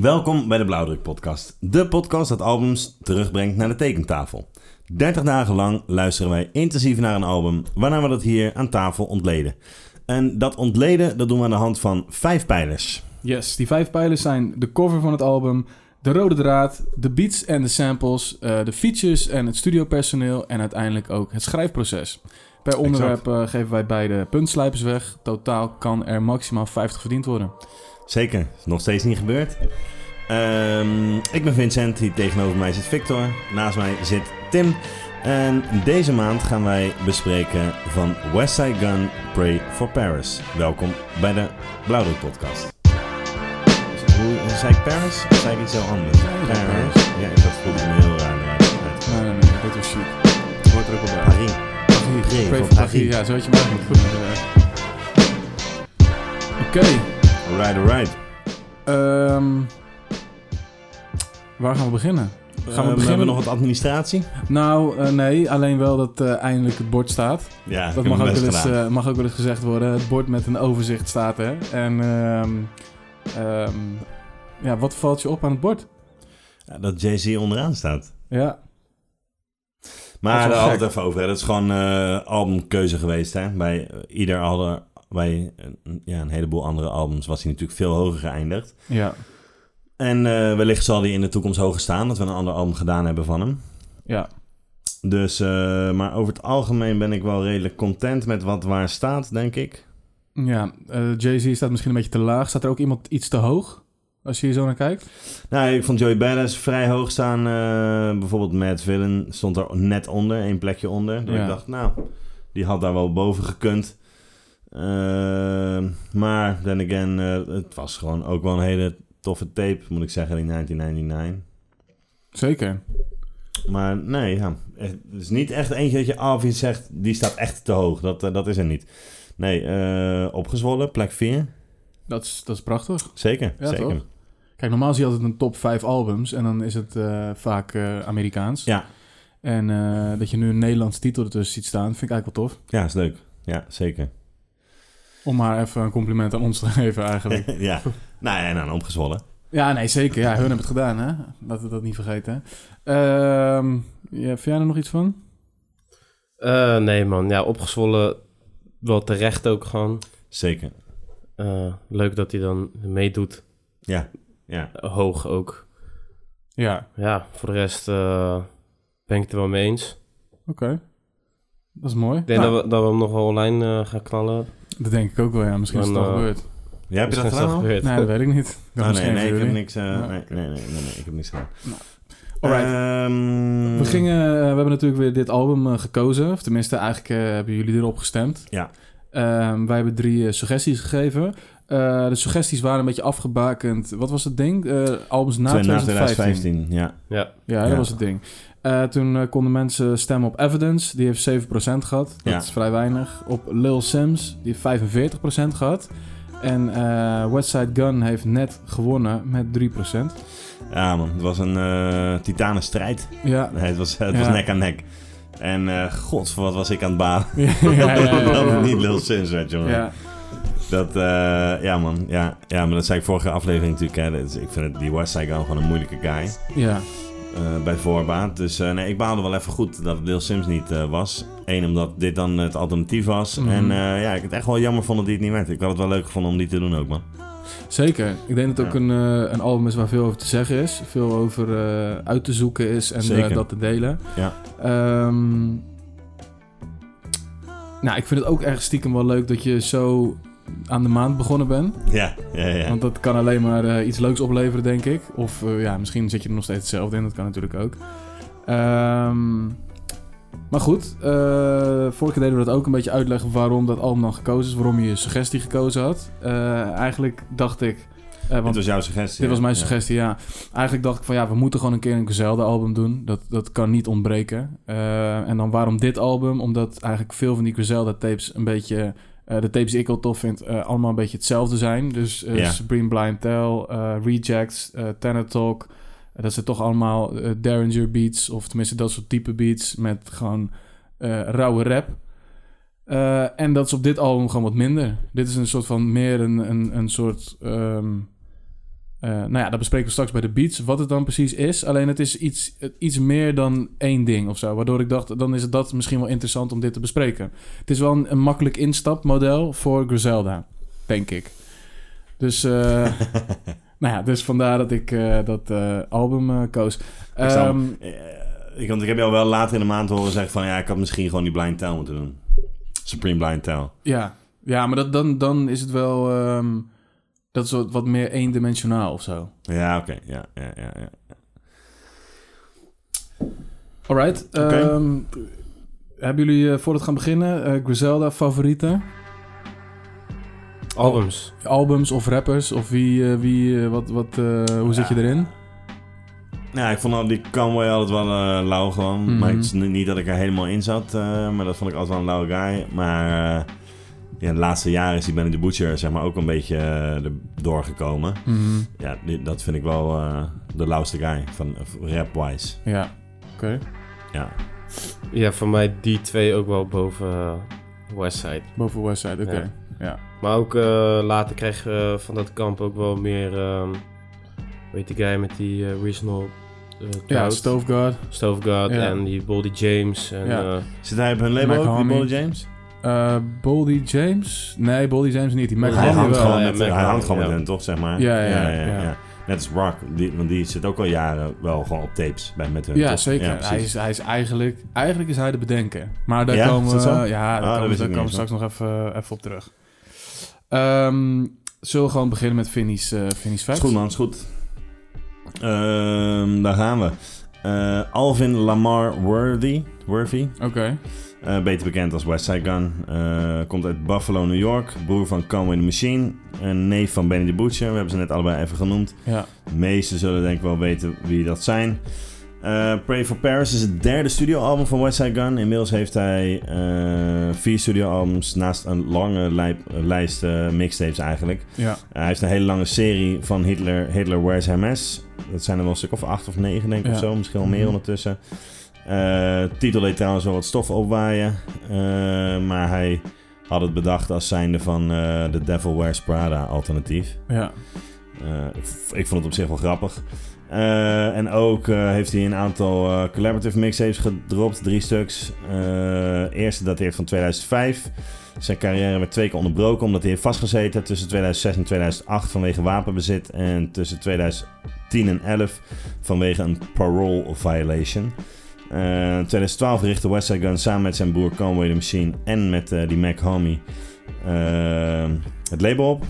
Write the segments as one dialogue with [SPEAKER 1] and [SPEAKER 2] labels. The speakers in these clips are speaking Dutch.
[SPEAKER 1] Welkom bij de Blauwdruk Podcast. De podcast dat albums terugbrengt naar de tekentafel. 30 dagen lang luisteren wij intensief naar een album, waarna we dat hier aan tafel ontleden. En dat ontleden dat doen we aan de hand van vijf pijlers.
[SPEAKER 2] Yes, die vijf pijlers zijn de cover van het album, de rode draad, de beats en de samples, eh, de features en het studiopersoneel en uiteindelijk ook het schrijfproces. Per onderwerp eh, geven wij beide puntslijpers weg. Totaal kan er maximaal 50 verdiend worden.
[SPEAKER 1] Zeker, is nog steeds niet gebeurd. Ehm, ik ben Vincent, hier tegenover mij zit Victor, naast mij zit Tim. En deze maand gaan wij bespreken van West Side Gun, Pray for Paris. Welkom bij de Blauwdruk Podcast. Hoe zei ik Paris? Of zei ik iets heel anders?
[SPEAKER 2] ik
[SPEAKER 1] Paris.
[SPEAKER 2] Paris.
[SPEAKER 1] Ja, dat voelde me heel raar. uit- uit-
[SPEAKER 2] Nee, nee, nee, dat is chic. Het hoort er ook al bij.
[SPEAKER 1] Paris. Pray
[SPEAKER 2] Pray
[SPEAKER 1] for
[SPEAKER 2] for
[SPEAKER 1] Paris.
[SPEAKER 2] Paris. Ja, zo had je maar moet goed Oké,
[SPEAKER 1] Alright, alright.
[SPEAKER 2] ehm, waar gaan we beginnen?
[SPEAKER 1] Gaan Ehm, we beginnen nog wat administratie?
[SPEAKER 2] Nou, eh, nee, alleen wel dat eh, eindelijk het bord staat.
[SPEAKER 1] Ja,
[SPEAKER 2] Dat
[SPEAKER 1] ik heb
[SPEAKER 2] mag
[SPEAKER 1] mijn
[SPEAKER 2] ook,
[SPEAKER 1] best
[SPEAKER 2] wel eens,
[SPEAKER 1] gedaan.
[SPEAKER 2] eh, mag ook wel eens gezegd worden. Het bord met een overzicht staat er. En ehm, ehm, ja, wat valt je op aan het bord?
[SPEAKER 1] Ja, dat Jay-Z onderaan staat.
[SPEAKER 2] Ja, Dat
[SPEAKER 1] Maar
[SPEAKER 2] is wel
[SPEAKER 1] daar hadden we
[SPEAKER 2] gek.
[SPEAKER 1] het even over. Hè. Dat is gewoon eh, albumkeuze geweest. Hè? Bij eh, ieder ander, bij eh, ja, een heleboel andere albums was hij natuurlijk veel hoger geëindigd.
[SPEAKER 2] ja,
[SPEAKER 1] En eh, wellicht zal hij in de toekomst hoger staan, dat we een ander album gedaan hebben van hem.
[SPEAKER 2] ja.
[SPEAKER 1] Dus, eh, maar over het algemeen ben ik wel redelijk content met wat waar staat, denk ik.
[SPEAKER 2] ja. eh, Jay-Z staat misschien een beetje te laag. Staat er ook iemand iets te hoog? Als je hier zo naar kijkt.
[SPEAKER 1] Nou, ik vond Joey Badass vrij hoog staan. eh, bijvoorbeeld Matt Villain stond er net onder, één plekje onder. Dus
[SPEAKER 2] Ja.
[SPEAKER 1] ik dacht, nou, die had daar wel boven gekund. Eh, maar, then again, eh, het was gewoon ook wel een hele toffe tape, moet ik zeggen, die 1999.
[SPEAKER 2] Zeker.
[SPEAKER 1] Maar nee, ja, echt- het is niet echt eentje dat je obvious zegt, die staat echt te hoog. Dat, eh, dat is er niet. Nee, eh, opgezwollen, plek 4.
[SPEAKER 2] Dat is, dat is prachtig.
[SPEAKER 1] Zeker,
[SPEAKER 2] Ja,
[SPEAKER 1] zeker.
[SPEAKER 2] toch? Kijk, normaal zie je altijd een top 5 albums. En dan is het eh, vaak eh, Amerikaans.
[SPEAKER 1] Ja.
[SPEAKER 2] En eh, dat je nu een Nederlandse titel ertussen ziet staan, vind ik eigenlijk wel tof.
[SPEAKER 1] Ja, is leuk. Ja, zeker.
[SPEAKER 2] Om maar even een compliment aan ons te geven eigenlijk.
[SPEAKER 1] ja, nou ja, en dan opgezwollen.
[SPEAKER 2] Ja, nee, zeker. Ja, hun hebben het gedaan, hè? Laten we dat niet vergeten. Ehm ja, vind jij er nog iets van?
[SPEAKER 3] Eh, nee, man. Ja, opgezwollen. Wel terecht ook gewoon.
[SPEAKER 1] Zeker.
[SPEAKER 3] Eh, leuk dat hij dan meedoet.
[SPEAKER 1] Ja, ja.
[SPEAKER 3] Eh, Hoog ook.
[SPEAKER 2] Ja,
[SPEAKER 3] Ja, voor de rest eh, ben ik het er wel mee eens.
[SPEAKER 2] oké. Dat is mooi.
[SPEAKER 3] Ik denk
[SPEAKER 2] Nou,
[SPEAKER 3] dat, we, dat we hem nog wel online eh, gaan knallen.
[SPEAKER 2] dat denk ik ook wel, ja. Misschien is het
[SPEAKER 3] Dan,
[SPEAKER 2] al
[SPEAKER 3] eh,
[SPEAKER 2] gebeurd.
[SPEAKER 1] Jij hebt je dat
[SPEAKER 3] Misschien is
[SPEAKER 1] gedaan al?
[SPEAKER 3] gebeurd.
[SPEAKER 2] Nee, dat weet ik niet. Dat
[SPEAKER 1] Oh, nee,
[SPEAKER 2] misschien
[SPEAKER 1] nee,
[SPEAKER 2] voor
[SPEAKER 1] ik heb
[SPEAKER 2] jullie.
[SPEAKER 1] niks, eh,
[SPEAKER 2] Ja. Nou.
[SPEAKER 1] nee, nee, nee, nee, nee, ik heb niks gedaan.
[SPEAKER 2] Alright.
[SPEAKER 1] Ehm,
[SPEAKER 2] We, gingen, eh, we hebben natuurlijk weer dit album eh, gekozen. Of tenminste, eigenlijk eh, hebben jullie erop gestemd.
[SPEAKER 1] Ja.
[SPEAKER 2] Ehm, wij hebben drie eh, suggesties gegeven. Eh, de suggesties waren een beetje afgebakend. Wat was het ding? Eh, albums na
[SPEAKER 1] twee-
[SPEAKER 2] 2015.
[SPEAKER 1] ja.
[SPEAKER 3] Ja,
[SPEAKER 2] Ja, dat
[SPEAKER 1] Ja.
[SPEAKER 2] was het ding. Eh, toen eh, konden mensen stemmen op Evidence, die heeft 7% gehad. Dat
[SPEAKER 1] Ja.
[SPEAKER 2] is vrij weinig. Op Lil Sims, die heeft 45% gehad. En eh West Side Gun heeft net gewonnen met 3%.
[SPEAKER 1] Ja, man, het was een eh titanenstrijd.
[SPEAKER 2] Ja.
[SPEAKER 1] Nee, het was, het
[SPEAKER 2] Ja.
[SPEAKER 1] was nek aan nek. En eh god, voor wat was ik aan het balen.
[SPEAKER 2] ja, ja, ja, ja,
[SPEAKER 1] Dat was niet
[SPEAKER 2] ja.
[SPEAKER 1] Lil Sins, weet je wel.
[SPEAKER 2] Ja,
[SPEAKER 1] Dat, eh, ja man, ja, ja, maar dat zei ik vorige aflevering natuurlijk. Hè. Dat is- ik vind het, die West Side Gun gewoon een moeilijke guy.
[SPEAKER 2] ja.
[SPEAKER 1] eh, bij voorbaat. Dus eh, nee, ik baalde wel even goed dat het Lil Sims niet eh, was. Eén, omdat dit dan het alternatief was.
[SPEAKER 2] Mhm.
[SPEAKER 1] En eh, ja, ik het echt wel jammer vond dat die het niet werd. Ik had het wel leuk gevonden om die te doen ook, man.
[SPEAKER 2] Zeker. Ik denk dat het ook
[SPEAKER 1] Ja.
[SPEAKER 2] een, eh, een album is waar veel over te zeggen is. Veel over eh, uit te zoeken is en eh,
[SPEAKER 1] Zeker.
[SPEAKER 2] dat te delen.
[SPEAKER 1] Ja.
[SPEAKER 2] Ehm, nou, ik vind het ook erg stiekem wel leuk dat je zo aan de maand begonnen bent.
[SPEAKER 1] Ja, ja, ja.
[SPEAKER 2] Want dat kan alleen maar eh, iets leuks opleveren, denk ik. Of eh, ja, misschien zit je er nog steeds hetzelfde in. Dat kan natuurlijk ook. Ehm, maar goed, eh, vorige keer deden we dat ook een beetje uitleggen waarom dat album dan gekozen is. Waarom je je suggestie gekozen had. Eh, eigenlijk dacht ik... eh,
[SPEAKER 1] dit
[SPEAKER 2] want
[SPEAKER 1] was jouw suggestie.
[SPEAKER 2] dit was mijn
[SPEAKER 1] Ja.
[SPEAKER 2] suggestie, ja. Eigenlijk dacht ik van ja, we moeten gewoon een keer een Griselda-album doen. Dat, dat kan niet ontbreken. Eh, en dan waarom dit album? Omdat eigenlijk veel van die Griselda-tapes een beetje... eh, de tapes die ik al tof vind, eh, allemaal een beetje hetzelfde zijn. Dus eh
[SPEAKER 1] Ja.
[SPEAKER 2] Supreme Blind Tell, eh, Rejects, eh Tenor Talk. Eh, dat zijn toch allemaal eh, Derringer beats. Of tenminste dat soort type beats met gewoon eh, rauwe rap. Eh, en dat is op dit album gewoon wat minder. Dit is een soort van meer een, een, een soort ehm, eh, Eh, nou ja, dat bespreken we straks bij de beats, wat het dan precies is. Alleen het is iets, het- iets meer dan één ding of zo. Waardoor ik dacht, dan is het dat misschien wel interessant om dit te bespreken. Het is wel een, een makkelijk instapmodel voor Griselda, denk ik. Dus, eh, nou ja, dus vandaar dat ik eh, dat eh, album eh, koos.
[SPEAKER 1] Ik zal-
[SPEAKER 2] Ehm,
[SPEAKER 1] Eh, ik, want ik heb jou wel later in de maand horen zeggen van... Ja, ik had misschien gewoon die Blind Tail moeten doen. Supreme Blind Tail.
[SPEAKER 2] ja. ja, maar dat, dan, dan is het wel... ehm, dat is wat, wat meer eendimensionaal of zo.
[SPEAKER 1] Ja, oké. Ja, ja, ja, ja.
[SPEAKER 2] Alright.
[SPEAKER 1] Oké.
[SPEAKER 2] ehm, hebben jullie, eh, voor het gaan beginnen, eh, Griselda favorieten?
[SPEAKER 3] Albums.
[SPEAKER 2] albums of rappers of wie, eh, wie eh, wat, wat, eh, hoe zit je
[SPEAKER 1] Ja.
[SPEAKER 2] erin?
[SPEAKER 1] Nou, ik vond al die Conway altijd wel eh, lauw gewoon.
[SPEAKER 2] Mhm.
[SPEAKER 1] Maar het is ni- niet dat ik er helemaal in zat. eh, maar dat vond ik altijd wel een lauwe guy. Maar eh, ja, de laatste jaren is die Benny the Butcher zeg maar, ook een beetje eh, er doorgekomen.
[SPEAKER 2] Mhm.
[SPEAKER 1] Ja, die- dat vind ik wel eh, de lauwste guy van of rap-wise.
[SPEAKER 2] Ja. Oké.
[SPEAKER 1] Ja.
[SPEAKER 3] Ja, voor mij die twee ook wel boven eh, Westside.
[SPEAKER 2] Boven Westside, oké.
[SPEAKER 3] Ja.
[SPEAKER 2] Ja.
[SPEAKER 3] Maar ook eh, later kreeg eh, van dat kamp ook wel meer... ehm weet die guy met die eh, Reasonable eh
[SPEAKER 2] Ja,
[SPEAKER 3] Doubt?
[SPEAKER 2] Stove God.
[SPEAKER 3] Stoveguard
[SPEAKER 2] Ja.
[SPEAKER 3] en die Boldy James. En,
[SPEAKER 2] Ja.
[SPEAKER 3] eh,
[SPEAKER 1] Zit hij op hun label
[SPEAKER 2] Mac
[SPEAKER 1] ook, die
[SPEAKER 2] Homie.
[SPEAKER 1] Bolle James?
[SPEAKER 2] Eh Boldy James? Nee, Boldy James niet. Die Mac
[SPEAKER 3] Ja,
[SPEAKER 1] hij
[SPEAKER 3] Homie
[SPEAKER 2] Hammer
[SPEAKER 1] hangt
[SPEAKER 2] wel.
[SPEAKER 1] gewoon
[SPEAKER 3] Ja,
[SPEAKER 1] met,
[SPEAKER 3] Mac
[SPEAKER 1] hij hangt
[SPEAKER 3] Homie,
[SPEAKER 1] gewoon met
[SPEAKER 3] ja.
[SPEAKER 1] hen, toch, zeg maar?
[SPEAKER 2] Ja, ja, ja.
[SPEAKER 1] Net als Rock, die, want die zit ook al jaren wel gewoon op tapes bij, met hun.
[SPEAKER 2] Ja,
[SPEAKER 1] toch?
[SPEAKER 2] zeker.
[SPEAKER 1] Ja,
[SPEAKER 2] hij,
[SPEAKER 1] precies.
[SPEAKER 2] is, hij is eigenlijk... Eigenlijk is hij de bedenker. Maar daar
[SPEAKER 1] Ja,
[SPEAKER 2] komen
[SPEAKER 1] is
[SPEAKER 2] we...
[SPEAKER 1] dat zo? Oh,
[SPEAKER 2] Ja, daar
[SPEAKER 1] dat
[SPEAKER 2] komen,
[SPEAKER 1] wist
[SPEAKER 2] daar
[SPEAKER 1] ik niet
[SPEAKER 2] komen we
[SPEAKER 1] eens,
[SPEAKER 2] straks nog even, eh, even op terug. Ehm zullen we gewoon beginnen met Vinnie's, eh Vinnie's
[SPEAKER 1] Is
[SPEAKER 2] Facts?
[SPEAKER 1] goed, man, is goed. Ehm, daar gaan we. Eh, Alvin Lamar Worthy, Worthy
[SPEAKER 2] Oké.
[SPEAKER 1] eh, beter bekend als West Side Gun, eh, komt uit Buffalo, New York. Broer van Conway the Machine, een neef van Benny the Butcher. We hebben ze net allebei even genoemd.
[SPEAKER 2] Ja.
[SPEAKER 1] De meesten zullen denk ik wel weten wie dat zijn. Eh, Pray for Paris is het derde studioalbum van West Side Gun. Inmiddels heeft hij eh, vier studioalbums naast een lange lijp- lijst eh, mixtapes eigenlijk.
[SPEAKER 2] Ja.
[SPEAKER 1] Uh, hij heeft een hele lange serie van Hitler, Hitler Wears MS. Dat zijn er wel een stuk of acht of negen, denk ik,
[SPEAKER 2] Ja.
[SPEAKER 1] of zo. Misschien wel meer
[SPEAKER 2] Mhm.
[SPEAKER 1] ondertussen. Eh titel deed trouwens wel wat stof opwaaien. Eh, maar hij had het bedacht als zijnde van eh The Devil Wears Prada alternatief.
[SPEAKER 2] Ja.
[SPEAKER 1] Eh, ik, v- ik vond het op zich wel grappig. Eh, en ook eh, heeft hij een aantal eh, collaborative mixtapes gedropt, drie stuks. Eh, eerste dateert van 2005. Zijn carrière werd twee keer onderbroken omdat hij heeft vastgezeten tussen 2006 en 2008 vanwege wapenbezit en tussen 2010 en 11 vanwege een parole violation. Eh, In 2012 richtte Westside Gun samen met zijn broer Conway the Machine en met eh, die Mac Homie eh, het label op.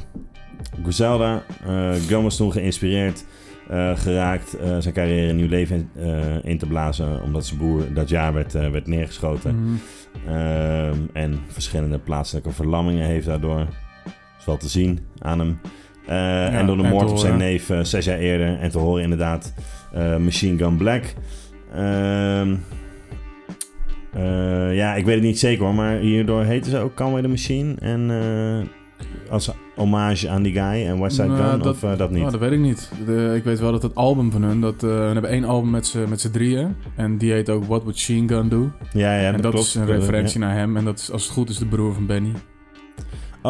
[SPEAKER 1] Griselda, eh Gun was toen geïnspireerd eh, geraakt eh, zijn carrière een nieuw leven in, eh, in te blazen omdat zijn broer dat jaar werd, eh, werd neergeschoten.
[SPEAKER 2] Mhm.
[SPEAKER 1] Ehm, en verschillende plaatselijke verlammingen heeft daardoor. Is wel te zien aan hem. Eh, en door de
[SPEAKER 2] en te
[SPEAKER 1] moord op zijn
[SPEAKER 2] horen.
[SPEAKER 1] neef eh, zes jaar eerder. En te horen inderdaad eh, Machine Gun Black. Ehm, eh, ja, ik weet het niet zeker hoor. Maar hierdoor heten ze ook Conway the Machine. En eh, als hommage aan die guy en West Side
[SPEAKER 2] Nou,
[SPEAKER 1] Gun.
[SPEAKER 2] dat-
[SPEAKER 1] of eh, dat niet?
[SPEAKER 2] Oh, dat weet ik niet. De- ik weet wel dat het album van hun, dat, eh hun hebben één album met z'n met z'n drieën. En die heet ook What Would Sheen Gun Do.
[SPEAKER 1] ja, ja,
[SPEAKER 2] en dat
[SPEAKER 1] klopt.
[SPEAKER 2] is een referentie naar hem. En dat is, als het goed is, de broer van Benny.
[SPEAKER 1] Ja.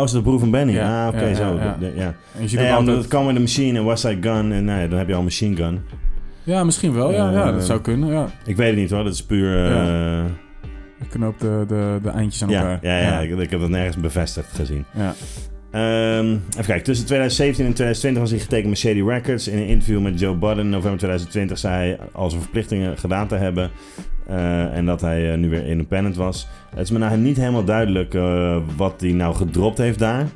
[SPEAKER 1] Oh, is de broer van Benny?
[SPEAKER 2] Ja,
[SPEAKER 1] ah, oké,
[SPEAKER 2] ja, ja,
[SPEAKER 1] zo.
[SPEAKER 2] ja.
[SPEAKER 1] Ja, ja.
[SPEAKER 2] En je ziet
[SPEAKER 1] Nee,
[SPEAKER 2] ook
[SPEAKER 1] omdat
[SPEAKER 2] altijd...
[SPEAKER 1] het Conway the Machine en West Side Gun. En nou ja, dan heb je al Machine Gun.
[SPEAKER 2] Ja, misschien wel. Ja, ja, dat
[SPEAKER 1] Eh,
[SPEAKER 2] zou kunnen. Ja.
[SPEAKER 1] Ik weet het niet hoor, dat is puur. eh,
[SPEAKER 2] Ja. Je knoopt de, de, de eindjes aan
[SPEAKER 1] ja, ja,
[SPEAKER 2] elkaar.
[SPEAKER 1] ja, Ik, ik heb dat nergens bevestigd gezien.
[SPEAKER 2] Ja.
[SPEAKER 1] Ehm, even kijken, tussen 2017 en 2020 was hij getekend met Shady Records. In een interview met Joe Budden in november 2020 zei hij al zijn verplichtingen gedaan te hebben. eh, en dat hij eh, nu weer independent was. Het is me nou niet helemaal duidelijk eh, wat hij nou gedropt heeft daar.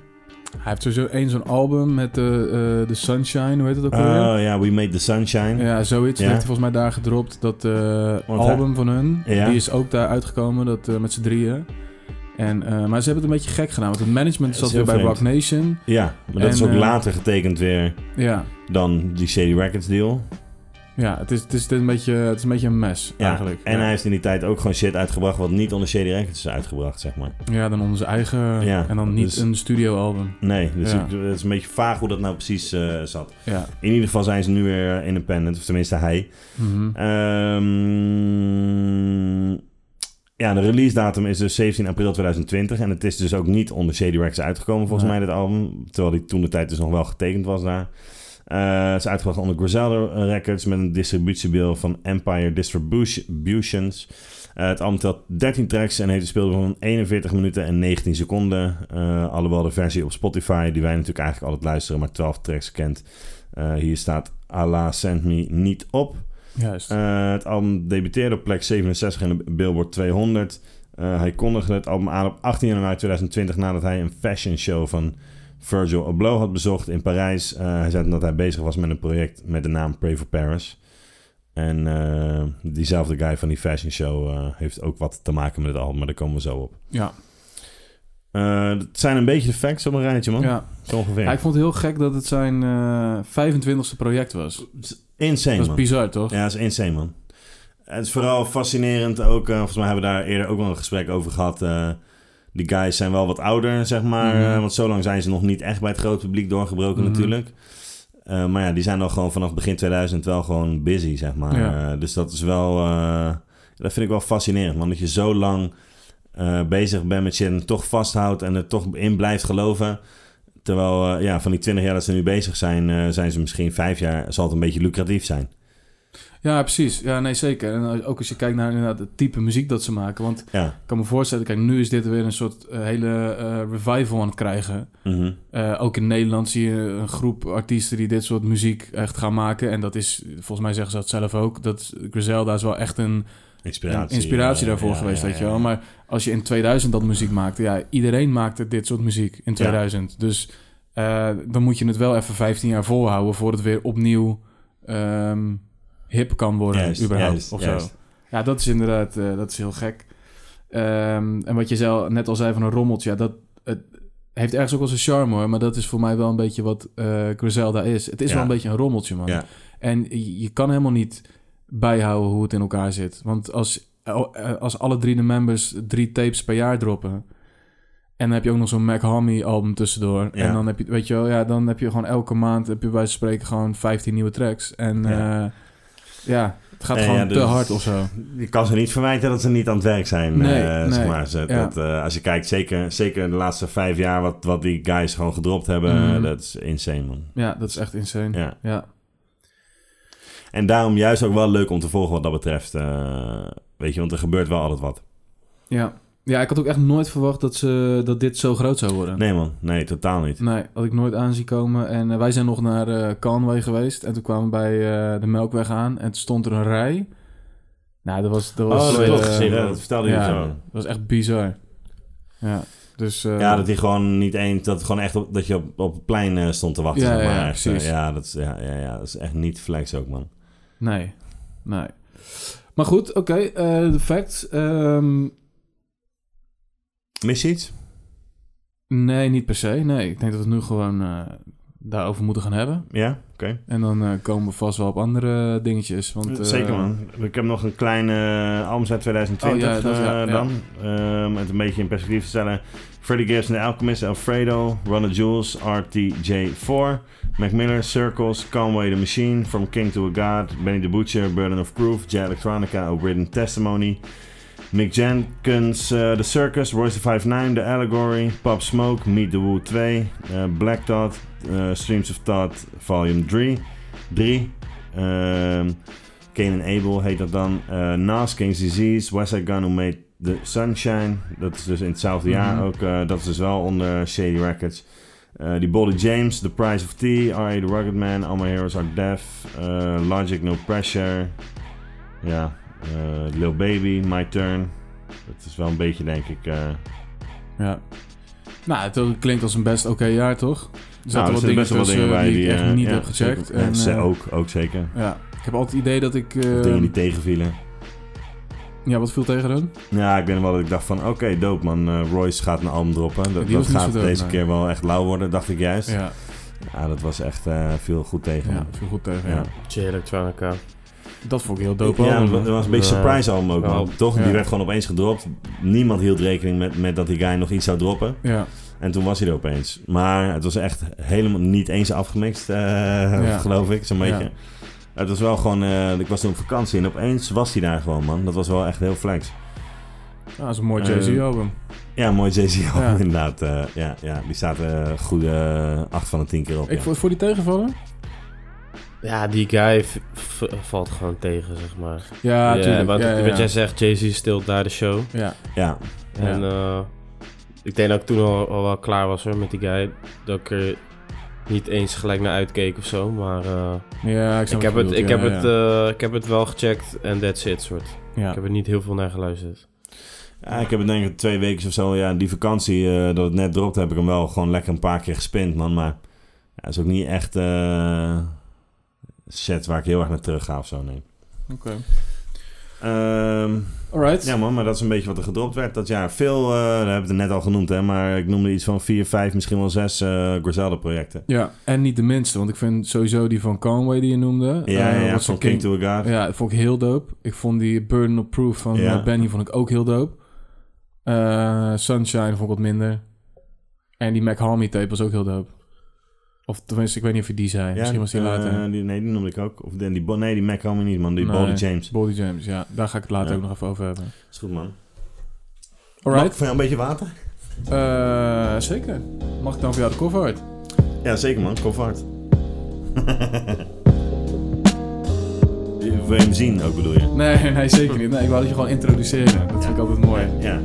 [SPEAKER 2] Hij heeft sowieso één zo'n album met de, eh, de Sunshine, hoe heet dat ook
[SPEAKER 1] Oh
[SPEAKER 2] alweer?
[SPEAKER 1] ja, We Made the Sunshine.
[SPEAKER 2] Ja, zoiets.
[SPEAKER 1] Ja.
[SPEAKER 2] heeft hij volgens mij daar gedropt. Dat eh,
[SPEAKER 1] Want
[SPEAKER 2] album van hun,
[SPEAKER 1] Ja.
[SPEAKER 2] die is ook daar uitgekomen dat, eh, met z'n drieën. En, eh, maar ze hebben het een beetje gek gedaan. Want het management
[SPEAKER 1] Ja,
[SPEAKER 2] zat
[SPEAKER 1] is heel
[SPEAKER 2] weer bij Rock
[SPEAKER 1] vreemd.
[SPEAKER 2] Nation.
[SPEAKER 1] Ja, maar dat
[SPEAKER 2] En,
[SPEAKER 1] is ook
[SPEAKER 2] eh,
[SPEAKER 1] later getekend weer
[SPEAKER 2] Ja,
[SPEAKER 1] dan die Shady Records deal.
[SPEAKER 2] ja het, is, het, is, het, is een beetje, het is een beetje een mes
[SPEAKER 1] Ja,
[SPEAKER 2] eigenlijk.
[SPEAKER 1] En
[SPEAKER 2] ja.
[SPEAKER 1] hij heeft in die tijd ook gewoon shit uitgebracht wat niet onder Shady Records is uitgebracht, zeg maar.
[SPEAKER 2] Ja, dan onze eigen.
[SPEAKER 1] Ja,
[SPEAKER 2] en dan niet
[SPEAKER 1] dus-
[SPEAKER 2] een studioalbum.
[SPEAKER 1] Nee, dus
[SPEAKER 2] Ja.
[SPEAKER 1] ik- het is een beetje vaag hoe dat nou precies eh, zat.
[SPEAKER 2] Ja.
[SPEAKER 1] In ieder geval zijn ze nu weer independent, of tenminste hij.
[SPEAKER 2] Mhm.
[SPEAKER 1] Ehm, ja, de release datum is dus 17 april 2020. En het is dus ook niet onder Shady Records uitgekomen, volgens
[SPEAKER 2] Nee.
[SPEAKER 1] mij, dit album. Terwijl die toen de tijd dus nog wel getekend was daar. Eh, Eh, het is uitgebracht onder Griselda Records met een distributiebeel van Empire Distributions. Eh, het album telt 13 tracks en heeft een speelduur van 41 minuten en 19 seconden. Eh, alhoewel de versie op Spotify, die wij natuurlijk eigenlijk altijd luisteren, maar 12 tracks kent. Eh, hier staat Allah Send Me niet op.
[SPEAKER 2] Juist.
[SPEAKER 1] Eh, het album debuteerde op plek 67 in de Billboard 200. Eh, hij kondigde het album aan op 18 januari 2020 nadat hij een fashion show van Virgil Abloh had bezocht in Parijs. Eh, hij zei dat hij bezig was met een project met de naam Pray for Paris. En eh, diezelfde guy van die fashion show eh, heeft ook wat te maken met het album, maar daar komen we zo op.
[SPEAKER 2] ja.
[SPEAKER 1] Eh, het zijn een beetje de facts op een rijtje, man.
[SPEAKER 2] Ja.
[SPEAKER 1] Zo ongeveer.
[SPEAKER 2] Ja, ik vond het heel gek dat het zijn eh 25ste project was.
[SPEAKER 1] Insane,
[SPEAKER 2] dat is
[SPEAKER 1] man.
[SPEAKER 2] bizar, toch?
[SPEAKER 1] Ja, dat is insane, man. Het is vooral fascinerend ook. eh, volgens mij hebben we daar eerder ook wel een gesprek over gehad. eh, die guys zijn wel wat ouder, zeg maar.
[SPEAKER 2] Mhm.
[SPEAKER 1] eh, want zo lang zijn ze nog niet echt bij het grote publiek doorgebroken,
[SPEAKER 2] Mhm.
[SPEAKER 1] natuurlijk. Eh, maar ja, die zijn al gewoon vanaf begin 2000 wel gewoon busy, zeg maar.
[SPEAKER 2] Ja.
[SPEAKER 1] Eh, dus dat is wel. eh, dat vind ik wel fascinerend, man. Dat je zo lang eh, bezig bent met shit en toch vasthoudt en er toch in blijft geloven. Terwijl eh, ja, van die 20 jaar dat ze nu bezig zijn, eh, zijn ze misschien vijf jaar. Zal het een beetje lucratief zijn.
[SPEAKER 2] Ja, precies. Ja, nee, zeker. En eh, ook als je kijkt naar inderdaad, het type muziek dat ze maken. Want
[SPEAKER 1] Ja.
[SPEAKER 2] ik kan me voorstellen, kijk, nu is dit weer een soort eh, hele eh, revival aan het krijgen.
[SPEAKER 1] Mhm.
[SPEAKER 2] Eh, ook in Nederland zie je een groep artiesten die dit soort muziek echt gaan maken. En dat is, volgens mij zeggen ze dat zelf ook, dat Griselda is wel echt een
[SPEAKER 1] Inspiratie.
[SPEAKER 2] een inspiratie
[SPEAKER 1] eh,
[SPEAKER 2] daarvoor
[SPEAKER 1] ja,
[SPEAKER 2] geweest,
[SPEAKER 1] ja,
[SPEAKER 2] weet
[SPEAKER 1] ja.
[SPEAKER 2] je wel. Maar als je in 2000 dat muziek maakte, ja, iedereen maakte dit soort muziek in 2000. Dus eh, dan moet je het wel even 15 jaar volhouden voordat het weer opnieuw ehm, hip kan worden,
[SPEAKER 1] Juist,
[SPEAKER 2] überhaupt.
[SPEAKER 1] juist,
[SPEAKER 2] of
[SPEAKER 1] juist.
[SPEAKER 2] zo. Ja, dat is inderdaad, eh, dat is heel gek. Ehm, en wat je zelf net al zei van een rommeltje, ja, dat het heeft ergens ook wel zijn charme hoor, maar dat is voor mij wel een beetje wat eh, Griselda is. Het is
[SPEAKER 1] Ja.
[SPEAKER 2] wel een beetje een rommeltje, man.
[SPEAKER 1] Ja.
[SPEAKER 2] En je, je kan helemaal niet bijhouden hoe het in elkaar zit. Want als, eh, als alle drie de members drie tapes per jaar droppen. En dan heb je ook nog zo'n Mac Hammy album tussendoor.
[SPEAKER 1] Ja.
[SPEAKER 2] En dan heb je, weet je wel, ja, dan heb je gewoon elke maand, heb je bij wijze van spreken gewoon 15 nieuwe tracks. En
[SPEAKER 1] Ja.
[SPEAKER 2] ja, ja het gaat
[SPEAKER 1] En ja,
[SPEAKER 2] gewoon te
[SPEAKER 1] dus-
[SPEAKER 2] hard of zo.
[SPEAKER 1] Je kan ze niet verwijten dat ze niet aan het werk zijn.
[SPEAKER 2] Nee,
[SPEAKER 1] eh,
[SPEAKER 2] nee,
[SPEAKER 1] zeg maar. Ze-
[SPEAKER 2] ja.
[SPEAKER 1] dat, eh, als je kijkt, zeker, zeker de laatste vijf jaar wat, wat die guys gewoon gedropt hebben,
[SPEAKER 2] Mhm.
[SPEAKER 1] eh, dat is insane, man.
[SPEAKER 2] Ja, dat is echt insane. Ja.
[SPEAKER 1] Ja. En daarom juist ook wel leuk om te volgen wat dat betreft. eh, weet je, want er gebeurt wel altijd wat.
[SPEAKER 2] Ja. ja, ik had ook echt nooit verwacht dat, ze, dat dit zo groot zou worden.
[SPEAKER 1] Nee, man. Nee, totaal niet.
[SPEAKER 2] Nee, had ik nooit aanzien komen. En eh, wij zijn nog naar eh Conway geweest. En toen kwamen we bij eh, de Melkweg aan. En toen stond er een rij. Nou, dat was... Dat
[SPEAKER 1] Oh,
[SPEAKER 2] was
[SPEAKER 1] dat heb ik
[SPEAKER 2] eh,
[SPEAKER 1] ook gezien. Ja, dat vertelde je
[SPEAKER 2] ja,
[SPEAKER 1] zo.
[SPEAKER 2] Dat was echt bizar. Ja, dus... eh,
[SPEAKER 1] Ja, dat hij gewoon niet eens... Dat, het gewoon echt op, dat je op, op het plein eh, stond te wachten,
[SPEAKER 2] Ja,
[SPEAKER 1] zeg maar.
[SPEAKER 2] ja,
[SPEAKER 1] Echt, eh,
[SPEAKER 2] precies.
[SPEAKER 1] ja, dat is, ja, ja, ja, dat is echt niet flex ook, man.
[SPEAKER 2] Nee, nee. Maar goed, oké. eh, de facts. Ehm,
[SPEAKER 1] Mis je iets?
[SPEAKER 2] nee, niet per se. Nee, ik denk dat we het nu gewoon eh, daarover moeten gaan hebben.
[SPEAKER 1] Ja? Oké.
[SPEAKER 2] En dan eh, komen we vast wel op andere dingetjes. Want, eh,
[SPEAKER 1] Zeker man. Ik heb nog een kleine eh, albums uit 2020
[SPEAKER 2] Oh, ja, dat is- ja,
[SPEAKER 1] eh,
[SPEAKER 2] ja.
[SPEAKER 1] dan. Eh, Om het een beetje in perspectief te stellen. Freddie Gibbs en The Alchemist, Alfredo, Ronald Jules, RTJ4, Mac Miller, Circles, Conway the Machine, From King to a God, Benny the Butcher, Burden of Proof, Jet Electronica, O'Brien Testimony, Mick Jenkins, eh, The Circus, Royce the 59, The Allegory, Pop Smoke, Meet the Woo 2, eh, Black Thought, eh, Streams of Thought, Volume 3, 3 ehm, Cain and Abel heet dat dan. eh Nas, King's Disease, West Side Gun Who Made The Sunshine. Dat is dus in hetzelfde jaar
[SPEAKER 2] Mhm.
[SPEAKER 1] ook. eh, dat is dus wel onder Shady Records. Eh, die Boldy James, The Price of Tea, R.A. The Rugged Man, All My Heroes Are Deaf, eh, Logic No Pressure. Ja, eh, Lil Baby, My Turn. Dat is wel een beetje, denk ik... eh,
[SPEAKER 2] Ja. Nou, het eh, klinkt als een best oké jaar, toch? Er
[SPEAKER 1] nou,
[SPEAKER 2] zaten wel
[SPEAKER 1] er
[SPEAKER 2] dingen
[SPEAKER 1] zitten best wel wat dingen bij
[SPEAKER 2] die ik echt
[SPEAKER 1] eh,
[SPEAKER 2] niet
[SPEAKER 1] ja,
[SPEAKER 2] heb gecheckt.
[SPEAKER 1] zeker. Ja,
[SPEAKER 2] En,
[SPEAKER 1] ze-
[SPEAKER 2] eh,
[SPEAKER 1] ook, ook zeker.
[SPEAKER 2] Ja, ik heb altijd het idee dat ik... eh,
[SPEAKER 1] Dingen die tegenvielen.
[SPEAKER 2] ja, wat viel tegen hun?
[SPEAKER 1] Ja, ik weet nog wel dat ik dacht van, oké, dope man, eh, Royce gaat een album droppen. Dat,
[SPEAKER 2] Die
[SPEAKER 1] dat
[SPEAKER 2] was niet
[SPEAKER 1] gaat
[SPEAKER 2] zo dope,
[SPEAKER 1] deze
[SPEAKER 2] nee.
[SPEAKER 1] keer wel echt lauw worden, dacht ik juist. Ja,
[SPEAKER 2] Ja,
[SPEAKER 1] dat was echt eh, veel goed tegen.
[SPEAKER 2] ja
[SPEAKER 1] man.
[SPEAKER 2] viel goed tegen.
[SPEAKER 1] Ja.
[SPEAKER 2] Ja.
[SPEAKER 3] Jay Electronica.
[SPEAKER 2] Dat vond ik heel dope.
[SPEAKER 1] ja,
[SPEAKER 2] album,
[SPEAKER 1] dat
[SPEAKER 2] man.
[SPEAKER 1] was een beetje
[SPEAKER 3] Ja.
[SPEAKER 1] surprise album ook, man.
[SPEAKER 3] Ja.
[SPEAKER 1] Toch? Die
[SPEAKER 2] Ja.
[SPEAKER 1] werd gewoon opeens gedropt. Niemand hield rekening met, met dat die guy nog iets zou droppen.
[SPEAKER 2] ja.
[SPEAKER 1] En toen was hij er opeens. Maar het was echt helemaal niet eens afgemixt, eh, geloof ik, zo'n beetje.
[SPEAKER 2] Ja.
[SPEAKER 1] Het was wel gewoon... eh, ik was toen op vakantie en opeens was hij daar gewoon, man. Dat was wel echt heel flex.
[SPEAKER 2] Ja, dat is een mooi
[SPEAKER 1] Eh,
[SPEAKER 2] Jay-Z album.
[SPEAKER 1] Ja, mooi Jay-Z album,
[SPEAKER 2] Ja.
[SPEAKER 1] inderdaad. Eh, ja, ja, die staat eh goede 8 van de 10 keer op.
[SPEAKER 2] Ik
[SPEAKER 1] ja.
[SPEAKER 2] vond voor die tegenvallen?
[SPEAKER 3] Ja, die guy v- v- valt gewoon tegen, zeg maar.
[SPEAKER 2] Ja,
[SPEAKER 3] Ja,
[SPEAKER 2] tuurlijk.
[SPEAKER 3] want
[SPEAKER 2] ja, ja,
[SPEAKER 3] wat
[SPEAKER 2] ja.
[SPEAKER 3] jij zegt, Jay-Z stilt daar de show.
[SPEAKER 2] Ja.
[SPEAKER 1] Ja,
[SPEAKER 3] En eh, ik denk dat ik toen al, al wel klaar was hoor, met die guy. Dat ik er niet eens gelijk naar uitkeek of zo. Maar eh,
[SPEAKER 2] Ja, ik, snap
[SPEAKER 3] ik, heb
[SPEAKER 2] wat
[SPEAKER 3] het,
[SPEAKER 2] je
[SPEAKER 3] ik,
[SPEAKER 2] bedoelt.
[SPEAKER 3] heb
[SPEAKER 2] Ja,
[SPEAKER 3] het,
[SPEAKER 2] ja.
[SPEAKER 3] eh, ik heb het wel gecheckt en that's it soort.
[SPEAKER 2] Ja.
[SPEAKER 3] Ik heb er niet heel veel naar geluisterd.
[SPEAKER 1] Ja, ik heb het denk ik twee weken of zo, ja, die vakantie eh, dat het net dropt, heb ik hem wel gewoon lekker een paar keer gespind, man. Maar ja, het is ook niet echt eh, een set waar ik heel erg naar terug ga of zo, nee.
[SPEAKER 2] Oké.
[SPEAKER 1] Ehm,
[SPEAKER 2] Alright.
[SPEAKER 1] ja, man, maar dat is een beetje wat er gedropt werd dat jaar. Veel, eh dat hebben we het net al genoemd, hè, maar ik noemde iets van vier, vijf, misschien wel zes eh Griselda-projecten.
[SPEAKER 2] Ja, en niet de minste, want ik vind sowieso die van Conway die je noemde.
[SPEAKER 1] Ja,
[SPEAKER 2] eh,
[SPEAKER 1] ja, ja
[SPEAKER 2] wat ze
[SPEAKER 1] van King to a God.
[SPEAKER 2] Ja, dat vond ik heel dope. Ik vond die Burden of Proof van
[SPEAKER 1] Ja.
[SPEAKER 2] eh, Benny vond ik ook heel dope. Eh, Sunshine vond ik wat minder. En die Mac Harmony tape was ook heel dope. Of tenminste, ik weet niet of je die zei.
[SPEAKER 1] Ja,
[SPEAKER 2] Misschien was die
[SPEAKER 1] eh,
[SPEAKER 2] later.
[SPEAKER 1] die- nee, die noemde ik ook. Of die, die, Bo- nee, die Mac Homie niet, man. Die
[SPEAKER 2] Nee.
[SPEAKER 1] Boldy James.
[SPEAKER 2] Body James, ja. Daar ga ik het later
[SPEAKER 1] Ja.
[SPEAKER 2] ook nog even over hebben.
[SPEAKER 1] Is goed, man. Mag ik
[SPEAKER 2] Alright.
[SPEAKER 1] voor jou een beetje water?
[SPEAKER 2] Eh, zeker. Mag ik dan voor jou de cover uit?
[SPEAKER 1] Ja, zeker man. Kofvaart. Wil je hem zien ook bedoel je?
[SPEAKER 2] Nee, nee, zeker niet. Nee, ik wou dat je gewoon introduceren. Dat vind ik altijd mooi.
[SPEAKER 1] Ja.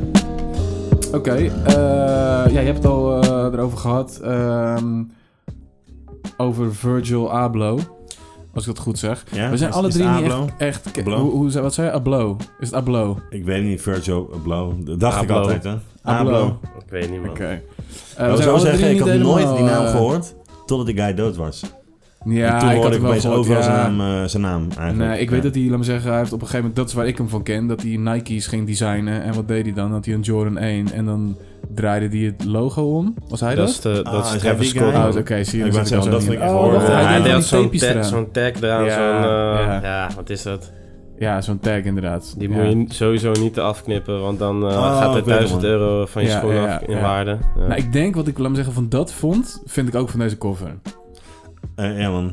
[SPEAKER 2] Oké, eh, ja, je hebt het al eh, erover gehad. ehm, over Virgil Abloh. Als ik dat goed zeg.
[SPEAKER 1] ja?
[SPEAKER 2] We zijn
[SPEAKER 1] Is-
[SPEAKER 2] alle
[SPEAKER 1] is
[SPEAKER 2] drie
[SPEAKER 1] het
[SPEAKER 2] niet
[SPEAKER 1] Ablo?
[SPEAKER 2] echt... echt ke-
[SPEAKER 1] Abloh?
[SPEAKER 2] hoe, hoe, zei- wat zei je? Abloh. Is het Abloh? Oké.
[SPEAKER 1] Ik weet niet, Virgil Abloh. Dat dacht ik
[SPEAKER 3] Abloh.
[SPEAKER 1] altijd, hè?
[SPEAKER 2] Abloh.
[SPEAKER 1] Ablo.
[SPEAKER 3] Ik weet niet meer.
[SPEAKER 2] Eh, we
[SPEAKER 1] Ik
[SPEAKER 2] zijn
[SPEAKER 1] zo
[SPEAKER 2] alle drie
[SPEAKER 1] zeggen, ik
[SPEAKER 2] niet
[SPEAKER 1] had nooit die
[SPEAKER 2] helemaal,
[SPEAKER 1] naam
[SPEAKER 2] eh,
[SPEAKER 1] gehoord totdat die guy dood was.
[SPEAKER 2] Ja,
[SPEAKER 1] en toen
[SPEAKER 2] ik had
[SPEAKER 1] hoorde
[SPEAKER 2] het
[SPEAKER 1] ik
[SPEAKER 2] wel
[SPEAKER 1] opeens
[SPEAKER 2] gehoord,
[SPEAKER 1] overal
[SPEAKER 2] ja.
[SPEAKER 1] zijn, naam, eh, zijn naam eigenlijk.
[SPEAKER 2] Nee, ik weet
[SPEAKER 1] Ja.
[SPEAKER 2] dat hij, laat me zeggen, hij heeft op een gegeven moment, dat is waar ik hem van ken, dat hij Nike's ging designen. En wat deed hij dan? Had hij een Jordan 1 en dan draaide hij het logo om. Was hij
[SPEAKER 3] Dat
[SPEAKER 2] dat?
[SPEAKER 3] is, de, dat
[SPEAKER 1] Ah,
[SPEAKER 3] is
[SPEAKER 1] is
[SPEAKER 3] Travis
[SPEAKER 1] hij die
[SPEAKER 3] Scott.
[SPEAKER 1] guy?
[SPEAKER 2] Oh,
[SPEAKER 3] man.
[SPEAKER 2] oké, zie je. dan
[SPEAKER 1] Ik
[SPEAKER 2] zit
[SPEAKER 1] wou zeggen,
[SPEAKER 2] al
[SPEAKER 1] dat
[SPEAKER 2] zo
[SPEAKER 1] vind
[SPEAKER 2] in.
[SPEAKER 1] ik echt
[SPEAKER 2] Oh,
[SPEAKER 1] horror.
[SPEAKER 2] wacht,
[SPEAKER 3] Ja,
[SPEAKER 1] hij
[SPEAKER 2] hij
[SPEAKER 1] deed
[SPEAKER 3] die
[SPEAKER 2] deed
[SPEAKER 3] had
[SPEAKER 2] al
[SPEAKER 3] zo'n
[SPEAKER 2] die tapes
[SPEAKER 3] ta-
[SPEAKER 2] eraan.
[SPEAKER 3] zo'n tag eraan.
[SPEAKER 2] Ja,
[SPEAKER 3] zo'n,
[SPEAKER 2] ja.
[SPEAKER 3] eh, ja. wat is dat?
[SPEAKER 2] Ja, zo'n tag inderdaad.
[SPEAKER 3] Die
[SPEAKER 2] ja.
[SPEAKER 3] moet je sowieso niet afknippen, want dan eh,
[SPEAKER 1] Oh,
[SPEAKER 3] gaat er
[SPEAKER 1] ik weet het,
[SPEAKER 3] 1000
[SPEAKER 1] man.
[SPEAKER 3] euro van je
[SPEAKER 2] Ja,
[SPEAKER 3] schoen
[SPEAKER 2] ja,
[SPEAKER 3] af in
[SPEAKER 2] ja.
[SPEAKER 3] waarde. Ja.
[SPEAKER 2] Nou, ik denk wat ik, laat me zeggen, van dat vond, vind ik ook van deze cover.
[SPEAKER 1] Eh, ja man.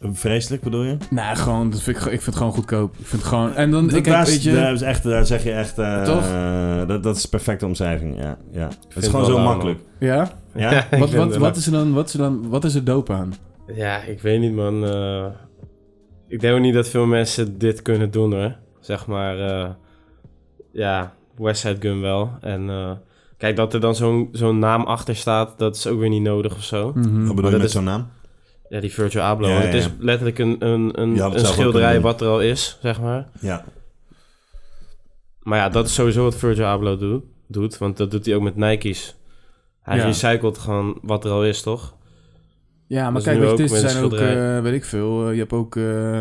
[SPEAKER 1] Vreselijk bedoel je?
[SPEAKER 2] Nou, gewoon, dat vind ik, ik vind het gewoon goedkoop. Ik vind het gewoon... En dan, ik
[SPEAKER 1] daar,
[SPEAKER 2] heb, weet je...
[SPEAKER 1] daar is echt, daar zeg je echt... eh,
[SPEAKER 2] Toch?
[SPEAKER 1] eh, dat, dat is perfecte omschrijving, ja. ja. Het
[SPEAKER 3] vind
[SPEAKER 1] is gewoon
[SPEAKER 3] het
[SPEAKER 1] zo
[SPEAKER 3] wel raar,
[SPEAKER 1] makkelijk.
[SPEAKER 2] Ja?
[SPEAKER 1] Ja?
[SPEAKER 3] Ja, ik
[SPEAKER 2] Wat,
[SPEAKER 3] vind
[SPEAKER 2] wat,
[SPEAKER 3] het-
[SPEAKER 2] wat, is er dan, wat is er dan, wat is er dope aan?
[SPEAKER 3] Ja, ik weet niet, man. Eh, ik denk ook niet dat veel mensen dit kunnen doen, hoor. Zeg maar, eh, ja, Westside Gun wel. En eh, kijk, dat er dan zo'n zo'n naam achter staat, dat is ook weer niet nodig of zo.
[SPEAKER 2] Mhm.
[SPEAKER 1] Wat bedoel je
[SPEAKER 3] dat
[SPEAKER 1] met
[SPEAKER 3] is-
[SPEAKER 1] zo'n naam?
[SPEAKER 3] Ja, die Virtual Abloh.
[SPEAKER 1] Ja, ja,
[SPEAKER 3] Het is
[SPEAKER 1] ja.
[SPEAKER 3] letterlijk een, een, een,
[SPEAKER 1] Je had het zelf ook
[SPEAKER 3] een schilderij
[SPEAKER 1] kunnen doen.
[SPEAKER 3] wat er al is, zeg maar.
[SPEAKER 1] Ja.
[SPEAKER 3] Maar ja, dat is sowieso wat Virgil Abloh doet, doet. Want dat doet hij ook met Nike's. Hij
[SPEAKER 2] Ja.
[SPEAKER 3] recycelt gewoon wat er al is, toch?
[SPEAKER 2] Ja, maar
[SPEAKER 3] Dat is
[SPEAKER 2] kijk,
[SPEAKER 3] nu
[SPEAKER 2] weet je,
[SPEAKER 3] ook
[SPEAKER 2] dit
[SPEAKER 3] met
[SPEAKER 2] zijn ook,
[SPEAKER 3] schilderij.
[SPEAKER 2] eh, weet ik veel. eh, je hebt ook eh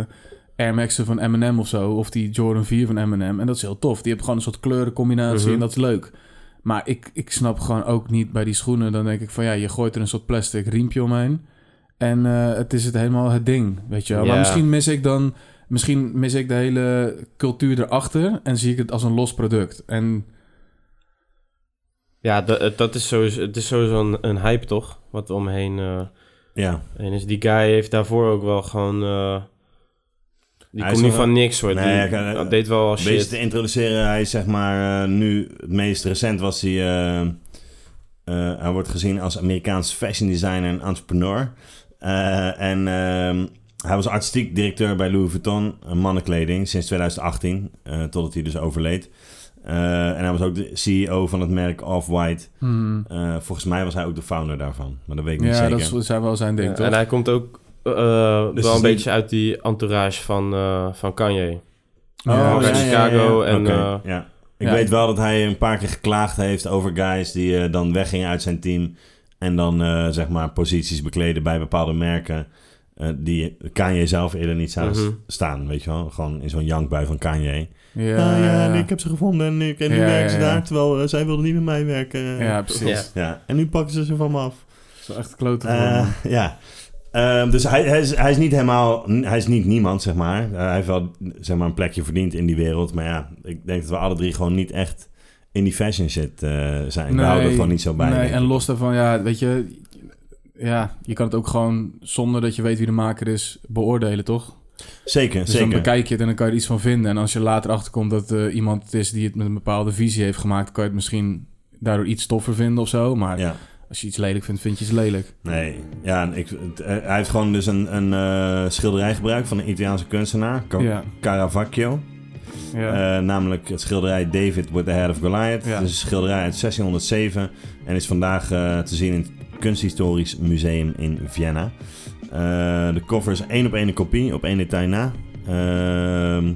[SPEAKER 2] Air Max'en van M&M of zo. Of die Jordan 4 van M&M. En dat is heel tof. Die hebben gewoon een soort kleurencombinatie
[SPEAKER 3] Mhm.
[SPEAKER 2] en dat is leuk. Maar ik, ik snap gewoon ook niet bij die schoenen. Dan denk ik van ja, je gooit er een soort plastic riempje omheen. En eh, het is het helemaal het ding, weet je wel. Maar
[SPEAKER 3] Ja.
[SPEAKER 2] misschien mis ik dan... Misschien mis ik de hele cultuur erachter en zie ik het als een los product. En
[SPEAKER 3] Ja, dat, het- dat is sowieso, het is sowieso een, een hype, toch? Wat er omheen eh,
[SPEAKER 1] Ja.
[SPEAKER 3] heen is. Die guy heeft daarvoor ook wel gewoon... eh, die
[SPEAKER 1] Hij
[SPEAKER 3] komt
[SPEAKER 1] is
[SPEAKER 3] niet
[SPEAKER 1] wel-
[SPEAKER 3] van niks, hoor.
[SPEAKER 1] Nee,
[SPEAKER 3] die,
[SPEAKER 1] hij kan-
[SPEAKER 3] dat deed wel al
[SPEAKER 1] Om Beetje
[SPEAKER 3] shit.
[SPEAKER 1] te introduceren, hij is zeg maar eh, nu het meest recent was hij. eh, eh, hij wordt gezien als Amerikaans fashion designer en entrepreneur. Eh, en ehm, hij was artistiek directeur bij Louis Vuitton, eh, mannenkleding, sinds 2018, eh, totdat hij dus overleed. Eh, en hij was ook de CEO van het merk Off-White.
[SPEAKER 2] hmm,
[SPEAKER 1] Eh, volgens mij was hij ook de founder daarvan, maar dat weet ik niet
[SPEAKER 2] ja,
[SPEAKER 1] zeker.
[SPEAKER 2] dat is- zou wel zijn ding,
[SPEAKER 3] Ja,
[SPEAKER 2] toch?
[SPEAKER 3] en hij komt ook eh,
[SPEAKER 1] Dus
[SPEAKER 3] wel
[SPEAKER 1] het
[SPEAKER 3] een
[SPEAKER 1] is
[SPEAKER 3] beetje uit die entourage van, eh, van Kanye.
[SPEAKER 2] Ja,
[SPEAKER 3] Oh,
[SPEAKER 2] oké.
[SPEAKER 3] ja. Chicago en,
[SPEAKER 1] Oké,
[SPEAKER 3] eh,
[SPEAKER 1] ja. Ik
[SPEAKER 2] ja.
[SPEAKER 1] weet wel dat hij een paar keer geklaagd heeft over guys die eh, dan weggingen uit zijn team. En dan eh, zeg maar posities bekleden bij bepaalde merken. eh, die Kanye zelf eerder niet zouden
[SPEAKER 3] Mhm.
[SPEAKER 1] s- staan, weet je wel? Gewoon in zo'n jankbui van Kanye. Ah,
[SPEAKER 2] Ja,
[SPEAKER 1] Ja, ja,
[SPEAKER 2] ja.
[SPEAKER 1] en ik heb ze gevonden en, ik, en nu
[SPEAKER 2] Ja,
[SPEAKER 1] werken ze
[SPEAKER 2] ja, ja.
[SPEAKER 1] daar. Terwijl eh, zij wilden niet met mij werken.
[SPEAKER 2] Ja, precies.
[SPEAKER 3] Ja.
[SPEAKER 1] Ja, En nu pakken ze ze van me af.
[SPEAKER 2] Dat is echt klote
[SPEAKER 1] Eh, ja. Ehm, dus hij, hij, is, hij is niet helemaal... Hij is niet niemand, zeg maar. Eh, hij heeft wel zeg maar, een plekje verdiend in die wereld. Maar ja, ik denk dat we alle drie gewoon niet echt in die fashion shit eh, zijn. we houden er gewoon niet zo bij.
[SPEAKER 2] Nee,
[SPEAKER 1] denk ik.
[SPEAKER 2] en los daarvan, ja, weet je... Ja, je kan het ook gewoon zonder dat je weet wie de maker is beoordelen, toch?
[SPEAKER 1] Zeker,
[SPEAKER 2] Dus dan
[SPEAKER 1] zeker.
[SPEAKER 2] bekijk je het en dan kan je er iets van vinden. En als je later achterkomt dat eh, iemand het is die het met een bepaalde visie heeft gemaakt... kan je het misschien daardoor iets toffer vinden of zo. Maar
[SPEAKER 1] Ja.
[SPEAKER 2] Als je iets lelijk vindt, vind je iets lelijk.
[SPEAKER 1] Nee, ja, en ik, het- eh, hij heeft gewoon dus een, een eh, schilderij gebruikt van een Italiaanse kunstenaar, Ca-
[SPEAKER 2] Ja.
[SPEAKER 1] Caravaggio.
[SPEAKER 2] Ja.
[SPEAKER 1] Eh, namelijk het schilderij David with the Head of Goliath.
[SPEAKER 2] Ja.
[SPEAKER 1] Dus een schilderij uit 1607 en is vandaag eh, te zien in het Kunsthistorisch Museum in Vienna. Eh, de cover is één op één een kopie, op één detail na. Ehm,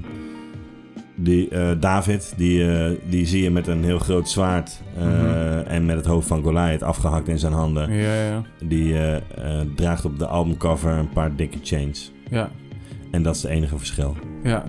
[SPEAKER 1] die eh, David, die, eh, die zie je met een heel groot zwaard eh,
[SPEAKER 2] Mhm.
[SPEAKER 1] en met het hoofd van Goliath afgehakt in zijn handen.
[SPEAKER 2] ja, ja.
[SPEAKER 1] Die eh, eh, draagt op de albumcover een paar dikke chains.
[SPEAKER 2] Ja,
[SPEAKER 1] En dat is het enige verschil.
[SPEAKER 2] ja.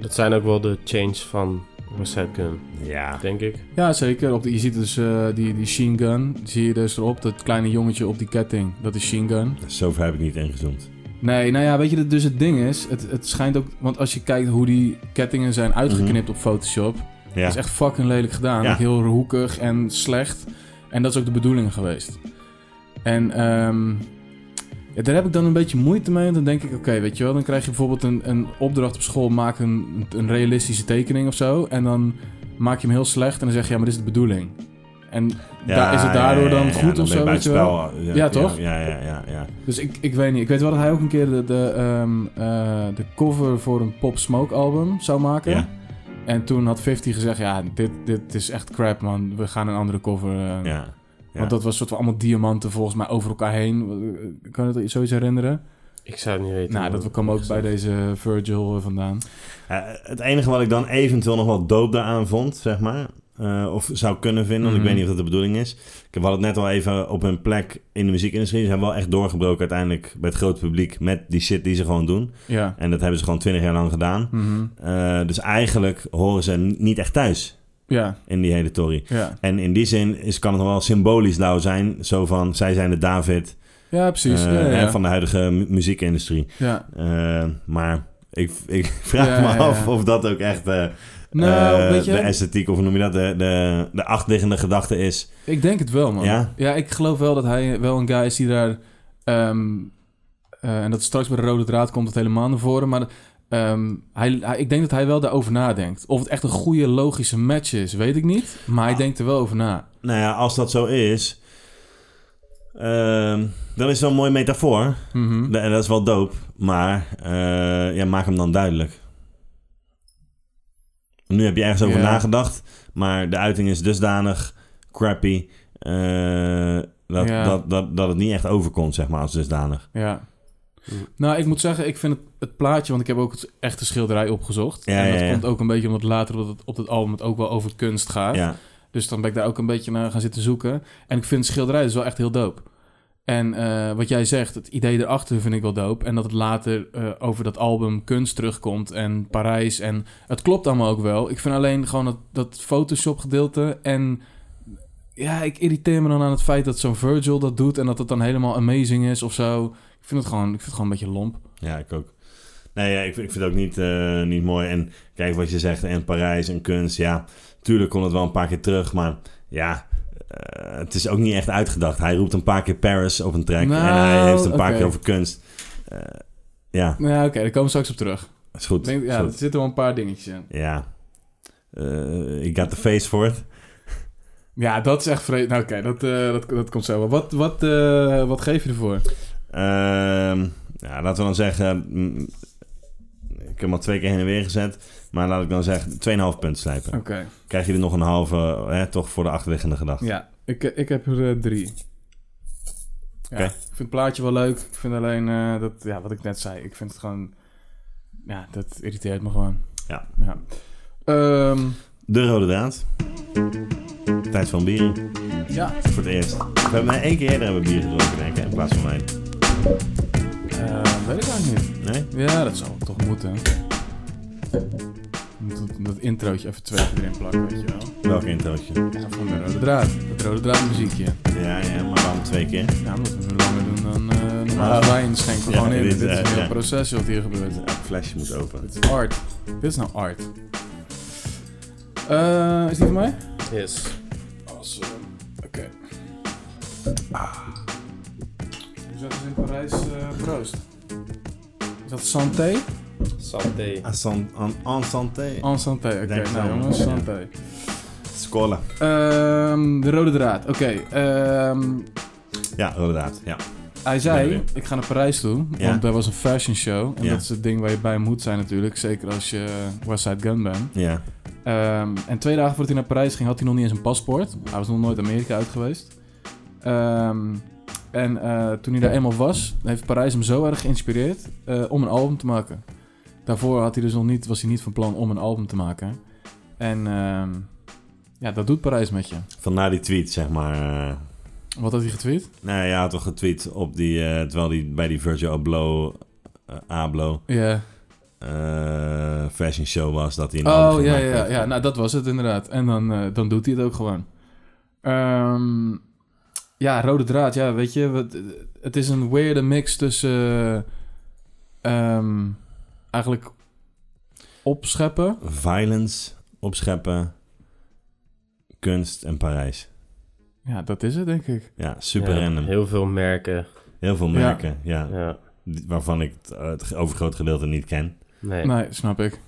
[SPEAKER 3] Dat zijn ook wel de changes van West Side Gun,
[SPEAKER 1] Ja.
[SPEAKER 3] denk ik.
[SPEAKER 2] ja zeker. Op de, je ziet dus eh, die, die Sheen Gun. Zie je dus erop, dat kleine jongetje op die ketting. Dat is Sheen Gun.
[SPEAKER 1] Zover heb ik niet ingezoomd.
[SPEAKER 2] Nee, nou ja, weet je, dat dus het ding is, het, het schijnt ook, want als je kijkt hoe die kettingen zijn uitgeknipt
[SPEAKER 1] Mhm.
[SPEAKER 2] op Photoshop,
[SPEAKER 1] Ja.
[SPEAKER 2] dat is echt fucking lelijk gedaan.
[SPEAKER 1] Ja.
[SPEAKER 2] Ook Heel hoekig en slecht. En dat is ook de bedoeling geweest. En ehm, ja, daar heb ik dan een beetje moeite mee, want dan denk ik, oké, weet je wel, dan krijg je bijvoorbeeld een, een opdracht op school, maak een, een realistische tekening of zo, en dan maak je hem heel slecht en dan zeg je, ja, maar dit is de bedoeling. En daar, is het daardoor
[SPEAKER 1] ja,
[SPEAKER 2] dan
[SPEAKER 1] ja,
[SPEAKER 2] goed
[SPEAKER 1] dan
[SPEAKER 2] of
[SPEAKER 1] ben
[SPEAKER 2] zo,
[SPEAKER 1] je
[SPEAKER 2] weet je
[SPEAKER 1] buiten
[SPEAKER 2] wel?
[SPEAKER 1] spel. Ja,
[SPEAKER 2] Ja, toch?
[SPEAKER 1] Ja, ja, ja. ja.
[SPEAKER 2] Dus ik, ik weet niet. Ik weet wel dat hij ook een keer de, de, ehm, eh, de cover voor een Pop Smoke album zou maken.
[SPEAKER 1] Ja.
[SPEAKER 2] En toen had 50 gezegd, ja, dit, dit is echt crap, man. We gaan een andere cover. eh."
[SPEAKER 1] ja.
[SPEAKER 2] Want dat was soort van allemaal diamanten volgens mij over elkaar heen. Eh, Kan je dat zoiets herinneren?
[SPEAKER 3] Ik zou het niet weten.
[SPEAKER 2] nou, dat kwam ook bij deze Virgil eh, vandaan.
[SPEAKER 1] Eh, het enige wat ik dan eventueel nog wel doop daaraan vond, zeg maar. eh, of zou kunnen vinden, want
[SPEAKER 2] Mhm.
[SPEAKER 1] ik weet niet of dat de bedoeling is. Ik had het net al even op hun plek in de muziekindustrie. Ze zijn wel echt doorgebroken uiteindelijk bij het grote publiek met die shit die ze gewoon doen.
[SPEAKER 2] Ja.
[SPEAKER 1] En dat hebben ze gewoon twintig jaar lang gedaan.
[SPEAKER 2] Mhm.
[SPEAKER 1] Eh, dus eigenlijk horen ze n- niet echt thuis
[SPEAKER 2] Ja,
[SPEAKER 1] in die hele tory.
[SPEAKER 2] ja.
[SPEAKER 1] En in die zin is, kan het nog wel symbolisch nou zijn. Zo van, zij zijn de David
[SPEAKER 2] Ja, precies.
[SPEAKER 1] eh,
[SPEAKER 2] ja, ja,
[SPEAKER 1] hè,
[SPEAKER 2] ja.
[SPEAKER 1] van de huidige mu- muziekindustrie.
[SPEAKER 2] Ja.
[SPEAKER 1] Eh, maar ik, ik vraag
[SPEAKER 2] Ja,
[SPEAKER 1] me
[SPEAKER 2] ja,
[SPEAKER 1] af
[SPEAKER 2] ja.
[SPEAKER 1] of dat ook echt eh,
[SPEAKER 2] Nou,
[SPEAKER 1] eh,
[SPEAKER 2] weet je,
[SPEAKER 1] de esthetiek, of hoe noem je dat, de, de, de achterliggende gedachte is.
[SPEAKER 2] Ik denk het wel, man.
[SPEAKER 1] Ja?
[SPEAKER 2] ik geloof wel dat hij wel een guy is die daar... ehm, eh, en dat straks bij de rode draad komt het helemaal naar voren. Maar ehm, hij, hij- ik denk dat hij wel daarover nadenkt. Of het echt een goede, logische match is, weet ik niet. Maar hij
[SPEAKER 1] Ah.
[SPEAKER 2] denkt er wel over na.
[SPEAKER 1] Nou ja, als dat zo is, ehm, dan is het wel een mooie metafoor.
[SPEAKER 2] Mhm.
[SPEAKER 1] Da- Dat is wel dope, maar eh, ja, maak hem dan duidelijk. Nu heb je ergens over
[SPEAKER 2] Ja.
[SPEAKER 1] nagedacht, maar de uiting is dusdanig crappy eh, dat,
[SPEAKER 2] Ja.
[SPEAKER 1] dat, dat, dat het niet echt overkomt, zeg maar, als dusdanig.
[SPEAKER 2] Ja.
[SPEAKER 3] Hm.
[SPEAKER 2] Nou, ik moet zeggen, ik vind het, het plaatje... Want ik heb ook het echte schilderij opgezocht.
[SPEAKER 1] Ja,
[SPEAKER 2] en dat
[SPEAKER 1] ja, ja.
[SPEAKER 2] komt ook een beetje omdat later op het, op het album... het ook wel over kunst gaat.
[SPEAKER 1] Ja,
[SPEAKER 2] Dus dan ben ik daar ook een beetje naar gaan zitten zoeken. En ik vind het schilderij dus wel echt heel dope. En eh, wat jij zegt, het idee erachter vind ik wel dope. En dat het later eh, over dat album kunst terugkomt en Parijs. En het klopt allemaal ook wel. Ik vind alleen gewoon dat, dat Photoshop gedeelte. En ja, ik irriteer me dan aan het feit dat zo'n Virgil dat doet. En dat het dan helemaal amazing is of zo. Ik vind het gewoon, ik vind het gewoon een beetje lomp.
[SPEAKER 1] ja ik ook. Nee, ja, ik, vind- ik vind het ook niet, eh, niet mooi. En kijk wat je zegt, en Parijs en kunst, ja, tuurlijk kon het wel een paar keer terug, maar ja... eh, het is ook niet echt uitgedacht. Hij roept een paar keer Paris op een track. en hij
[SPEAKER 2] Nou,
[SPEAKER 1] heeft een paar
[SPEAKER 2] oké.
[SPEAKER 1] keer over kunst. Eh, ja,
[SPEAKER 2] Nou ja, oké, daar komen we straks op terug.
[SPEAKER 1] Is
[SPEAKER 2] Ik
[SPEAKER 1] goed.
[SPEAKER 2] denk,
[SPEAKER 1] is
[SPEAKER 2] ja, er
[SPEAKER 1] goed.
[SPEAKER 2] zitten wel een paar dingetjes in.
[SPEAKER 1] Ja. Eh, ik got the face voor het.
[SPEAKER 2] Ja, dat is echt vreemd. Nou, oké, dat, eh, dat, dat komt zo wel. Wat, wat, eh, wat geef je ervoor?
[SPEAKER 1] Ehm, ja, laten we dan zeggen... mm, Ik heb hem al twee keer heen en weer gezet. Maar laat ik dan zeggen, 2,5 punt slijpen.
[SPEAKER 2] Oké.
[SPEAKER 1] Krijg je er nog een halve, hè, toch voor de achterliggende gedachte.
[SPEAKER 2] Ja, ik, ik heb er eh, drie. Ja,
[SPEAKER 1] Oké.
[SPEAKER 2] Ik vind het plaatje wel leuk. Ik vind alleen eh, dat, ja, wat ik net zei. Ik vind het gewoon. Ja, dat irriteert me gewoon.
[SPEAKER 1] Ja.
[SPEAKER 2] ja. Ehm,
[SPEAKER 1] De rode draad. Tijd van bieren.
[SPEAKER 2] ja.
[SPEAKER 1] Voor het eerst. We hebben maar één keer eerder hebben we bier gedronken, denk ik, hè, in plaats van mij.
[SPEAKER 2] eh, weet ik eigenlijk niet.
[SPEAKER 1] Nee?
[SPEAKER 2] Ja, dat zou toch moeten. Moet dat, dat introotje even twee keer erin plakken, weet je wel.
[SPEAKER 1] Welk introotje?
[SPEAKER 2] Ja, van de rode draad. Het rode draad muziekje.
[SPEAKER 1] Ja, ja, maar waarom twee keer?
[SPEAKER 2] Ja, omdat we het langer doen dan eh normaal
[SPEAKER 1] Ah.
[SPEAKER 2] wijn schenken we
[SPEAKER 1] Ja,
[SPEAKER 2] gewoon in.
[SPEAKER 1] dit
[SPEAKER 2] Dit,
[SPEAKER 1] is,
[SPEAKER 2] is een
[SPEAKER 1] eh,
[SPEAKER 2] heel
[SPEAKER 1] ja.
[SPEAKER 2] proces wat hier gebeurt.
[SPEAKER 1] Elk flesje moet open.
[SPEAKER 2] Dit is art. Dit is nou art. Eh, is die van mij?
[SPEAKER 3] Yes.
[SPEAKER 2] Awesome. Oké. Ah. Hoe zeggen ze in Parijs eh, proost? Is dat santé?
[SPEAKER 3] Santé.
[SPEAKER 1] En santé.
[SPEAKER 2] En santé, oké.
[SPEAKER 1] Denk het
[SPEAKER 2] nou
[SPEAKER 1] wel.
[SPEAKER 2] jongens,
[SPEAKER 1] Ja.
[SPEAKER 2] santé.
[SPEAKER 1] Scrollen.
[SPEAKER 2] Ehm, de rode draad. Oké. ehm,
[SPEAKER 1] Ja, inderdaad. Ja.
[SPEAKER 2] hij
[SPEAKER 1] Ben
[SPEAKER 2] zei,
[SPEAKER 1] je
[SPEAKER 2] ik ga naar Parijs toe,
[SPEAKER 1] Ja.
[SPEAKER 2] want daar was een fashion show. En
[SPEAKER 1] Ja.
[SPEAKER 2] dat is het ding waar je bij moet zijn natuurlijk, zeker als je West Side Gun bent.
[SPEAKER 1] Ja.
[SPEAKER 2] Ehm, en twee dagen voordat hij naar Parijs ging, had hij nog niet eens een paspoort. Hij was nog nooit Amerika uit geweest. Ehm, en eh, toen hij daar eenmaal was, heeft Parijs hem zo erg geïnspireerd eh, om een album te maken. Daarvoor had hij dus nog niet, was hij niet van plan om een album te maken. En ehm, ja, dat doet Parijs met je.
[SPEAKER 1] Vandaar die tweet, zeg maar. eh.
[SPEAKER 2] Wat had hij getweet?
[SPEAKER 1] Nou, hij had toch getweet op die, eh, terwijl hij bij die Virgil Abloh, eh, Abloh
[SPEAKER 2] Ja.
[SPEAKER 1] eh, fashion show was, dat hij een
[SPEAKER 2] Oh
[SPEAKER 1] album
[SPEAKER 2] ja,
[SPEAKER 1] gemaakt
[SPEAKER 2] ja,
[SPEAKER 1] had.
[SPEAKER 2] ja, nou dat was het inderdaad. En dan, eh, dan doet hij het ook gewoon. Ehm, ja, rode draad, ja, weet je. Wat, het is een weirde mix tussen. eh, ehm, eigenlijk opscheppen.
[SPEAKER 1] Violence, opscheppen, kunst en Parijs.
[SPEAKER 2] Ja, dat is het, denk ik.
[SPEAKER 1] Ja, super
[SPEAKER 3] Ja,
[SPEAKER 1] random. Heel,
[SPEAKER 3] Heel veel merken.
[SPEAKER 2] Ja.
[SPEAKER 1] veel merken, ja.
[SPEAKER 3] Ja.
[SPEAKER 1] die- Waarvan ik het, eh, het overgrote gedeelte niet ken.
[SPEAKER 3] Nee.
[SPEAKER 2] Nee, snap ik.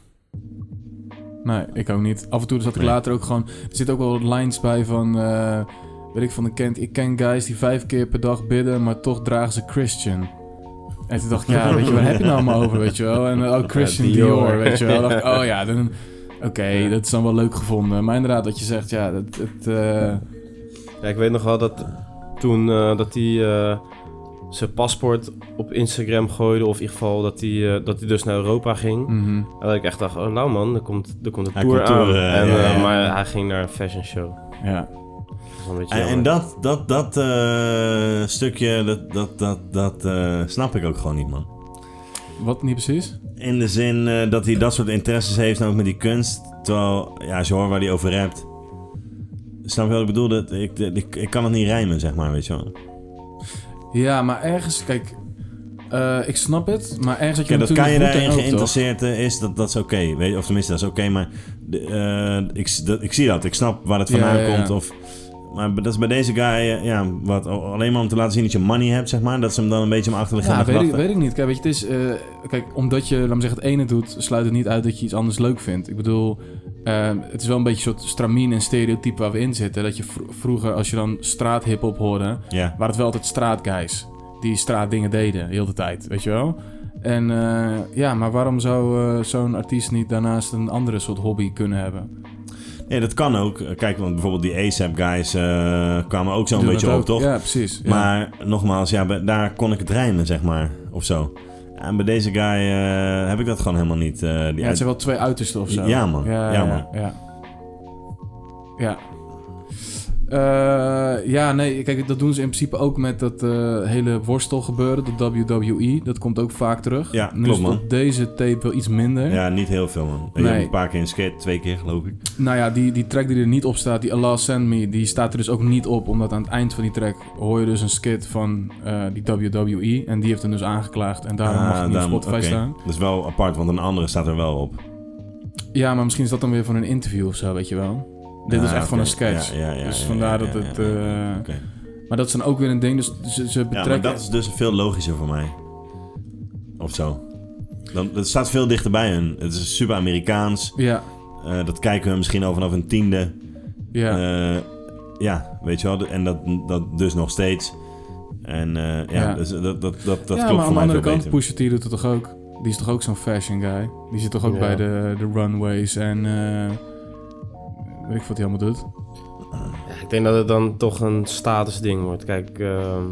[SPEAKER 2] Nee, ik ook niet. Af en toe zat ik
[SPEAKER 1] Nee.
[SPEAKER 2] later ook gewoon. Er zitten ook wel wat lines bij van. eh, weet ik van, ik ken, ik ken guys die vijf keer per dag bidden, maar toch dragen ze Christian. En toen dacht ik, ja, weet je, waar heb je nou allemaal over, weet je wel? En eh, oh, Christian
[SPEAKER 3] Ja,
[SPEAKER 2] Dior.
[SPEAKER 3] Dior.
[SPEAKER 2] weet je wel. Dacht ik, oh ja, dan, oké, dat is dan wel leuk gevonden. Maar inderdaad, dat je zegt, ja, het, het, eh,
[SPEAKER 3] Ja, ik weet nog wel dat toen eh, dat hij eh, zijn paspoort op Instagram gooide, of in ieder geval dat hij, eh, dat hij dus naar Europa ging.
[SPEAKER 2] mhm.
[SPEAKER 3] En dat ik echt dacht, oh nou man, er komt, er komt een
[SPEAKER 1] Hij
[SPEAKER 3] tour
[SPEAKER 1] komt
[SPEAKER 3] aan.
[SPEAKER 1] toeren,
[SPEAKER 3] en,
[SPEAKER 1] ja,
[SPEAKER 3] eh,
[SPEAKER 1] ja.
[SPEAKER 3] Maar hij ging naar een fashion show.
[SPEAKER 2] ja.
[SPEAKER 3] Dat is wel een beetje
[SPEAKER 1] En, en
[SPEAKER 3] jammer.
[SPEAKER 1] dat, dat, dat eh, stukje, dat, dat, dat, dat eh, snap ik ook gewoon niet, man.
[SPEAKER 2] Wat niet precies?
[SPEAKER 1] In de zin eh, dat hij dat soort interesses heeft, ook met die kunst. Terwijl, ja, als je hoort waar hij over rapt. Snap je wat ik bedoel? Dat, ik, ik, ik kan het niet rijmen, zeg maar, weet je wel.
[SPEAKER 2] Ja, maar ergens, kijk, eh, ik snap het, maar ergens dat je
[SPEAKER 1] Kijk, dat kan je
[SPEAKER 2] natuurlijk moet
[SPEAKER 1] daarin
[SPEAKER 2] en ook, toch?
[SPEAKER 1] geïnteresseerd eh, is, dat, dat is oké. weet je, Of tenminste, dat is oké, maar de, eh, ik, s- dat, ik zie dat. Ik snap waar het
[SPEAKER 2] Ja,
[SPEAKER 1] vandaan
[SPEAKER 2] ja, ja.
[SPEAKER 1] komt. Of, maar dat is bij deze guy, eh, ja, wat, o- alleen maar om te laten zien dat je money hebt, zeg maar. Dat ze hem dan een beetje om
[SPEAKER 2] Ja,
[SPEAKER 1] achterliggende
[SPEAKER 2] weet ik,
[SPEAKER 1] gedachten...
[SPEAKER 2] weet ik niet. Kijk, weet je, het is... eh, kijk, omdat je, laat me zeggen, het ene doet... sluit het niet uit dat je iets anders leuk vindt. Ik bedoel, eh, het is wel een beetje een soort stramien en stereotype waar we in zitten. Dat je vro- vroeger, als je dan straathip-hop hoorde...
[SPEAKER 1] Ja,
[SPEAKER 2] waren het wel altijd straatguys. Die straatdingen deden, heel de tijd, weet je wel? En eh, ja, maar waarom zou eh, zo'n artiest niet daarnaast een andere soort hobby kunnen hebben?
[SPEAKER 1] nee, dat kan ook. Eh, Kijk, want bijvoorbeeld die ASAP guys eh, kwamen ook zo'n
[SPEAKER 2] Doe
[SPEAKER 1] beetje
[SPEAKER 2] dat
[SPEAKER 1] op,
[SPEAKER 2] ook.
[SPEAKER 1] toch?
[SPEAKER 2] Ja, precies. ja.
[SPEAKER 1] Maar nogmaals, ja, bij- daar kon ik het rijmen, zeg maar, of zo. En bij deze guy eh, heb ik dat gewoon helemaal niet. eh, die
[SPEAKER 2] Ja, het
[SPEAKER 1] uit-
[SPEAKER 2] zijn wel twee uitersten of zo.
[SPEAKER 1] Ja, man. Ja, man.
[SPEAKER 2] Ja. Ja. Eh, ja, nee, kijk, dat doen ze in principe ook met dat eh, hele worstelgebeuren, dat WWE. E. Dat komt ook vaak terug.
[SPEAKER 1] Ja,
[SPEAKER 2] nu
[SPEAKER 1] klopt,
[SPEAKER 2] is het op
[SPEAKER 1] man.
[SPEAKER 2] deze tape wel iets minder.
[SPEAKER 1] ja, niet heel veel, man. Je
[SPEAKER 2] Nee.
[SPEAKER 1] hebt een paar keer in skit, twee keer geloof ik.
[SPEAKER 2] Nou ja, die, die track die er niet op staat, die Allah Send Me, die staat er dus ook niet op. Omdat aan het eind van die track hoor je dus een skit van eh, die WWE. En die heeft hem dus aangeklaagd en daarom mag
[SPEAKER 1] Ah,
[SPEAKER 2] het niet op
[SPEAKER 1] daarom-
[SPEAKER 2] Spotify
[SPEAKER 1] oké.
[SPEAKER 2] staan.
[SPEAKER 1] Dat is wel apart, want een andere staat er wel op.
[SPEAKER 2] Ja, maar misschien is dat dan weer van een interview of zo, weet je wel. Dit
[SPEAKER 1] Ah,
[SPEAKER 2] is echt van
[SPEAKER 1] oké.
[SPEAKER 2] een sketch.
[SPEAKER 1] Ja, ja, ja,
[SPEAKER 2] dus
[SPEAKER 1] ja,
[SPEAKER 2] vandaar
[SPEAKER 1] ja,
[SPEAKER 2] dat
[SPEAKER 1] ja,
[SPEAKER 2] het...
[SPEAKER 1] ja, ja.
[SPEAKER 2] eh,
[SPEAKER 1] Oké.
[SPEAKER 2] Maar dat is dan ook weer een ding, dus ze, ze
[SPEAKER 1] Ja, maar
[SPEAKER 2] betrekken...
[SPEAKER 1] dat is dus veel logischer voor mij. Of zo. Dan, dat staat veel dichterbij hun. Het is super Amerikaans.
[SPEAKER 2] Ja,
[SPEAKER 1] Eh, dat kijken we misschien al vanaf een tiende.
[SPEAKER 2] ja.
[SPEAKER 1] Ja, ja weet je wel. En dat, dat dus nog steeds. En eh, ja,
[SPEAKER 2] Ja.
[SPEAKER 1] Dus, dat, dat, dat, dat
[SPEAKER 2] ja,
[SPEAKER 1] klopt
[SPEAKER 2] maar aan
[SPEAKER 1] voor
[SPEAKER 2] de
[SPEAKER 1] mij
[SPEAKER 2] andere
[SPEAKER 1] veel
[SPEAKER 2] kant,
[SPEAKER 1] beter.
[SPEAKER 2] Pusha T doet het toch ook? Die is toch ook zo'n fashion guy? Die zit toch ook
[SPEAKER 3] Ja.
[SPEAKER 2] bij de, de runways en... eh, weet ik wat hij allemaal doet.
[SPEAKER 3] Ja, ik denk dat het dan toch een statusding wordt. Kijk, ehm,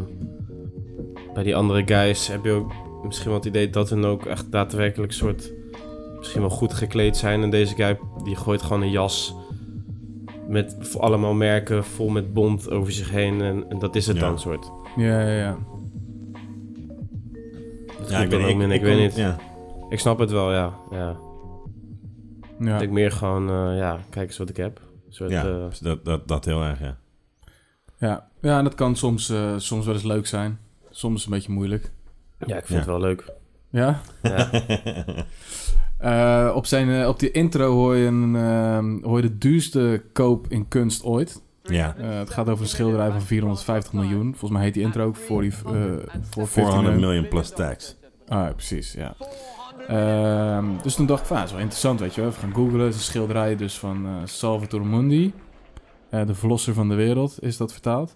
[SPEAKER 3] bij die andere guys heb je ook misschien wel het idee dat hun ook echt daadwerkelijk soort misschien wel goed gekleed zijn. En deze guy die gooit gewoon een jas met v- allemaal merken vol met bont over zich heen. En, en dat is het
[SPEAKER 1] Ja.
[SPEAKER 3] dan soort.
[SPEAKER 2] Ja, ja, ja.
[SPEAKER 1] Ja,
[SPEAKER 3] ik, ik, ik, weet
[SPEAKER 1] kon-
[SPEAKER 3] niet.
[SPEAKER 1] Ja.
[SPEAKER 3] Ik snap het wel, ja. ja.
[SPEAKER 2] ja.
[SPEAKER 3] Ik denk meer gewoon, eh, ja, kijk eens wat ik heb. Een soort,
[SPEAKER 1] Ja,
[SPEAKER 3] eh,
[SPEAKER 1] dus dat, dat, dat heel erg, ja.
[SPEAKER 2] Ja, ja en dat kan soms, eh, soms wel eens leuk zijn. Soms een beetje moeilijk.
[SPEAKER 3] ja, ik vind
[SPEAKER 1] Ja.
[SPEAKER 3] het wel leuk.
[SPEAKER 2] Ja?
[SPEAKER 3] Ja.
[SPEAKER 2] Eh, op, zijn, eh, op die intro hoor je, een, ehm, hoor je de duurste koop in kunst ooit.
[SPEAKER 1] ja.
[SPEAKER 2] Eh, het gaat over een schilderij van 450 miljoen. Volgens mij heet die intro ook voor die, eh voor
[SPEAKER 1] 400 miljoen plus tax.
[SPEAKER 2] Ah, ja, precies, ja. Ehm, dus toen dacht ik, van, ah, dat is wel interessant, weet je wel. Even gaan googlen. Het is een schilderij dus van eh, Salvatore Mundi. eh, de verlosser van de wereld is dat vertaald.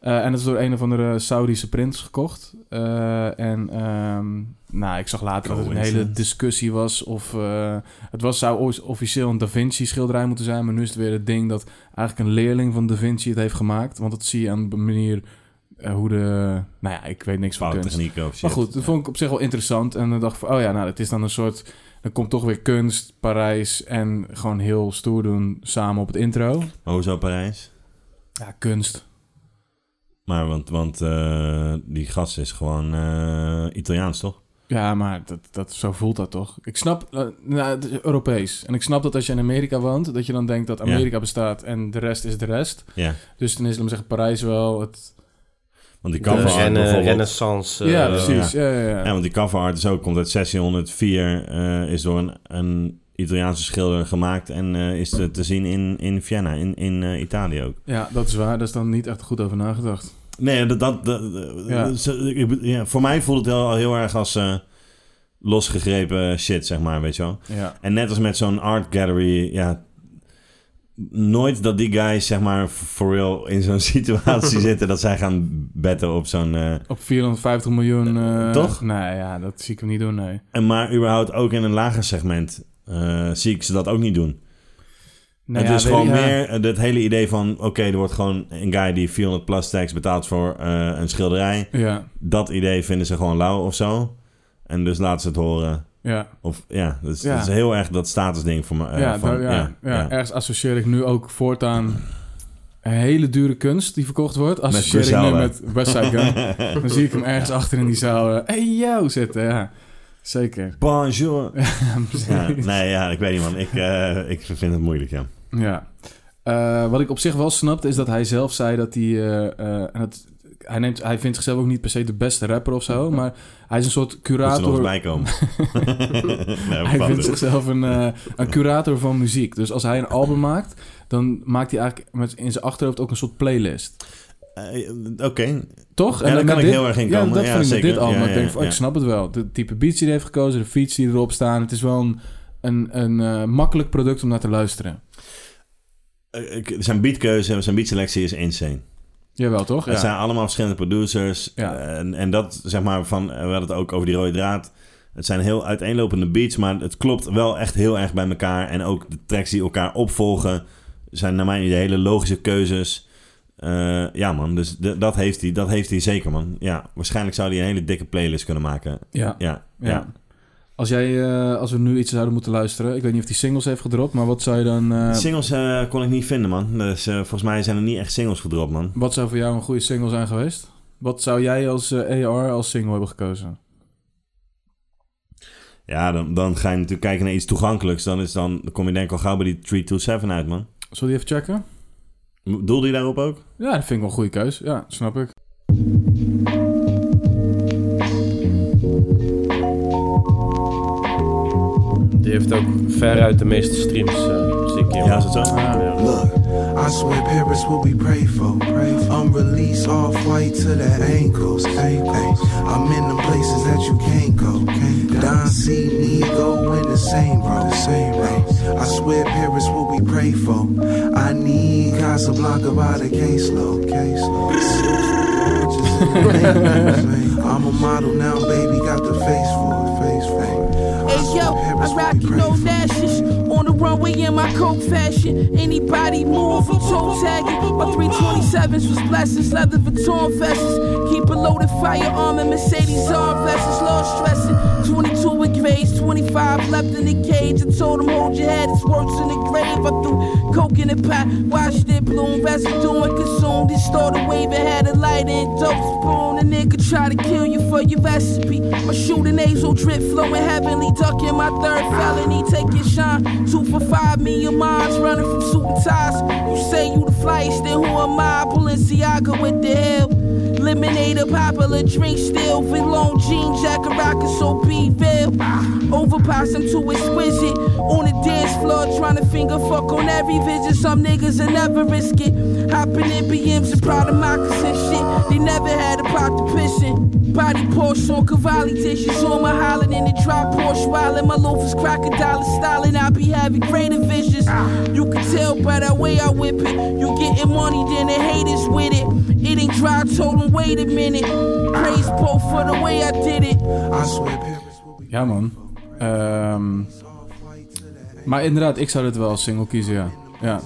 [SPEAKER 2] Eh, en dat is door een of andere Saudische prins gekocht. Eh, en ehm, nou, ik zag later dat het een hele
[SPEAKER 1] Coincidence.
[SPEAKER 2] discussie was of... eh, het was, zou ooit officieel een Da Vinci schilderij moeten zijn, maar nu is het weer het ding dat eigenlijk een leerling van Da Vinci het heeft gemaakt. Want dat zie je aan de manier eh, hoe de... Nou ja, ik weet niks van kunst.
[SPEAKER 1] Fouttechnieken of shit.
[SPEAKER 2] Maar goed, dat vond ik op zich wel interessant. En dan dacht ik van, oh ja, nou, het is dan een soort... Dan komt toch weer kunst, Parijs en gewoon heel stoer doen samen op het intro.
[SPEAKER 1] Hoezo Parijs?
[SPEAKER 2] Ja, kunst.
[SPEAKER 1] Maar want, want eh, die gast is gewoon eh, Italiaans, toch?
[SPEAKER 2] Ja, maar dat, dat, zo voelt dat toch? Ik snap, eh, nou, het is Europees. En ik snap dat als je in Amerika woont, dat je dan denkt dat
[SPEAKER 1] Ja.
[SPEAKER 2] Amerika bestaat en de rest is de rest.
[SPEAKER 1] Ja.
[SPEAKER 2] Dus dan is, laat maar zeggen, Parijs wel het...
[SPEAKER 1] Want die
[SPEAKER 2] De
[SPEAKER 1] cover
[SPEAKER 3] De
[SPEAKER 1] art
[SPEAKER 2] Rennes-
[SPEAKER 3] renne,
[SPEAKER 1] bijvoorbeeld...
[SPEAKER 3] renaissance. eh,
[SPEAKER 2] ja, precies. Ja, ja, ja.
[SPEAKER 1] Ja, want die cover art is ook, komt uit 1604, eh, is door een, een Italiaanse schilder gemaakt en eh, is te, te zien in, in Vienna, in, in eh, Italië ook.
[SPEAKER 2] Ja, dat is waar. Daar is dan niet echt goed over nagedacht.
[SPEAKER 1] Nee, dat, dat, dat- dat-
[SPEAKER 2] Ja.
[SPEAKER 1] ze- ik bedoel, ja, voor mij voelt het heel, heel erg als eh, losgegrepen shit, zeg maar, weet je wel.
[SPEAKER 2] Ja.
[SPEAKER 1] En net als met zo'n art gallery, ja, nooit dat die guys, zeg maar, for real in zo'n situatie zitten dat zij gaan betten op zo'n... eh,
[SPEAKER 2] Op 450 miljoen... eh,
[SPEAKER 1] Toch?
[SPEAKER 2] Nee, ja, dat zie ik hem niet doen, nee.
[SPEAKER 1] en maar überhaupt ook in een lager segment eh, zie ik ze dat ook niet doen.
[SPEAKER 2] Nou
[SPEAKER 1] het
[SPEAKER 2] ja,
[SPEAKER 1] is
[SPEAKER 2] weet-
[SPEAKER 1] gewoon
[SPEAKER 2] ja.
[SPEAKER 1] meer eh, dat hele idee van... oké, er wordt gewoon een guy die 400 plus tax betaalt voor eh, een schilderij.
[SPEAKER 2] Ja,
[SPEAKER 1] Dat idee vinden ze gewoon lauw of zo. En dus laten ze het horen.
[SPEAKER 2] ja,
[SPEAKER 1] Of ja, dat is,
[SPEAKER 2] Ja.
[SPEAKER 1] dat is heel erg dat statusding voor me. eh,
[SPEAKER 2] ja,
[SPEAKER 1] van,
[SPEAKER 2] daar- ja, ja,
[SPEAKER 1] ja.
[SPEAKER 2] Ergens associeer ik nu ook voortaan een hele dure kunst die verkocht wordt. Associeer ik nu
[SPEAKER 1] Griselda.
[SPEAKER 2] met West Side Gun. Dan zie ik hem ergens achter in die zaal. eh, hey yo zitten, ja. Zeker.
[SPEAKER 1] Bonjour.
[SPEAKER 2] Ja,
[SPEAKER 1] Ja,
[SPEAKER 2] precies.
[SPEAKER 1] nee, ja, ik weet niet man. Ik, eh, ik vind het moeilijk, ja.
[SPEAKER 2] Ja. Eh, wat ik op zich wel snapte is dat hij zelf zei dat hij. eh, eh, en het, hij, neemt, hij vindt zichzelf ook niet per se de beste rapper of zo. Maar hij is een soort
[SPEAKER 1] Moet ze nog eens
[SPEAKER 2] curator.
[SPEAKER 1] bij komen. nee,
[SPEAKER 2] Hij vindt
[SPEAKER 1] fout.
[SPEAKER 2] zichzelf een, eh, een curator van muziek. Dus als hij een album maakt, dan maakt hij eigenlijk met, in zijn achterhoofd ook een soort playlist.
[SPEAKER 1] Eh, Oké,
[SPEAKER 2] Toch?
[SPEAKER 1] Ja, daar
[SPEAKER 2] dan
[SPEAKER 1] kan
[SPEAKER 2] met
[SPEAKER 1] ik heel erg in
[SPEAKER 2] Ja,
[SPEAKER 1] komen.
[SPEAKER 2] dat
[SPEAKER 1] Ja,
[SPEAKER 2] vind ik met
[SPEAKER 1] zeker.
[SPEAKER 2] dit album.
[SPEAKER 1] Ja,
[SPEAKER 2] ik denk
[SPEAKER 1] ja,
[SPEAKER 2] van, oh, ik
[SPEAKER 1] ja.
[SPEAKER 2] snap het wel. De type beats die hij heeft gekozen, de fiets die erop staan. Het is wel een, een, een eh, makkelijk product om naar te luisteren.
[SPEAKER 1] Eh, ik- zijn beatkeuze, zijn beatselectie is insane.
[SPEAKER 2] Jawel, toch?
[SPEAKER 1] Het zijn allemaal verschillende producers. eh,
[SPEAKER 2] Ja.
[SPEAKER 1] En, en dat, zeg maar, van, eh, we hadden het ook over die rode draad. Het zijn heel uiteenlopende beats, maar het klopt wel echt heel erg bij elkaar. En ook de tracks die elkaar opvolgen zijn naar mijn idee hele logische keuzes. Eh, ja, man, dus de- dat, heeft hij, dat heeft hij zeker, man. Ja, waarschijnlijk zou hij een hele dikke playlist kunnen maken.
[SPEAKER 2] ja.
[SPEAKER 1] Ja,
[SPEAKER 2] Ja. Als, jij, eh, als we nu iets zouden moeten luisteren, ik weet niet of hij singles heeft gedropt, maar wat zou je dan. eh,
[SPEAKER 1] Singles eh, kon ik niet vinden, man. Dus eh, volgens mij zijn er niet echt singles gedropt, man.
[SPEAKER 2] wat zou voor jou een goede single zijn geweest? Wat zou jij als eh, AR als single hebben gekozen?
[SPEAKER 1] Ja, dan, dan ga je natuurlijk kijken naar iets toegankelijks. Dan, is dan, dan kom je denk ik al gauw bij die 327 uit, man.
[SPEAKER 2] Zullen we die even checken?
[SPEAKER 1] Doelde je daarop ook?
[SPEAKER 2] Ja, dat vind ik wel een goede keus. Ja, snap ik.
[SPEAKER 3] Die heeft ook veruit de meeste streams. eh, zie ik hier.
[SPEAKER 1] Ja, is het zo? nou,
[SPEAKER 2] Ah,
[SPEAKER 3] Ja.
[SPEAKER 4] Look, I swear Paris what we pray for. Pray for. I'm released off white to the ankles. ankles. I'm in them places that you can't go. Don C, Nego in the same bro. The same bro. I swear Paris what we pray for. I need Casablanca by the caseload. caseload. I'm a model now, baby. Got the face for it. Face for it. I
[SPEAKER 5] Hey
[SPEAKER 4] swear
[SPEAKER 5] yo,
[SPEAKER 4] Paris
[SPEAKER 5] I
[SPEAKER 4] what
[SPEAKER 5] rock
[SPEAKER 4] we
[SPEAKER 5] you
[SPEAKER 4] pray
[SPEAKER 5] no
[SPEAKER 4] for.
[SPEAKER 5] lashes. On the runway in my coke fashion. Anybody move, I'm toe tagging. My 327s was blessings, leather Vuitton vests. Keep a loaded firearm and Mercedes R vests. Lost stressing. 22 with grades, 25 left in the cage. I told him, hold your head, it's worse in the grave. I threw coke in the pot, watched it bloom, residue and consumed. It started waving, had a light and dope spoon. A nigga try to kill you for your recipe. My shooting nasal drip flowing heavenly, ducking my third felony. Take your shine, two for five, me and mine's running from suit and ties. You say you the flyest, then who am I? Balenciaga with the hell. Lemonade, a popular drink still. With long jean jacket, rockin' so be real. Overpass, I'm too exquisite. On the dance floor, trying to finger fuck on every vision. Some niggas will never risk it. Hopping in BMs and proud of moccasins shit. They never had a clock to pissing. Body Porsche on Cavalli dishes on my Holland in the dry Porsche while my loaf is crocodile styling. I be having greater visions. You can tell by the way I whip it. You getting money than the haters with it. It ain't dry, I told 'em, wait a minute. Praise both for the way I did it.
[SPEAKER 4] I swear Paris will be
[SPEAKER 2] Ja, man. Ehm, maar inderdaad, ik zou dit wel als single kiezen, ja. Ja,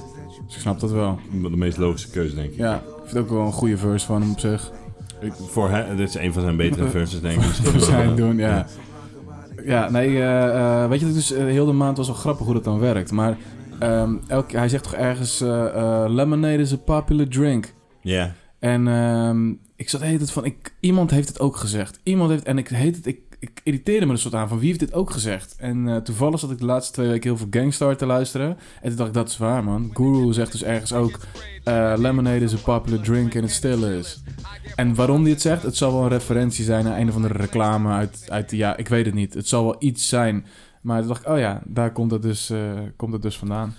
[SPEAKER 2] dus ik snap dat wel.
[SPEAKER 1] De meest logische keuze, denk ik.
[SPEAKER 2] Ja, ik vind het ook wel een goede verse van hem op zich.
[SPEAKER 1] Ik- Voor hem, dit is een van zijn betere verses, denk ik.
[SPEAKER 2] Voor zijn doen, ja. Ja, nee, eh, eh, weet je, dat dus eh, heel de maand was wel grappig hoe dat dan werkt. Maar ehm, elk, hij zegt toch ergens, eh, eh, lemonade is a popular drink.
[SPEAKER 1] Ja.
[SPEAKER 2] En ehm, ik zat heet het van, ik, iemand heeft het ook gezegd. Iemand heeft, en ik heet het, ik, ik irriteerde me er soort aan van, wie heeft dit ook gezegd? En eh, toevallig zat ik de laatste twee weken heel veel Gangstar te luisteren. En toen dacht ik, dat is waar man. Guru zegt dus ergens ook, eh, lemonade is a popular drink en het stille is. En waarom hij het zegt, het zal wel een referentie zijn naar een of andere reclame uit, uit ja, ik weet het niet. Het zal wel iets zijn. Maar toen dacht ik, oh ja, daar komt het dus, eh, komt het dus vandaan.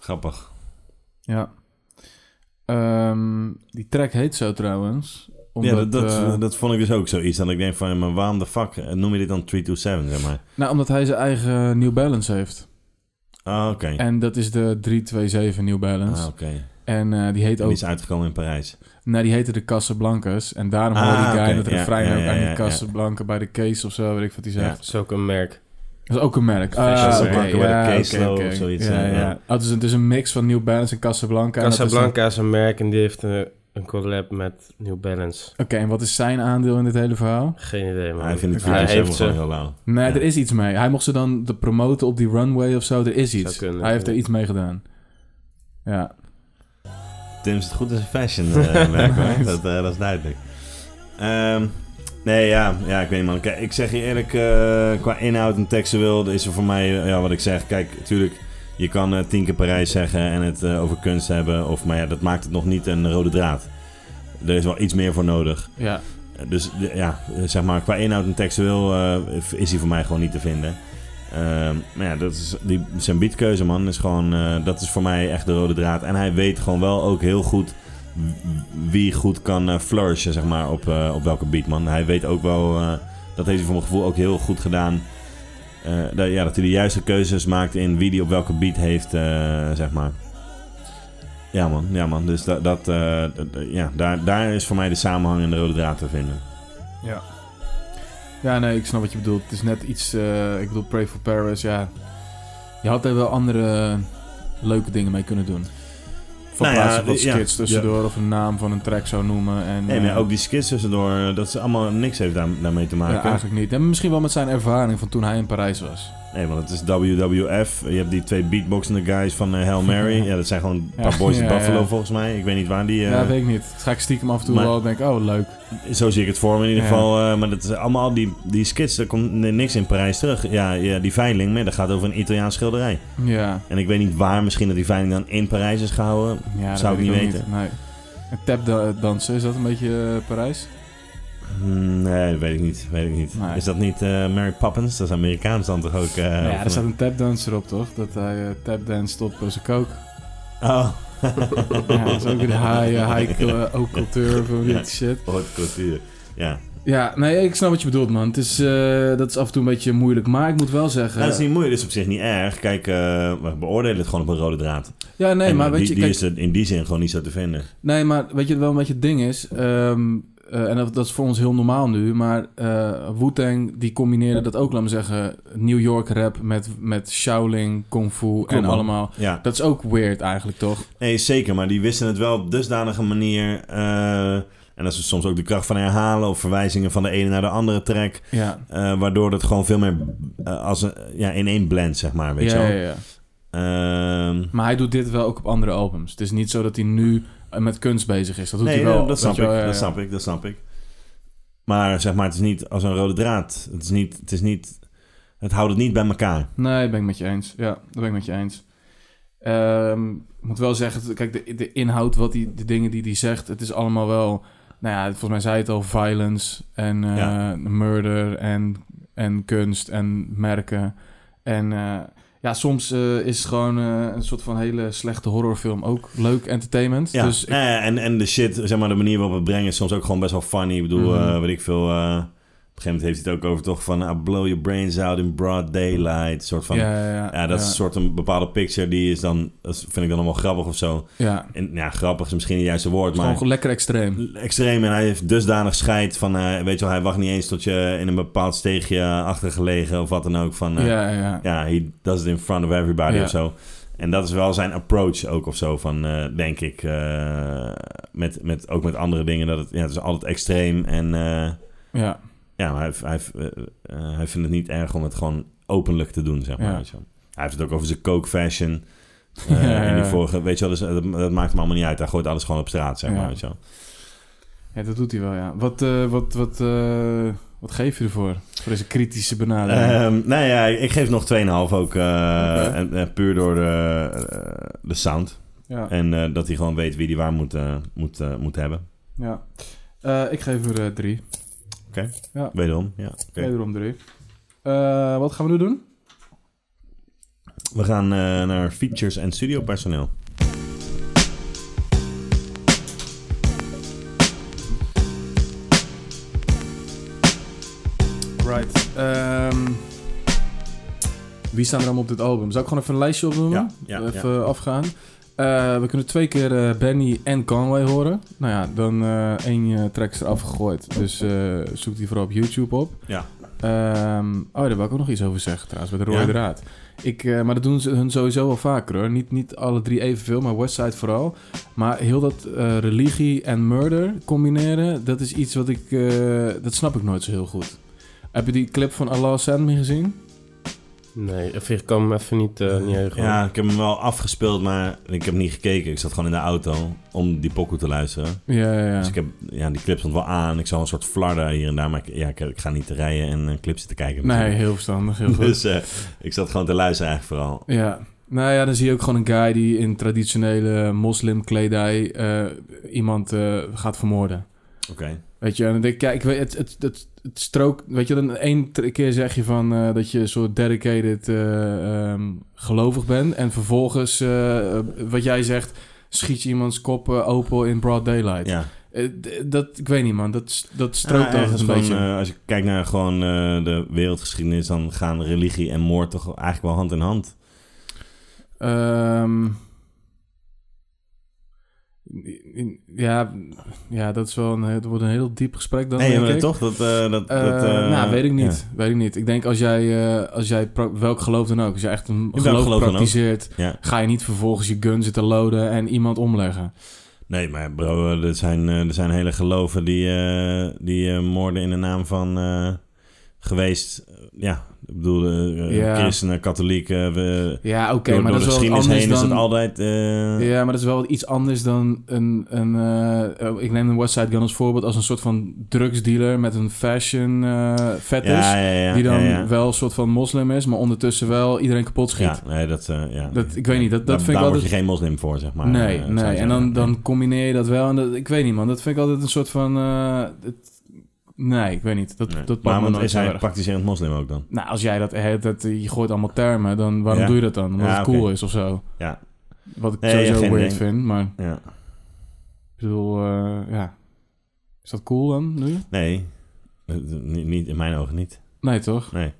[SPEAKER 1] Grappig.
[SPEAKER 2] Ja. Ehm, die track heet zo trouwens. Omdat,
[SPEAKER 1] ja, dat, dat,
[SPEAKER 2] eh,
[SPEAKER 1] dat vond ik dus ook zoiets. Dat ik denk van, maar waarom de fuck eh, noem je dit dan 327, zeg maar?
[SPEAKER 2] nou, omdat hij zijn eigen New Balance heeft.
[SPEAKER 1] Ah, oké.
[SPEAKER 2] En dat is de 327 New Balance.
[SPEAKER 1] Ah, oké.
[SPEAKER 2] En eh, die heet
[SPEAKER 1] Die
[SPEAKER 2] ook...
[SPEAKER 1] is uitgekomen in Parijs.
[SPEAKER 2] Nou, die heette de Casablancas. En daarom hoor
[SPEAKER 1] Ah,
[SPEAKER 2] die guy
[SPEAKER 1] oké,
[SPEAKER 2] met de
[SPEAKER 1] ja,
[SPEAKER 2] refrein
[SPEAKER 1] ja,
[SPEAKER 2] ook
[SPEAKER 1] ja,
[SPEAKER 2] aan
[SPEAKER 1] ja,
[SPEAKER 2] die
[SPEAKER 1] ja.
[SPEAKER 2] Casablanca bij de case of zo, weet ik wat hij zegt.
[SPEAKER 1] Ja.
[SPEAKER 3] Dat is ook een merk.
[SPEAKER 2] Dat is ook een merk. Ah,
[SPEAKER 1] Casablanca
[SPEAKER 2] oké,
[SPEAKER 1] bij de
[SPEAKER 2] ja,
[SPEAKER 1] case
[SPEAKER 2] oké,
[SPEAKER 1] low
[SPEAKER 2] oké.
[SPEAKER 1] of zoiets,
[SPEAKER 2] Ja,
[SPEAKER 1] eh,
[SPEAKER 2] ja.
[SPEAKER 1] ja.
[SPEAKER 2] Oh, het, is, het is een mix van New Balance en Casablanca. En dat is dan-
[SPEAKER 1] dus
[SPEAKER 3] Casablanca is een merk en die heeft een, een collab met New Balance.
[SPEAKER 2] Oké, en wat is zijn aandeel in dit hele verhaal?
[SPEAKER 3] Geen idee, man.
[SPEAKER 1] Hij vindt Ah, het
[SPEAKER 3] Hij
[SPEAKER 1] 327
[SPEAKER 3] heeft
[SPEAKER 1] gewoon
[SPEAKER 3] ze.
[SPEAKER 1] heel lauw.
[SPEAKER 2] Nee,
[SPEAKER 1] Ja.
[SPEAKER 2] er is iets mee. Hij mocht ze dan de promoten op die runway of zo. Er is iets.
[SPEAKER 3] Zou kunnen,
[SPEAKER 2] Hij heeft er
[SPEAKER 3] ja.
[SPEAKER 2] iets mee gedaan. Ja.
[SPEAKER 1] Tim zit goed in zijn fashion eh, werk, hoor. Dat, eh, dat is duidelijk. Ehm, nee, ja, ja, ik weet niet, man. Kijk, ik zeg je eerlijk, eh, qua inhoud en tekstueel is er voor mij, eh, ja, wat ik zeg. Kijk, natuurlijk, je kan eh, tien keer Parijs zeggen en het eh, over kunst hebben. Of, maar ja, dat maakt het nog niet een rode draad. Er is wel iets meer voor nodig.
[SPEAKER 2] Ja.
[SPEAKER 1] Eh, Dus de- ja, eh, zeg maar, qua inhoud en textueel eh, is hij voor mij gewoon niet te vinden. Ehm, maar ja, dat is, die, zijn beatkeuze, man, is gewoon, eh, dat is voor mij echt de rode draad. En hij weet gewoon wel ook heel goed w- wie goed kan eh, flourishen, zeg maar, op, eh, op welke beat, man. Hij weet ook wel, eh, dat heeft hij voor mijn gevoel ook heel goed gedaan. eh, dat, ja, dat hij de juiste keuzes maakt in wie die op welke beat heeft, eh, zeg maar. Ja man, ja man. Dus dat, dat, eh, dat- dat- ja, daar, daar is voor mij de samenhang en de rode draad te vinden.
[SPEAKER 2] Ja. Ja, nee, ik snap wat je bedoelt. Het is net iets... eh, ik bedoel, Pray for Paris, ja. Je had er wel andere leuke dingen mee kunnen doen. Van
[SPEAKER 1] Nou ja,
[SPEAKER 2] plaatsen wat
[SPEAKER 1] ja.
[SPEAKER 2] skits tussendoor of een naam van een track zou noemen. En,
[SPEAKER 1] Nee, maar
[SPEAKER 2] eh,
[SPEAKER 1] ook die skits tussendoor, eh, dat ze allemaal niks heeft daar, daarmee te
[SPEAKER 2] ja,
[SPEAKER 1] maken.
[SPEAKER 2] eigenlijk niet. En misschien wel met zijn ervaring van toen hij in Parijs was.
[SPEAKER 1] nee, want het is WWF. Je hebt die twee beatboxende guys van eh Hail Mary. ja, dat zijn gewoon een paar
[SPEAKER 2] Ja,
[SPEAKER 1] boys in
[SPEAKER 2] ja,
[SPEAKER 1] Buffalo
[SPEAKER 2] ja.
[SPEAKER 1] volgens mij. Ik weet niet waar die... eh,
[SPEAKER 2] ja, weet ik niet. Dat ga ik stiekem af en toe
[SPEAKER 1] maar-
[SPEAKER 2] wel denken, oh, leuk.
[SPEAKER 1] Zo zie ik het voor me in ieder
[SPEAKER 2] Ja.
[SPEAKER 1] geval. eh, maar dat is allemaal die, die skits, daar komt n- niks in Parijs terug. Ja, ja die veiling, maar dat gaat over een Italiaans schilderij.
[SPEAKER 2] Ja.
[SPEAKER 1] En ik weet niet waar misschien dat die veiling dan in Parijs is gehouden.
[SPEAKER 2] Ja, dat
[SPEAKER 1] Zou
[SPEAKER 2] weet
[SPEAKER 1] ik niet
[SPEAKER 2] ook
[SPEAKER 1] weten.
[SPEAKER 2] Nee. En tapdansen, is dat een beetje eh, Parijs?
[SPEAKER 1] Hmm, nee, dat weet ik niet. Weet ik niet.
[SPEAKER 2] Nee.
[SPEAKER 1] Is dat niet eh, Mary Poppins? Dat is Amerikaans dan toch ook? eh,
[SPEAKER 2] Nou ja,
[SPEAKER 1] of-
[SPEAKER 2] er staat een tapdancer op, toch? Dat hij tap tapdanst op eh, zijn coke.
[SPEAKER 1] Oh,
[SPEAKER 2] Ja, dat is ook weer de high, eh, high cl- eh, ook cultuur van dit
[SPEAKER 1] Ja.
[SPEAKER 2] shit.
[SPEAKER 1] haute cultuur. Ja.
[SPEAKER 2] Ja, nee, ik snap wat je bedoelt, man. Het is, eh, dat is af en toe een beetje moeilijk. Maar ik moet wel zeggen...
[SPEAKER 1] Nou, dat is niet moeilijk, dat is op zich niet erg. Kijk, eh, we beoordelen het gewoon op een rode draad.
[SPEAKER 2] ja, nee,
[SPEAKER 1] En,
[SPEAKER 2] maar
[SPEAKER 1] eh,
[SPEAKER 2] weet
[SPEAKER 1] die,
[SPEAKER 2] je...
[SPEAKER 1] die
[SPEAKER 2] kijk,
[SPEAKER 1] is er in die zin gewoon niet zo te vinden.
[SPEAKER 2] Nee, maar weet je wel wat het ding is? Ehm, eh, en dat, dat is voor ons heel normaal nu. Maar eh Wu-Tang, die combineerde dat ook, laat me zeggen... New York rap met, met Shaolin, Kung Fu en
[SPEAKER 1] man.
[SPEAKER 2] allemaal...
[SPEAKER 1] Ja,
[SPEAKER 2] Dat is ook weird eigenlijk, toch?
[SPEAKER 1] nee, zeker. Maar die wisten het wel op dusdanige manier. eh, en dat is soms ook de kracht van herhalen of verwijzingen van de ene naar de andere track.
[SPEAKER 2] Ja.
[SPEAKER 1] eh, waardoor dat gewoon veel meer eh, als een, ja, in één blend, zeg maar. Weet
[SPEAKER 2] ja,
[SPEAKER 1] je wel.
[SPEAKER 2] ja, ja.
[SPEAKER 1] Ehm,
[SPEAKER 2] Maar hij doet dit wel ook op andere albums. Het is niet zo dat hij nu eh, met kunst bezig is. Dat doet
[SPEAKER 1] nee,
[SPEAKER 2] hij wel.
[SPEAKER 1] ja, dat, snap
[SPEAKER 2] weet je
[SPEAKER 1] ik,
[SPEAKER 2] wel, ja,
[SPEAKER 1] dat
[SPEAKER 2] ja.
[SPEAKER 1] snap ik, dat snap ik. Maar zeg maar, het is niet als een rode draad. Het is niet, het is niet, het houdt het niet bij elkaar.
[SPEAKER 2] Nee, ben ik met je eens. Ja, dat ben ik met je eens. Ehm, ik moet wel zeggen, kijk, de, de inhoud, wat die, de dingen die hij zegt, het is allemaal wel... Nou ja, volgens mij zei het al, violence en eh,
[SPEAKER 1] Ja.
[SPEAKER 2] murder en, en kunst en merken. En eh, Ja, soms eh, is gewoon eh, een soort van hele slechte horrorfilm ook leuk entertainment.
[SPEAKER 1] Ja,
[SPEAKER 2] Dus ik-
[SPEAKER 1] nou ja, en, en de shit, zeg maar, de manier waarop we het brengen is soms ook gewoon best wel funny. Ik bedoel,
[SPEAKER 2] Mhm.
[SPEAKER 1] eh, weet ik veel. eh, op een gegeven moment heeft hij het ook over toch van... I blow your brains out in broad daylight. soort van... Ja,
[SPEAKER 2] ja, ja, ja,
[SPEAKER 1] dat
[SPEAKER 2] ja,
[SPEAKER 1] is een soort een bepaalde picture die is dan... Dat vind ik dan allemaal grappig of zo.
[SPEAKER 2] ja. Het
[SPEAKER 1] En ja, grappig is misschien het juiste woord,
[SPEAKER 2] is
[SPEAKER 1] maar...
[SPEAKER 2] Gewoon lekker extreem.
[SPEAKER 1] Extreem en hij heeft dusdanig scheid van... eh, weet je wel, hij wacht niet eens tot je in een bepaald steegje achtergelegen of wat dan ook. Van, eh,
[SPEAKER 2] Ja, ja, ja.
[SPEAKER 1] ja, he does it in front of everybody
[SPEAKER 2] Ja.
[SPEAKER 1] of zo. En dat is wel zijn approach ook of zo, van, eh, denk ik. eh, met, met, ook met andere dingen. Dat het, ja, het is altijd extreem. En eh,
[SPEAKER 2] ja.
[SPEAKER 1] ja, maar hij, hij, eh, eh, hij vindt het niet erg om het gewoon openlijk te doen, zeg maar.
[SPEAKER 2] Ja.
[SPEAKER 1] weet je wel. Hij heeft het ook over zijn coke fashion. eh,
[SPEAKER 2] Ja, ja,
[SPEAKER 1] En die
[SPEAKER 2] ja.
[SPEAKER 1] vorige, weet je wel, dus, eh, dat, dat maakt hem allemaal niet uit. Hij gooit alles gewoon op straat, zeg
[SPEAKER 2] Ja.
[SPEAKER 1] maar. Weet je wel.
[SPEAKER 2] Ja, dat doet hij wel, ja. Wat, eh, wat, wat, eh, wat geef je ervoor? Voor deze kritische benadering?
[SPEAKER 1] Ehm, nou ja, ik geef nog 2,5 ook. eh,
[SPEAKER 2] Oké.
[SPEAKER 1] en, en puur door de, eh, de sound.
[SPEAKER 2] ja.
[SPEAKER 1] En eh, dat hij gewoon weet wie die waar moet, eh, moet, eh, moet hebben.
[SPEAKER 2] ja. Eh, ik geef er eh, drie.
[SPEAKER 1] Wederom, ja. oké.
[SPEAKER 2] Wederom drie. Eh, wat gaan we nu doen?
[SPEAKER 1] We gaan eh, naar features en studiopersoneel.
[SPEAKER 2] Right. Ehm, wie staan er allemaal op dit album? Zou ik gewoon even een lijstje opnoemen?
[SPEAKER 1] Ja, ja,
[SPEAKER 2] even afgaan. Eh, we kunnen twee keer eh, Benny en Conway horen. Nou ja, dan eh, één eh, track is eraf gegooid. Dus eh, zoek die vooral op YouTube op.
[SPEAKER 1] Ja.
[SPEAKER 2] Ehm, oh, daar wil ik ook nog iets over zeggen trouwens, met de rode
[SPEAKER 1] Ja?
[SPEAKER 2] draad. Ik, eh, maar dat doen ze hun sowieso wel vaker hoor. Niet, niet alle drie evenveel, maar Westside vooral. Maar heel dat eh, religie en murder combineren, dat is iets wat ik... eh, dat snap ik nooit zo heel goed. Heb je die clip van Allah Send Me gezien?
[SPEAKER 3] Nee, of ik kan hem even niet, eh niet heugen.
[SPEAKER 1] ja, ik heb hem wel afgespeeld, maar ik heb niet gekeken. Ik zat gewoon in de auto om die pokoe te luisteren.
[SPEAKER 2] Ja, ja, ja.
[SPEAKER 1] Dus ik heb, ja, die clip stond wel aan. Ik zag een soort flarden hier en daar, maar ik, ja, ik, ik ga niet te rijden en een clip zitten kijken.
[SPEAKER 2] Nee,
[SPEAKER 1] natuurlijk.
[SPEAKER 2] heel verstandig, heel goed.
[SPEAKER 1] Dus eh, ik zat gewoon te luisteren eigenlijk vooral.
[SPEAKER 2] Ja. Nou ja, dan zie je ook gewoon een guy die in traditionele moslimkledij eh, iemand eh, gaat vermoorden.
[SPEAKER 1] Oké.
[SPEAKER 2] Weet je, en dan denk ik, ja, ik weet, het, het, het, het strook... Weet je, dan één t- keer zeg je van eh, dat je een soort dedicated eh, ehm, gelovig bent. En vervolgens, eh, eh, wat jij zegt, schiet je iemands kop eh, open in broad daylight.
[SPEAKER 1] Ja.
[SPEAKER 2] Eh, d- dat, ik weet niet, man. Dat, s- dat strookt
[SPEAKER 1] Ja,
[SPEAKER 2] ergens
[SPEAKER 1] ergens
[SPEAKER 2] een
[SPEAKER 1] gewoon,
[SPEAKER 2] beetje.
[SPEAKER 1] eh, als je kijkt naar gewoon eh, de wereldgeschiedenis, dan gaan religie en moord toch eigenlijk wel hand in hand.
[SPEAKER 2] Ehm, in- in- ja, ja, dat is wel een, het wordt een heel diep gesprek dan,
[SPEAKER 1] Nee,
[SPEAKER 2] denk
[SPEAKER 1] maar
[SPEAKER 2] ik.
[SPEAKER 1] toch? Dat, eh, dat,
[SPEAKER 2] Eh,
[SPEAKER 1] dat, eh,
[SPEAKER 2] nou, weet ik
[SPEAKER 1] ja.
[SPEAKER 2] niet. Weet ik niet. Ik denk als jij, eh, als jij pra- welk geloof dan ook, als je echt een
[SPEAKER 1] welk
[SPEAKER 2] geloof,
[SPEAKER 1] geloof dan ook.
[SPEAKER 2] praktiseert,
[SPEAKER 1] Ja.
[SPEAKER 2] ga je niet vervolgens je gun zitten loaden en iemand omleggen.
[SPEAKER 1] Nee, maar bro, er zijn, eh, er zijn hele geloven die, eh, die eh, moorden in de naam van eh, geweest. eh, Ja, ik bedoel, eh, eh,
[SPEAKER 2] Ja.
[SPEAKER 1] christenen, katholieken. eh, We,
[SPEAKER 2] Ja, oké,
[SPEAKER 1] door
[SPEAKER 2] maar
[SPEAKER 1] door
[SPEAKER 2] dat
[SPEAKER 1] de
[SPEAKER 2] is wel wat
[SPEAKER 1] geschiedenis
[SPEAKER 2] anders
[SPEAKER 1] heen is
[SPEAKER 2] dan.
[SPEAKER 1] het altijd... eh,
[SPEAKER 2] Ja, maar dat is wel iets anders dan een. een eh, eh, ik neem een Westside Gun als voorbeeld als een soort van drugsdealer met een fashion eh fetish.
[SPEAKER 1] ja, ja, ja,
[SPEAKER 2] die dan
[SPEAKER 1] ja, ja.
[SPEAKER 2] wel een soort van moslim is, maar ondertussen wel iedereen kapot schiet.
[SPEAKER 1] Ja, nee, dat... eh, ja.
[SPEAKER 2] Dat, ik weet niet, dat, dat
[SPEAKER 1] daar,
[SPEAKER 2] vind ik
[SPEAKER 1] daar
[SPEAKER 2] altijd...
[SPEAKER 1] word je geen moslim voor, zeg maar.
[SPEAKER 2] nee,
[SPEAKER 1] eh, zou
[SPEAKER 2] nee.
[SPEAKER 1] je
[SPEAKER 2] En
[SPEAKER 1] zeggen.
[SPEAKER 2] dan, dan combineer je dat wel. En dat, ik weet niet, man. Dat vind ik altijd een soort van... eh, het- nee, ik weet niet. Dat,
[SPEAKER 1] Nee.
[SPEAKER 2] dat pakt
[SPEAKER 1] maar
[SPEAKER 2] me
[SPEAKER 1] want
[SPEAKER 2] nooit
[SPEAKER 1] is
[SPEAKER 2] zo
[SPEAKER 1] hij
[SPEAKER 2] erg.
[SPEAKER 1] praktiserend moslim ook dan?
[SPEAKER 2] Nou, als jij dat, eh, dat... Je gooit allemaal termen, dan waarom
[SPEAKER 1] Ja.
[SPEAKER 2] doe je dat dan? Omdat
[SPEAKER 1] Ja,
[SPEAKER 2] het
[SPEAKER 1] oké.
[SPEAKER 2] cool is of zo.
[SPEAKER 1] Ja.
[SPEAKER 2] Wat ik
[SPEAKER 1] Nee, ja,
[SPEAKER 2] sowieso
[SPEAKER 1] geen
[SPEAKER 2] weird
[SPEAKER 1] idee.
[SPEAKER 2] vind, maar...
[SPEAKER 1] Ja.
[SPEAKER 2] Ik bedoel, eh, ja... Is dat cool dan, nu?
[SPEAKER 1] Nee, Eh, niet, niet, in mijn ogen niet.
[SPEAKER 2] Nee, toch?
[SPEAKER 1] Nee.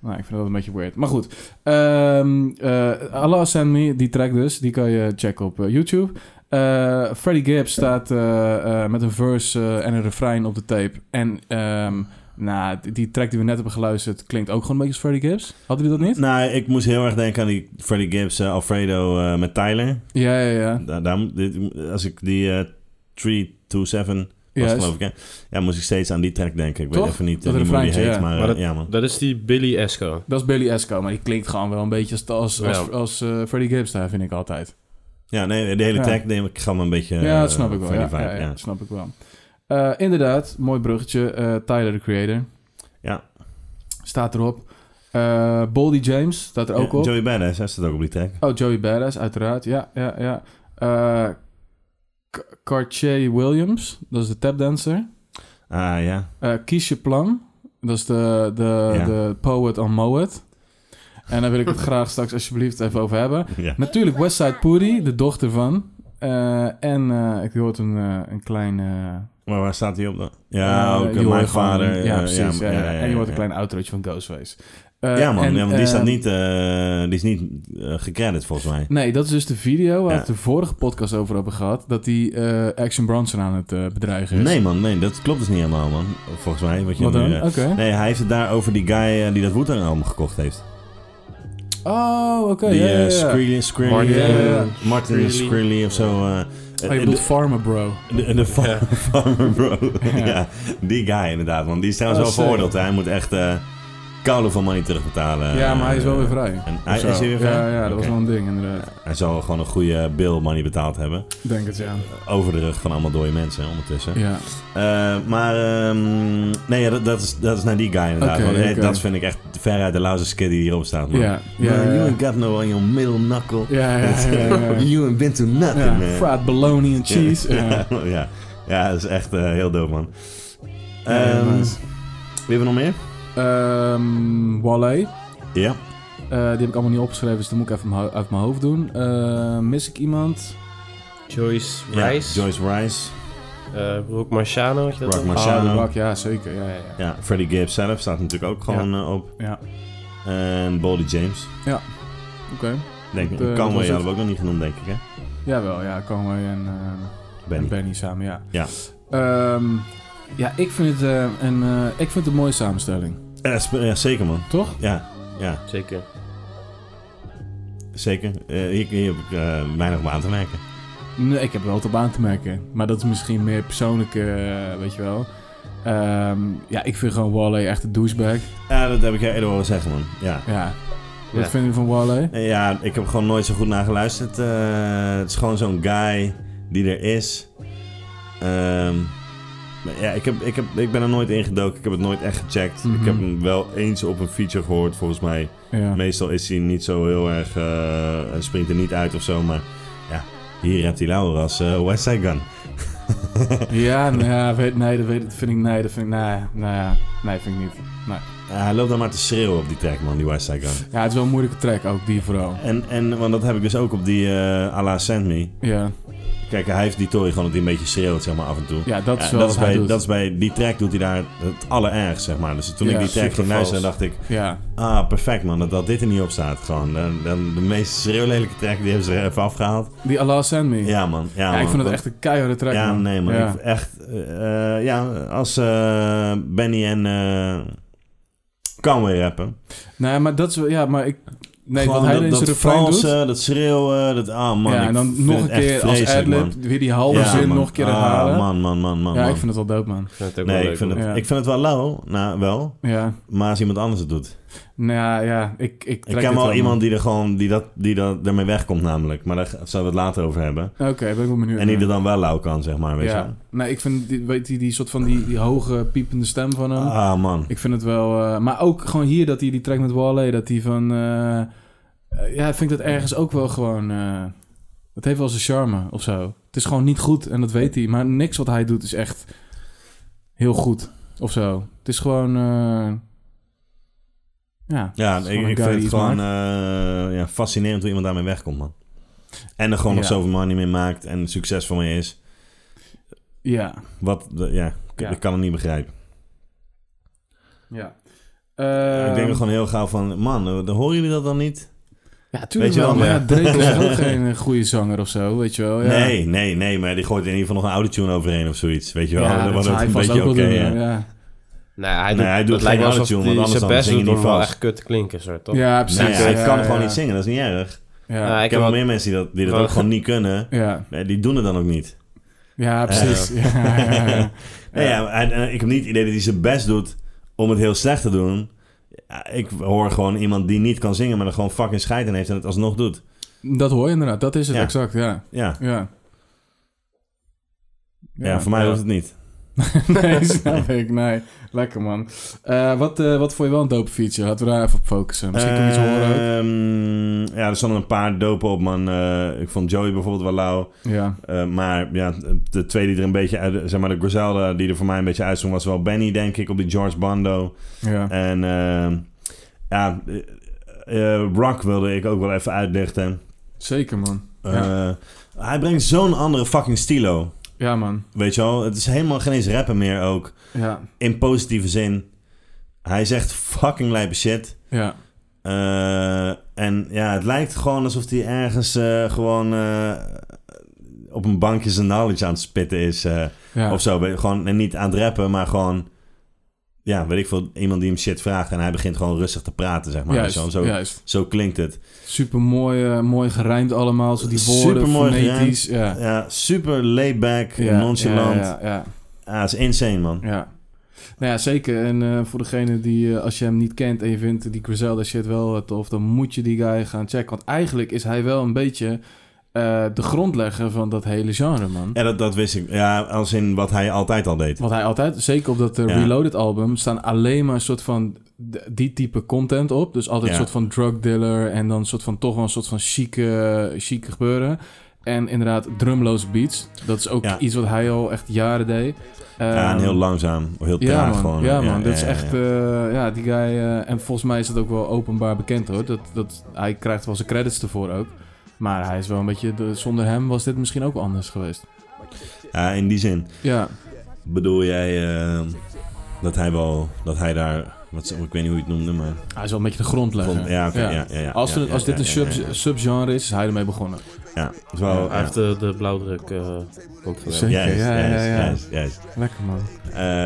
[SPEAKER 2] Nou, ik vind dat een beetje weird. Maar goed. Ehm eh, Allah Send Me, die track dus, die kan je checken op eh, YouTube. Eh Freddie Gibbs staat eh, eh, met een verse eh, en een refrein op de tape. En ehm, nou, die- die track die we net hebben geluisterd klinkt ook gewoon een beetje als Freddie Gibbs. Hadden jullie dat niet?
[SPEAKER 1] Nou, ik moest heel erg denken aan die Freddie Gibbs, eh, Alfredo eh, met Tyler.
[SPEAKER 2] Ja, ja, ja.
[SPEAKER 1] Daar, daar moet- dit- als ik die eh 327 was
[SPEAKER 2] Juist.
[SPEAKER 1] geloof ik, hè? Ja, moest ik steeds aan die track denken. Ik
[SPEAKER 2] Toch?
[SPEAKER 1] weet even niet, eh,
[SPEAKER 2] Dat
[SPEAKER 1] niet hoe die heet,
[SPEAKER 2] refreintje, ja.
[SPEAKER 1] maar, eh,
[SPEAKER 3] Maar dat-
[SPEAKER 1] ja man.
[SPEAKER 3] Dat is die Billy Esco.
[SPEAKER 2] Dat is Billy Esco, maar die klinkt gewoon wel een beetje als, als, als,
[SPEAKER 3] Ja.
[SPEAKER 2] als, eh, Freddie Gibbs daar, vind ik altijd.
[SPEAKER 1] Ja, nee, de hele
[SPEAKER 2] Ja.
[SPEAKER 1] track neem ik gaf me een beetje
[SPEAKER 2] ja, dat
[SPEAKER 1] eh,
[SPEAKER 2] snap ik wel.
[SPEAKER 1] van die
[SPEAKER 2] Ja,
[SPEAKER 1] vibe,
[SPEAKER 2] ja, ja, snap ik wel. Eh, inderdaad, mooi bruggetje. eh, Tyler, the creator.
[SPEAKER 1] Ja.
[SPEAKER 2] Staat erop. Eh Boldy James staat er ook
[SPEAKER 1] Ja,
[SPEAKER 2] op.
[SPEAKER 1] Joey Badass, hij staat ook op die track.
[SPEAKER 2] Oh, Joey Badass, uiteraard. Ja, ja, ja. Eh, K- Cartier Williams, dat is de tapdancer.
[SPEAKER 1] Ah ja,
[SPEAKER 2] Eh Kiesje Plum, dat is de, de,
[SPEAKER 1] Ja.
[SPEAKER 2] de poet on Moet. En daar wil ik het graag straks alsjeblieft even over hebben.
[SPEAKER 1] Ja.
[SPEAKER 2] Natuurlijk Westside Puri, de dochter van. Eh, en eh, ik hoorde een, eh, een klein... eh,
[SPEAKER 1] Maar waar staat hij op dan?
[SPEAKER 2] eh,
[SPEAKER 1] Ja, ook
[SPEAKER 2] je
[SPEAKER 1] eh,
[SPEAKER 2] hoort
[SPEAKER 1] mijn
[SPEAKER 2] gewoon-
[SPEAKER 1] vader. eh,
[SPEAKER 2] ja, precies.
[SPEAKER 1] ja,
[SPEAKER 2] ja,
[SPEAKER 1] ja,
[SPEAKER 2] ja.
[SPEAKER 1] ja,
[SPEAKER 2] en je hoort een
[SPEAKER 1] ja.
[SPEAKER 2] klein outrootje van Ghostface. Eh,
[SPEAKER 1] ja, man,
[SPEAKER 2] en,
[SPEAKER 1] ja, want die
[SPEAKER 2] eh,
[SPEAKER 1] staat niet, eh, die is niet eh, gecredit volgens mij.
[SPEAKER 2] Nee, dat is dus de video waar
[SPEAKER 1] Ja.
[SPEAKER 2] we het de vorige podcast over hebben gehad. Dat die eh, Action Bronson aan het eh, bedreigen is.
[SPEAKER 1] Nee, man, nee, dat klopt dus niet helemaal, man. Volgens mij. Wat je
[SPEAKER 2] Wat
[SPEAKER 1] nu,
[SPEAKER 2] dan?
[SPEAKER 1] eh,
[SPEAKER 2] Oké.
[SPEAKER 1] Nee, hij heeft het daar over die guy eh, die dat Wu-Tang album gekocht heeft.
[SPEAKER 2] Oh, oké.
[SPEAKER 1] die
[SPEAKER 2] ja,
[SPEAKER 1] eh,
[SPEAKER 2] ja, ja.
[SPEAKER 1] Skrilly, Skrilly,
[SPEAKER 3] Martin,
[SPEAKER 1] eh,
[SPEAKER 2] ja, ja.
[SPEAKER 1] Martin
[SPEAKER 3] Skrilly.
[SPEAKER 1] Skrilly of zo. eh,
[SPEAKER 2] Oh, je
[SPEAKER 1] eh,
[SPEAKER 2] bedoelt Farmer Bro.
[SPEAKER 1] de, de, de fa-
[SPEAKER 3] Ja.
[SPEAKER 1] farmer bro. ja.
[SPEAKER 2] Ja.
[SPEAKER 1] die guy inderdaad, want die is trouwens
[SPEAKER 2] Oh,
[SPEAKER 1] wel
[SPEAKER 2] sick.
[SPEAKER 1] veroordeeld. hè. Hij moet echt eh koude van money terugbetalen.
[SPEAKER 2] ja, maar hij is wel
[SPEAKER 1] eh,
[SPEAKER 2] weer vrij.
[SPEAKER 1] En
[SPEAKER 2] Of
[SPEAKER 1] hij,
[SPEAKER 2] zo.
[SPEAKER 1] is hij weer vrij?
[SPEAKER 2] Ja, ja dat
[SPEAKER 1] Oké.
[SPEAKER 2] was wel een ding inderdaad.
[SPEAKER 1] Hij zal gewoon een goede bill money betaald hebben.
[SPEAKER 2] Denk het, ja.
[SPEAKER 1] Over de rug van allemaal dode mensen hè, ondertussen.
[SPEAKER 2] Ja,
[SPEAKER 1] Eh, maar ehm, nee, ja, dat, dat, is, dat is naar die guy inderdaad.
[SPEAKER 2] Oké,
[SPEAKER 1] want, eh,
[SPEAKER 2] oké.
[SPEAKER 1] Dat vind ik echt veruit de lauze skid die hierop staat. Man.
[SPEAKER 2] ja, ja.
[SPEAKER 1] Man, you
[SPEAKER 2] ja.
[SPEAKER 1] ain't got no on your middle knuckle.
[SPEAKER 2] Ja, ja, ja, ja, ja.
[SPEAKER 1] you ain't been to nothing,
[SPEAKER 2] Ja,
[SPEAKER 1] man.
[SPEAKER 2] Fried bologna and cheese. Ja.
[SPEAKER 1] eh, Ja, ja. ja, dat is echt eh, heel dope, man.
[SPEAKER 2] Ja,
[SPEAKER 1] Ehm,
[SPEAKER 2] nice.
[SPEAKER 1] Wie hebben we nog meer?
[SPEAKER 2] Ehm, Wale.
[SPEAKER 1] Ja.
[SPEAKER 2] Eh, die heb ik allemaal niet opgeschreven, dus dat moet ik even uit mijn ho- uit mijn hoofd doen. Eh, mis ik iemand?
[SPEAKER 3] Joyce
[SPEAKER 1] Ja,
[SPEAKER 3] Rice.
[SPEAKER 1] Joyce Rice.
[SPEAKER 3] eh, Rook Marciano. had je dat
[SPEAKER 1] Rock
[SPEAKER 3] ook?
[SPEAKER 1] Marciano.
[SPEAKER 2] Ah, de Rock, ja, zeker. Ja, ja, ja.
[SPEAKER 1] ja, Freddie Gibbs zelf staat natuurlijk ook gewoon eh, op.
[SPEAKER 2] Ja.
[SPEAKER 1] En Boldy James.
[SPEAKER 2] Oké.
[SPEAKER 1] Denk ik.
[SPEAKER 2] Dat, eh, dat
[SPEAKER 1] Conway
[SPEAKER 2] was het.
[SPEAKER 1] hadden we ook nog niet genoemd, denk ik, hè?
[SPEAKER 2] Jawel, ja, Conway en eh, en
[SPEAKER 1] Benny.
[SPEAKER 2] Benny samen, ja.
[SPEAKER 1] Ja.
[SPEAKER 2] Ehm, ja, ik vind het, eh, een, eh, ik vind het een mooie samenstelling,
[SPEAKER 1] Eh, sp- ja, zeker, man.
[SPEAKER 2] toch?
[SPEAKER 1] Ja, ja,
[SPEAKER 3] Zeker.
[SPEAKER 1] zeker. Eh, hier, hier heb ik eh, weinig op aan te merken.
[SPEAKER 2] Nee, ik heb wel wat op aan te merken, maar dat is misschien meer persoonlijke, eh, weet je wel. Ehm, ja, ik vind gewoon Wally echt een douchebag.
[SPEAKER 1] Ja, dat heb ik jou eerder horen zeggen, man. Ja.
[SPEAKER 2] Ja. Wat
[SPEAKER 3] Ja.
[SPEAKER 2] vind je van Wally?
[SPEAKER 1] Eh, Ja, ik heb gewoon nooit zo goed naar geluisterd. Eh, het is gewoon zo'n guy die er is. Ehm, maar ja, ik, heb, ik, heb, ik ben er nooit in gedoken. Ik heb het nooit echt gecheckt.
[SPEAKER 2] Mhm.
[SPEAKER 1] Ik heb hem wel eens op een feature gehoord, volgens mij.
[SPEAKER 2] Ja.
[SPEAKER 1] Meestal is hij niet zo heel erg... eh, hij springt er niet uit of zo, maar... Ja, hier hebt hij Laura als eh, West Side Gun.
[SPEAKER 2] Ja, nou ja, weet, nee, dat weet, dat vind ik, nee, dat vind ik, nee, nou ja, nee, vind ik niet.
[SPEAKER 1] Eh, hij loopt dan maar te schreeuwen op die track, man, die West Side Gun.
[SPEAKER 2] Ja, het is wel een moeilijke track ook, die vooral.
[SPEAKER 1] En, en want dat heb ik dus ook op die eh à la Send Me.
[SPEAKER 2] Ja,
[SPEAKER 1] Kijk, hij heeft die tory gewoon dat hij een beetje schreeuwt, zeg maar, af en toe.
[SPEAKER 2] ja dat is
[SPEAKER 1] Ja,
[SPEAKER 2] wel wat
[SPEAKER 1] dat, is
[SPEAKER 2] hij
[SPEAKER 1] bij,
[SPEAKER 2] doet.
[SPEAKER 1] dat is bij die track doet hij daar het allerergst, zeg maar. Dus toen
[SPEAKER 2] Ja,
[SPEAKER 1] ik die track
[SPEAKER 3] super
[SPEAKER 1] ging luisteren,
[SPEAKER 3] vals.
[SPEAKER 1] dacht ik...
[SPEAKER 2] Ja,
[SPEAKER 1] Ah, perfect man, dat, dat dit er niet op staat. Gewoon de, de, de meest schreeuwlelijke track, die hebben ze er even afgehaald.
[SPEAKER 2] die Allah Send Me.
[SPEAKER 1] Ja man, ja,
[SPEAKER 2] Ja,
[SPEAKER 1] man.
[SPEAKER 2] ik vond het
[SPEAKER 1] Dat-
[SPEAKER 2] echt een keiharde track.
[SPEAKER 1] Ja,
[SPEAKER 2] man.
[SPEAKER 1] nee man,
[SPEAKER 2] Ja.
[SPEAKER 1] Ik, echt... eh, eh, ja, als eh, Benny en eh Conway rappen.
[SPEAKER 2] Nee, maar dat is wel- ja, maar ik, nee, wat
[SPEAKER 1] Gewoon
[SPEAKER 2] hij
[SPEAKER 1] dat,
[SPEAKER 2] in zijn
[SPEAKER 1] dat
[SPEAKER 2] refrein doet.
[SPEAKER 1] valse, dat schreeuwen, dat... Ah man,
[SPEAKER 2] ja, en
[SPEAKER 1] ik
[SPEAKER 2] dan
[SPEAKER 1] vind
[SPEAKER 2] nog
[SPEAKER 1] het
[SPEAKER 2] een
[SPEAKER 1] echt
[SPEAKER 2] keer als
[SPEAKER 1] vreselijk, man.
[SPEAKER 2] adlib, weer die halve zin
[SPEAKER 1] man.
[SPEAKER 2] nog een keer
[SPEAKER 1] Ah,
[SPEAKER 2] herhalen.
[SPEAKER 1] man, man, man, man.
[SPEAKER 2] ja,
[SPEAKER 1] man.
[SPEAKER 2] ik vind het wel dood, man.
[SPEAKER 3] Ik vind het ook wel
[SPEAKER 1] Nee,
[SPEAKER 3] leuk,
[SPEAKER 1] ik vind,
[SPEAKER 3] hoor.
[SPEAKER 1] het,
[SPEAKER 2] Ja.
[SPEAKER 1] ik vind het wel lauw, nou wel.
[SPEAKER 2] Ja,
[SPEAKER 1] Maar als iemand anders het doet.
[SPEAKER 2] nou ja, ja, ik, ik trek
[SPEAKER 1] Ik ken
[SPEAKER 2] dit
[SPEAKER 1] wel
[SPEAKER 2] man.
[SPEAKER 1] iemand die er gewoon die dat, die dat ermee wegkomt, namelijk. Maar daar zullen we het later over hebben.
[SPEAKER 2] Oké, ben ik wel benieuwd.
[SPEAKER 1] En die er dan wel lauw kan, zeg maar. Weet je
[SPEAKER 2] ja.
[SPEAKER 1] wel.
[SPEAKER 2] Nee, ik vind die, weet die, die soort van die, die hoge piepende stem van hem.
[SPEAKER 1] Ah, man.
[SPEAKER 2] Ik vind het wel... eh, maar ook gewoon hier dat hij die track met Wale, dat hij van... eh, eh, ja, ik vind dat ergens ook wel gewoon... eh, het heeft wel zijn charme of zo. Het is gewoon niet goed en dat weet hij. Maar niks wat hij doet is echt heel goed of zo. Het is gewoon... eh, ja,
[SPEAKER 1] Ja,
[SPEAKER 2] het is gewoon
[SPEAKER 1] ik,
[SPEAKER 2] een
[SPEAKER 1] ik
[SPEAKER 2] guy
[SPEAKER 1] vind
[SPEAKER 2] die
[SPEAKER 1] het
[SPEAKER 2] iets
[SPEAKER 1] gewoon
[SPEAKER 2] maakt.
[SPEAKER 1] eh, ja, fascinerend hoe iemand daarmee wegkomt, man. En er gewoon nog
[SPEAKER 2] Ja.
[SPEAKER 1] zoveel money mee maakt en succesvol mee is.
[SPEAKER 2] Ja,
[SPEAKER 1] Wat, de- ja, ik,
[SPEAKER 2] Ja.
[SPEAKER 1] ik kan het niet begrijpen.
[SPEAKER 2] ja.
[SPEAKER 1] ik denk
[SPEAKER 2] Ehm,
[SPEAKER 1] er gewoon heel gauw van, man, eh, dan horen jullie dat dan niet?
[SPEAKER 2] Ja, tuurlijk
[SPEAKER 1] Weet je
[SPEAKER 2] wel.
[SPEAKER 1] wel,
[SPEAKER 2] Maar
[SPEAKER 1] ja.
[SPEAKER 2] ja, Drake is ook geen eh, goede zanger of zo, weet je wel. Ja.
[SPEAKER 1] Nee, nee, nee, maar die gooit in ieder geval nog een autotune overheen of zoiets, weet je wel.
[SPEAKER 2] ja,
[SPEAKER 1] Dan
[SPEAKER 2] dat
[SPEAKER 1] wordt
[SPEAKER 2] zou
[SPEAKER 1] het
[SPEAKER 2] hij
[SPEAKER 1] een
[SPEAKER 2] vast
[SPEAKER 1] beetje
[SPEAKER 2] ook wel
[SPEAKER 1] oké,
[SPEAKER 2] doen.
[SPEAKER 1] ja.
[SPEAKER 2] Ja, ja.
[SPEAKER 3] Nee, hij
[SPEAKER 1] Nee,
[SPEAKER 3] doet,
[SPEAKER 1] hij doet
[SPEAKER 3] het lijkt
[SPEAKER 1] geen
[SPEAKER 3] wel alsof
[SPEAKER 1] autotune, want
[SPEAKER 3] hij
[SPEAKER 1] anders
[SPEAKER 3] zijn
[SPEAKER 1] dan
[SPEAKER 3] best
[SPEAKER 1] zing
[SPEAKER 3] doet
[SPEAKER 1] je
[SPEAKER 3] om
[SPEAKER 1] niet
[SPEAKER 3] wel
[SPEAKER 1] vast.
[SPEAKER 3] echt kut te klinken, soort, toch?
[SPEAKER 2] ja, precies.
[SPEAKER 1] Nee,
[SPEAKER 2] ja,
[SPEAKER 1] hij
[SPEAKER 2] ja,
[SPEAKER 1] kan
[SPEAKER 2] ja,
[SPEAKER 1] gewoon
[SPEAKER 2] ja.
[SPEAKER 1] niet zingen, dat is niet erg.
[SPEAKER 2] Ja,
[SPEAKER 3] Nou,
[SPEAKER 1] Ik ken wel
[SPEAKER 3] had-
[SPEAKER 1] meer mensen die dat, die dat
[SPEAKER 3] Wel-
[SPEAKER 1] ook gewoon niet kunnen.
[SPEAKER 2] ja,
[SPEAKER 1] Nee, Die doen het dan ook niet. Eh,
[SPEAKER 2] ja precies. Ja, ja, ja.
[SPEAKER 1] Nee, ja, en, en ik heb niet het idee dat hij zijn best doet om het heel slecht te doen. Ja, ik hoor gewoon iemand die niet kan zingen, maar er gewoon fucking scheid in heeft en het alsnog doet.
[SPEAKER 2] Dat hoor je inderdaad. Dat is het
[SPEAKER 1] Ja.
[SPEAKER 2] exact, ja.
[SPEAKER 1] Ja,
[SPEAKER 2] Ja,
[SPEAKER 1] ja, voor mij
[SPEAKER 3] Ja.
[SPEAKER 1] hoeft het niet.
[SPEAKER 2] nee, snap ik. Nee, lekker man. Eh, wat, eh, wat vond je wel een dope feature? Laten we daar even op focussen. Misschien kan je iets horen ook.
[SPEAKER 1] Ehm, Ja, er stonden een paar dopen op, man. Eh, ik vond Joey bijvoorbeeld wel lauw.
[SPEAKER 2] Ja,
[SPEAKER 1] Eh, maar ja, de twee die er een beetje uit... Zeg maar de Griselda die er voor mij een beetje uitzong was wel Benny, denk ik, op die George Bando.
[SPEAKER 2] ja.
[SPEAKER 1] En ehm, ja, eh, eh, Rock wilde ik ook wel even uitlichten.
[SPEAKER 2] Zeker, man.
[SPEAKER 1] Eh,
[SPEAKER 2] Ja.
[SPEAKER 1] Hij brengt zo'n andere fucking stilo.
[SPEAKER 2] Ja, man.
[SPEAKER 1] Weet je wel? Het is helemaal geen eens rappen meer ook.
[SPEAKER 2] Ja.
[SPEAKER 1] In positieve zin. Hij zegt fucking lijpe shit.
[SPEAKER 2] Ja.
[SPEAKER 1] Eh, en ja, het lijkt gewoon alsof hij ergens eh, gewoon eh, op een bankje zijn knowledge aan het spitten is. eh,
[SPEAKER 2] ja.
[SPEAKER 1] Of zo. Weet je, Gewoon en niet aan het rappen, maar gewoon. Ja, weet ik veel. Iemand die hem shit vraagt en hij begint gewoon rustig te praten, zeg maar.
[SPEAKER 2] juist,
[SPEAKER 1] zo, zo,
[SPEAKER 2] juist.
[SPEAKER 1] zo klinkt het.
[SPEAKER 2] Super mooi, mooi gerijmd allemaal. Zo die woorden,
[SPEAKER 1] Supermooi
[SPEAKER 2] fonetisch. Ja.
[SPEAKER 1] Ja, super laid back,
[SPEAKER 2] Ja,
[SPEAKER 1] nonchalant. Ja,
[SPEAKER 2] Ja, ja, ja,
[SPEAKER 1] is insane, man.
[SPEAKER 2] ja. Nou ja, zeker. En eh, voor degene die, eh, als je hem niet kent en je vindt die Griselda shit wel eh, tof, dan moet je die guy gaan checken. Want eigenlijk is hij wel een beetje eh, de grondlegger van dat hele genre, man.
[SPEAKER 1] Ja, dat, dat wist ik. Ja, als in wat hij altijd al deed.
[SPEAKER 2] Wat hij altijd, zeker op dat eh,
[SPEAKER 1] Ja.
[SPEAKER 2] Reloaded album, staan alleen maar een soort van d- die type content op. Dus altijd
[SPEAKER 1] Ja.
[SPEAKER 2] een soort van drug dealer en dan een soort van toch wel een soort van chique, chique gebeuren. En inderdaad, drumloos beats. Dat is ook
[SPEAKER 1] Ja.
[SPEAKER 2] iets wat hij al echt jaren deed.
[SPEAKER 1] ja, en
[SPEAKER 2] Ehm,
[SPEAKER 1] heel langzaam, heel
[SPEAKER 2] ja,
[SPEAKER 1] traag
[SPEAKER 2] man,
[SPEAKER 1] gewoon.
[SPEAKER 2] Ja, man. dat
[SPEAKER 1] ja,
[SPEAKER 2] is
[SPEAKER 1] ja, ja.
[SPEAKER 2] echt... eh, ja, die guy... eh, en volgens mij is dat ook wel openbaar bekend, hoor. Dat, dat, hij krijgt wel zijn credits ervoor ook. Maar hij is wel een beetje... de- zonder hem was dit misschien ook wel anders geweest.
[SPEAKER 1] Ja, in die zin.
[SPEAKER 2] Ja.
[SPEAKER 1] Bedoel jij eh, dat hij wel, dat hij daar, wat, ik weet niet hoe je het noemde, maar...
[SPEAKER 2] Hij is wel een beetje de grondlegger.
[SPEAKER 1] Vond- ja, oké, ja, ja, ja,
[SPEAKER 2] als
[SPEAKER 1] ja,
[SPEAKER 2] er- als
[SPEAKER 1] ja,
[SPEAKER 2] dit een
[SPEAKER 1] ja, ja,
[SPEAKER 2] sub,
[SPEAKER 1] ja.
[SPEAKER 2] subgenre is, is hij ermee begonnen.
[SPEAKER 1] Ja, het is wel...
[SPEAKER 3] hij heeft de, de blauwdruk eh ontvangen.
[SPEAKER 2] Zeker.
[SPEAKER 1] ja, juist,
[SPEAKER 2] ja, ja,
[SPEAKER 1] juist,
[SPEAKER 2] ja.
[SPEAKER 1] juist, juist.
[SPEAKER 2] Lekker man.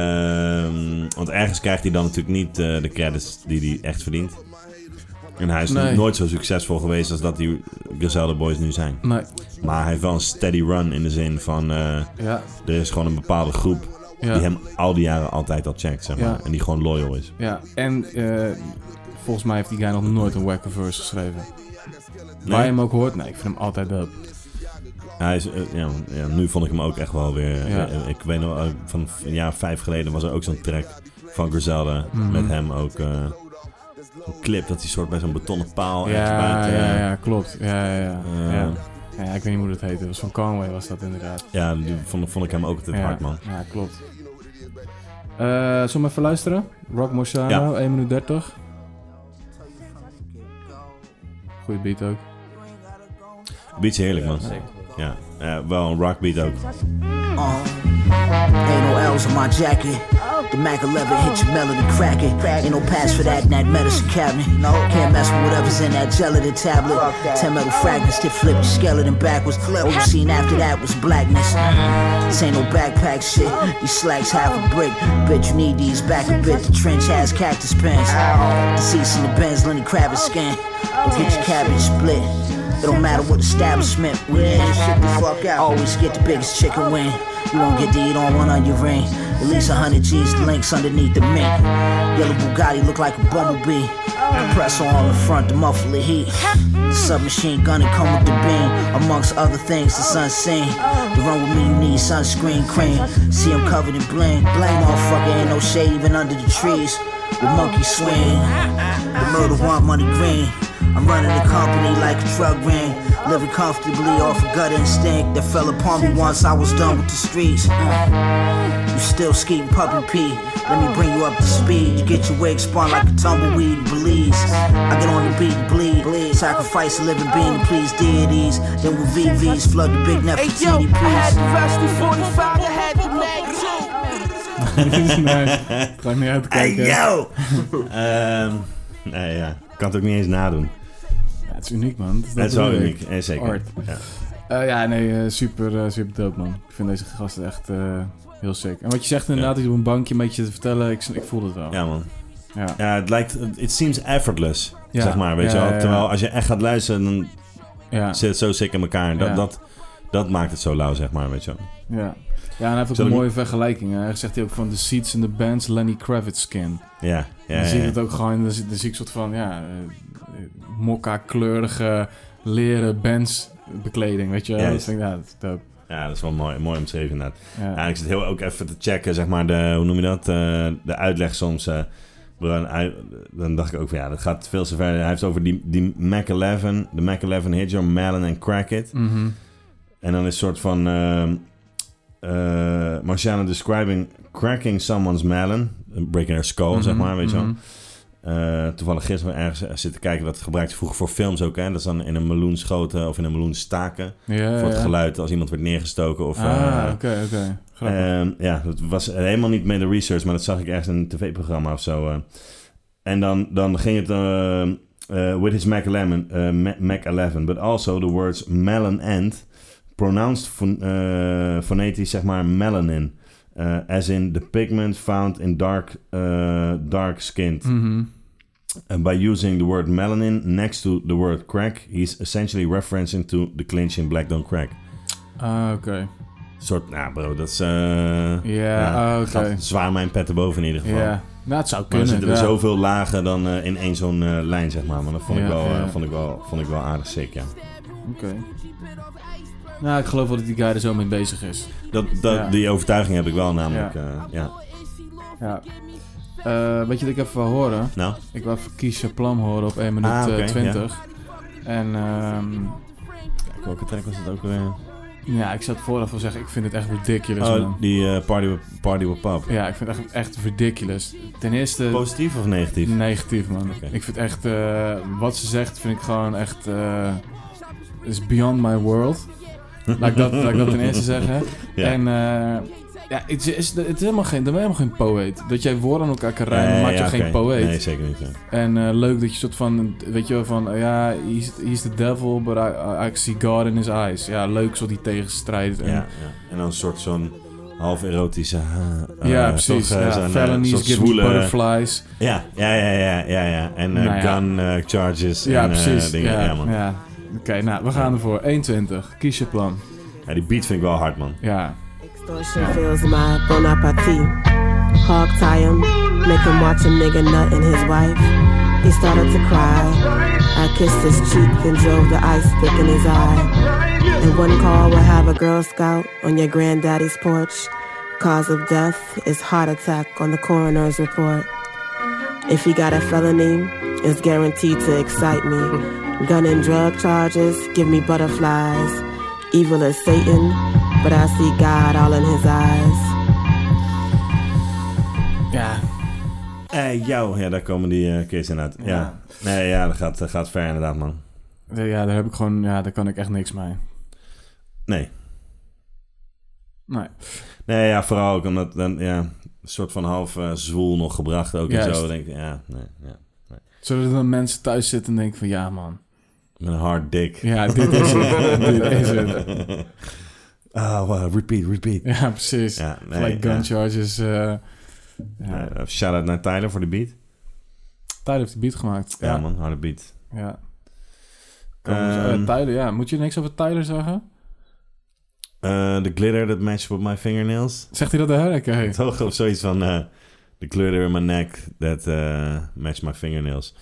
[SPEAKER 1] Ehm, want ergens krijgt hij dan natuurlijk niet eh, de credits die hij echt verdient. En hij is
[SPEAKER 2] Nee.
[SPEAKER 1] nooit zo succesvol geweest als dat die Griselda Boys nu zijn.
[SPEAKER 2] Nee,
[SPEAKER 1] Maar hij heeft wel een steady run in de zin van... eh,
[SPEAKER 2] ja,
[SPEAKER 1] er is gewoon een bepaalde groep
[SPEAKER 2] ja,
[SPEAKER 1] die hem al die jaren altijd al checkt, zeg maar.
[SPEAKER 2] Ja.
[SPEAKER 1] En die gewoon loyal is.
[SPEAKER 2] ja. En eh, volgens mij heeft die guy nog nooit een wacke verse geschreven.
[SPEAKER 1] Nee?
[SPEAKER 2] Waar je hem ook hoort, nee, ik vind hem altijd dope.
[SPEAKER 1] Hij is, eh, ja, ja, nu vond ik hem ook echt wel weer.
[SPEAKER 2] Ja.
[SPEAKER 1] eh, Ik weet nog, eh, van een jaar of vijf geleden was er ook zo'n track van Griselda.
[SPEAKER 2] Mhm.
[SPEAKER 1] Met hem ook. eh, een clip dat hij soort bij zo'n betonnen paal. ergens
[SPEAKER 2] ja,
[SPEAKER 1] buiten,
[SPEAKER 2] ja,
[SPEAKER 1] eh,
[SPEAKER 2] ja, klopt. Ja, ja, ja.
[SPEAKER 1] eh,
[SPEAKER 2] ja. Ja, ik weet niet hoe dat heette. Dat was van Conway was dat inderdaad.
[SPEAKER 1] ja, die vond, vond ik hem ook altijd
[SPEAKER 2] ja,
[SPEAKER 1] hard, man.
[SPEAKER 2] Ja, klopt. Eh zullen we maar even luisteren? Rock Morsano, 1 minuut 30. Goeie beat ook.
[SPEAKER 1] Beat is heerlijk, man. Ja, eh, wel een rockbeat ook.
[SPEAKER 6] Ain't no L's on my jacket. The Mac 11 hit your melody cracking. Ain't no pass for that in that medicine cabinet. Can't mess with whatever's in that gelatin tablet. Ten metal fragments that flip your skeleton backwards. All you seen after that was blackness. This ain't no backpack shit. These slacks half a brick. Bitch, you need these back a bit. The trench has cactus pins. The seats in the Benz, Lenny Kravitz skin. Don't get your cabbage split. It don't matter what establishment we in. Shit the fuck out. Always get the biggest chicken wing. You won't get to eat on one on your ring. At least a hundred G's the links underneath the mink. Yellow Bugatti look like a bumblebee. Press on the front to muffle the heat. The submachine gun and come with the beam. Amongst other things, the sun seen. To run with me, you need sunscreen cream. See him covered in bling. Bling, motherfucker, ain't no shade even under the trees. The monkey swing. The murder want money green. I'm running the company like a drug ring. Living comfortably off a gut instinct that fell upon me once I was done with the streets. Uh, You still skating puppy pee. Let me bring you up to speed. You get your wig spun like a tumbleweed in Belize. I get on the beat and bleed. bleed. Sacrifice a living being to please deities. Then with VVs flood the big
[SPEAKER 5] Hey
[SPEAKER 6] nephew
[SPEAKER 5] yo, I had
[SPEAKER 6] TDPs.
[SPEAKER 5] to rush the 45, I had to mag too.
[SPEAKER 2] nee, ga ik niet uit te
[SPEAKER 1] Hey,
[SPEAKER 2] kijken.
[SPEAKER 1] yo! Ehm, nee, ja. Kan het ook niet eens nadoen.
[SPEAKER 2] Ja, het is uniek, man. Het is,
[SPEAKER 1] Dat is wel
[SPEAKER 2] bedoel ik.
[SPEAKER 1] uniek, eh, zeker.
[SPEAKER 2] Art.
[SPEAKER 1] Ja.
[SPEAKER 2] Eh, ja, nee, eh, super, eh, super dope, man. Ik vind deze gasten echt eh, heel sick. En wat je zegt inderdaad, is op een bankje een beetje te vertellen, ik, ik voel het wel.
[SPEAKER 1] Ja, man.
[SPEAKER 2] Ja.
[SPEAKER 1] Ja, het lijkt... It seems effortless,
[SPEAKER 2] Ja.
[SPEAKER 1] zeg maar,
[SPEAKER 2] Ja,
[SPEAKER 1] weet je
[SPEAKER 2] ja,
[SPEAKER 1] wel.
[SPEAKER 2] ja.
[SPEAKER 1] Terwijl als je echt gaat luisteren, dan
[SPEAKER 2] Ja,
[SPEAKER 1] zit het zo sick in elkaar. Dat,
[SPEAKER 2] Ja.
[SPEAKER 1] dat, dat maakt het zo lauw, zeg maar, weet je wel.
[SPEAKER 2] ja. ja, en hij heeft ook
[SPEAKER 1] Zal
[SPEAKER 2] een
[SPEAKER 1] ik-
[SPEAKER 2] mooie vergelijking. Hij zegt hij ook van de seats in the bands Lenny Kravitz skin.
[SPEAKER 1] Ja, ja,
[SPEAKER 2] dan
[SPEAKER 1] ja,
[SPEAKER 2] zie je
[SPEAKER 1] ja.
[SPEAKER 2] het ook gewoon, dan zie, dan zie ik soort van, ja, eh, mokka-kleurige leren bands bekleding, weet je wel.
[SPEAKER 1] Juist.
[SPEAKER 2] Dus ik denk, ja, dat is dope.
[SPEAKER 1] Ja, dat is wel mooi, mooi omschreven inderdaad.
[SPEAKER 2] Ja.
[SPEAKER 1] Ja, en ik zit heel ook even te checken, zeg maar, de, hoe noem je dat? Eh, de uitleg soms. eh, waarin hij- dan dacht ik ook van, ja, dat gaat veel te ver. Hij heeft het over die, die Mac 11, de Mac 11 Hitcher, Malin en Crackit.
[SPEAKER 2] Mhm.
[SPEAKER 1] En dan is soort van ehm eh, Marciano describing cracking someone's melon, breaking their skull, zeg maar, weet je wel.
[SPEAKER 2] Mhm.
[SPEAKER 1] Eh, toevallig gisteren ergens eh, zitten kijken, dat gebruikte vroeger voor films ook. Hè? Dat is dan in een meloen schoten of in een meloen staken.
[SPEAKER 2] Ja,
[SPEAKER 1] voor het
[SPEAKER 2] ja.
[SPEAKER 1] geluid als iemand wordt neergestoken. Of, eh,
[SPEAKER 2] Ah, oké, oké. Grappig.
[SPEAKER 1] Ehm, ja, dat was helemaal niet met de research, maar dat zag ik ergens in een tv-programma of zo. eh. En dan, dan ging het... eh, eh, with his Mac 11, eh, Ma- Mac 11, but also the words melon and, pronounced phon eh, phonetisch zeg maar melanin. eh, as in the pigment found in dark, eh, dark skinned.
[SPEAKER 2] Mhm.
[SPEAKER 1] And by using the word melanin next to the word crack, he's essentially referencing to the clinch in Black Don't Crack.
[SPEAKER 2] Ah, oké.
[SPEAKER 1] Soort, nou bro, dat is... eh,
[SPEAKER 2] Ja, ah, oké.
[SPEAKER 1] gaat zwaar mijn pet erboven in ieder geval.
[SPEAKER 2] Ja. Nou, het zou
[SPEAKER 1] Maar er
[SPEAKER 2] kunnen.
[SPEAKER 1] zitten er
[SPEAKER 2] ja.
[SPEAKER 1] zoveel lagen dan eh, in één zo'n eh, lijn, zeg maar. Maar dat vond, ik
[SPEAKER 2] Ja,
[SPEAKER 1] wel, eh,
[SPEAKER 2] ja.
[SPEAKER 1] vond, ik wel, vond ik wel aardig sick, ja.
[SPEAKER 2] Oké. Nou, ik geloof wel dat die guy er zo mee bezig is.
[SPEAKER 1] Dat, dat,
[SPEAKER 2] Ja.
[SPEAKER 1] Die overtuiging heb ik wel namelijk, ja. ja.
[SPEAKER 2] Ja. Eh, weet je wat ik even wil horen?
[SPEAKER 1] Nou,
[SPEAKER 2] Ik wil even Kiesje Plam horen op 1 minuut
[SPEAKER 1] Ah,
[SPEAKER 2] eh,
[SPEAKER 1] oké, ja.
[SPEAKER 2] 20. En ehm,
[SPEAKER 1] kijk, welke track was dat ook weer?
[SPEAKER 2] ja, ik zat vooraf al zeggen, ik vind het echt ridiculous,
[SPEAKER 1] Oh,
[SPEAKER 2] man.
[SPEAKER 1] die eh, Party, with, party with Pop.
[SPEAKER 2] Ja, ik vind het echt, echt ridiculous. Ten eerste
[SPEAKER 1] Positief of negatief?
[SPEAKER 2] negatief, man.
[SPEAKER 1] Oké.
[SPEAKER 2] Ik vind echt, eh, wat ze zegt, vind ik gewoon echt, eh, is beyond my world. Laat ik dat, laat ik dat ten eerste zeggen.
[SPEAKER 1] Ja.
[SPEAKER 2] En eh, ja, het is, is- het is helemaal geen, dan ben je helemaal geen poëet. Dat jij woorden aan elkaar kan rijmen,
[SPEAKER 1] Eh,
[SPEAKER 2] maakt je
[SPEAKER 1] ja,
[SPEAKER 2] geen
[SPEAKER 1] oké.
[SPEAKER 2] poëet.
[SPEAKER 1] Nee, zeker niet. ja.
[SPEAKER 2] En eh, leuk dat je soort van, weet je wel, van eh, ja, he's, he's the devil, but I, I see God in his eyes. Ja, leuk zo die tegenstrijd.
[SPEAKER 1] Ja,
[SPEAKER 2] En,
[SPEAKER 1] ja. En dan een soort zo'n half erotische... ha- eh,
[SPEAKER 2] ja,
[SPEAKER 1] toch,
[SPEAKER 2] precies.
[SPEAKER 1] eh,
[SPEAKER 2] ja,
[SPEAKER 1] zo'n, eh,
[SPEAKER 2] felonies,
[SPEAKER 1] soort
[SPEAKER 2] give me
[SPEAKER 1] zwoele-
[SPEAKER 2] butterflies.
[SPEAKER 1] Ja, ja, ja, ja, ja, ja. En eh,
[SPEAKER 2] Nou ja.
[SPEAKER 1] gun eh, charges
[SPEAKER 2] Ja,
[SPEAKER 1] en eh,
[SPEAKER 2] precies.
[SPEAKER 1] dingen. Ja,
[SPEAKER 2] ja,
[SPEAKER 1] man.
[SPEAKER 2] ja. Oké, nou, we gaan ervoor. 1,20. Kies je plan.
[SPEAKER 1] Ja, die beat vind ik wel hard, man.
[SPEAKER 2] Ja.
[SPEAKER 7] Extortion feels my bon appetit. Hog tie him, make him watch a nigga nut and his wife. He started to cry. I kissed his cheek, then drove the ice pick in his eye. And one call will have a Girl Scout on your granddaddy's porch. Cause of death is heart attack on the coroner's report. If he got a felony, it's guaranteed to excite me. Gun and drug charges give me butterflies. Evil is Satan, but I see God all in his eyes.
[SPEAKER 2] Ja.
[SPEAKER 1] Eh, jou, ja, daar komen die eh kids in uit. Ja.
[SPEAKER 2] Ja.
[SPEAKER 1] Nee, ja, dat gaat, dat gaat ver inderdaad, man.
[SPEAKER 2] Ja, daar heb ik gewoon, ja, daar kan ik echt niks mee.
[SPEAKER 1] Nee.
[SPEAKER 2] Nee.
[SPEAKER 1] Nee, ja, vooral ook omdat, dan, ja, een soort van half eh, zwoel nog gebracht ook en
[SPEAKER 2] Juist.
[SPEAKER 1] zo. Dan denk ik, ja, nee, ja.
[SPEAKER 2] Zullen er dan mensen thuis zitten en denken van, ja man.
[SPEAKER 1] Met een hard dik.
[SPEAKER 2] Ja, dit is het. dit is het.
[SPEAKER 1] Ah, wow, repeat, repeat.
[SPEAKER 2] Ja, precies.
[SPEAKER 1] Ja, nee.
[SPEAKER 2] Gelijk
[SPEAKER 1] ja.
[SPEAKER 2] gun charges. eh, ja.
[SPEAKER 1] Ja, Shout-out naar Tyler voor de beat.
[SPEAKER 2] Tyler heeft de beat gemaakt.
[SPEAKER 1] Ja, man, harde beat.
[SPEAKER 2] Ja. Komen ze-
[SPEAKER 1] Ehm,
[SPEAKER 2] eh, Tyler, ja. Moet je niks over Tyler zeggen?
[SPEAKER 1] eh, the glitter that matches with my fingernails.
[SPEAKER 2] Zegt hij dat de hurricane?
[SPEAKER 1] Toch? Of zoiets van... eh, de kleur in mijn nek that eh match my fingernails.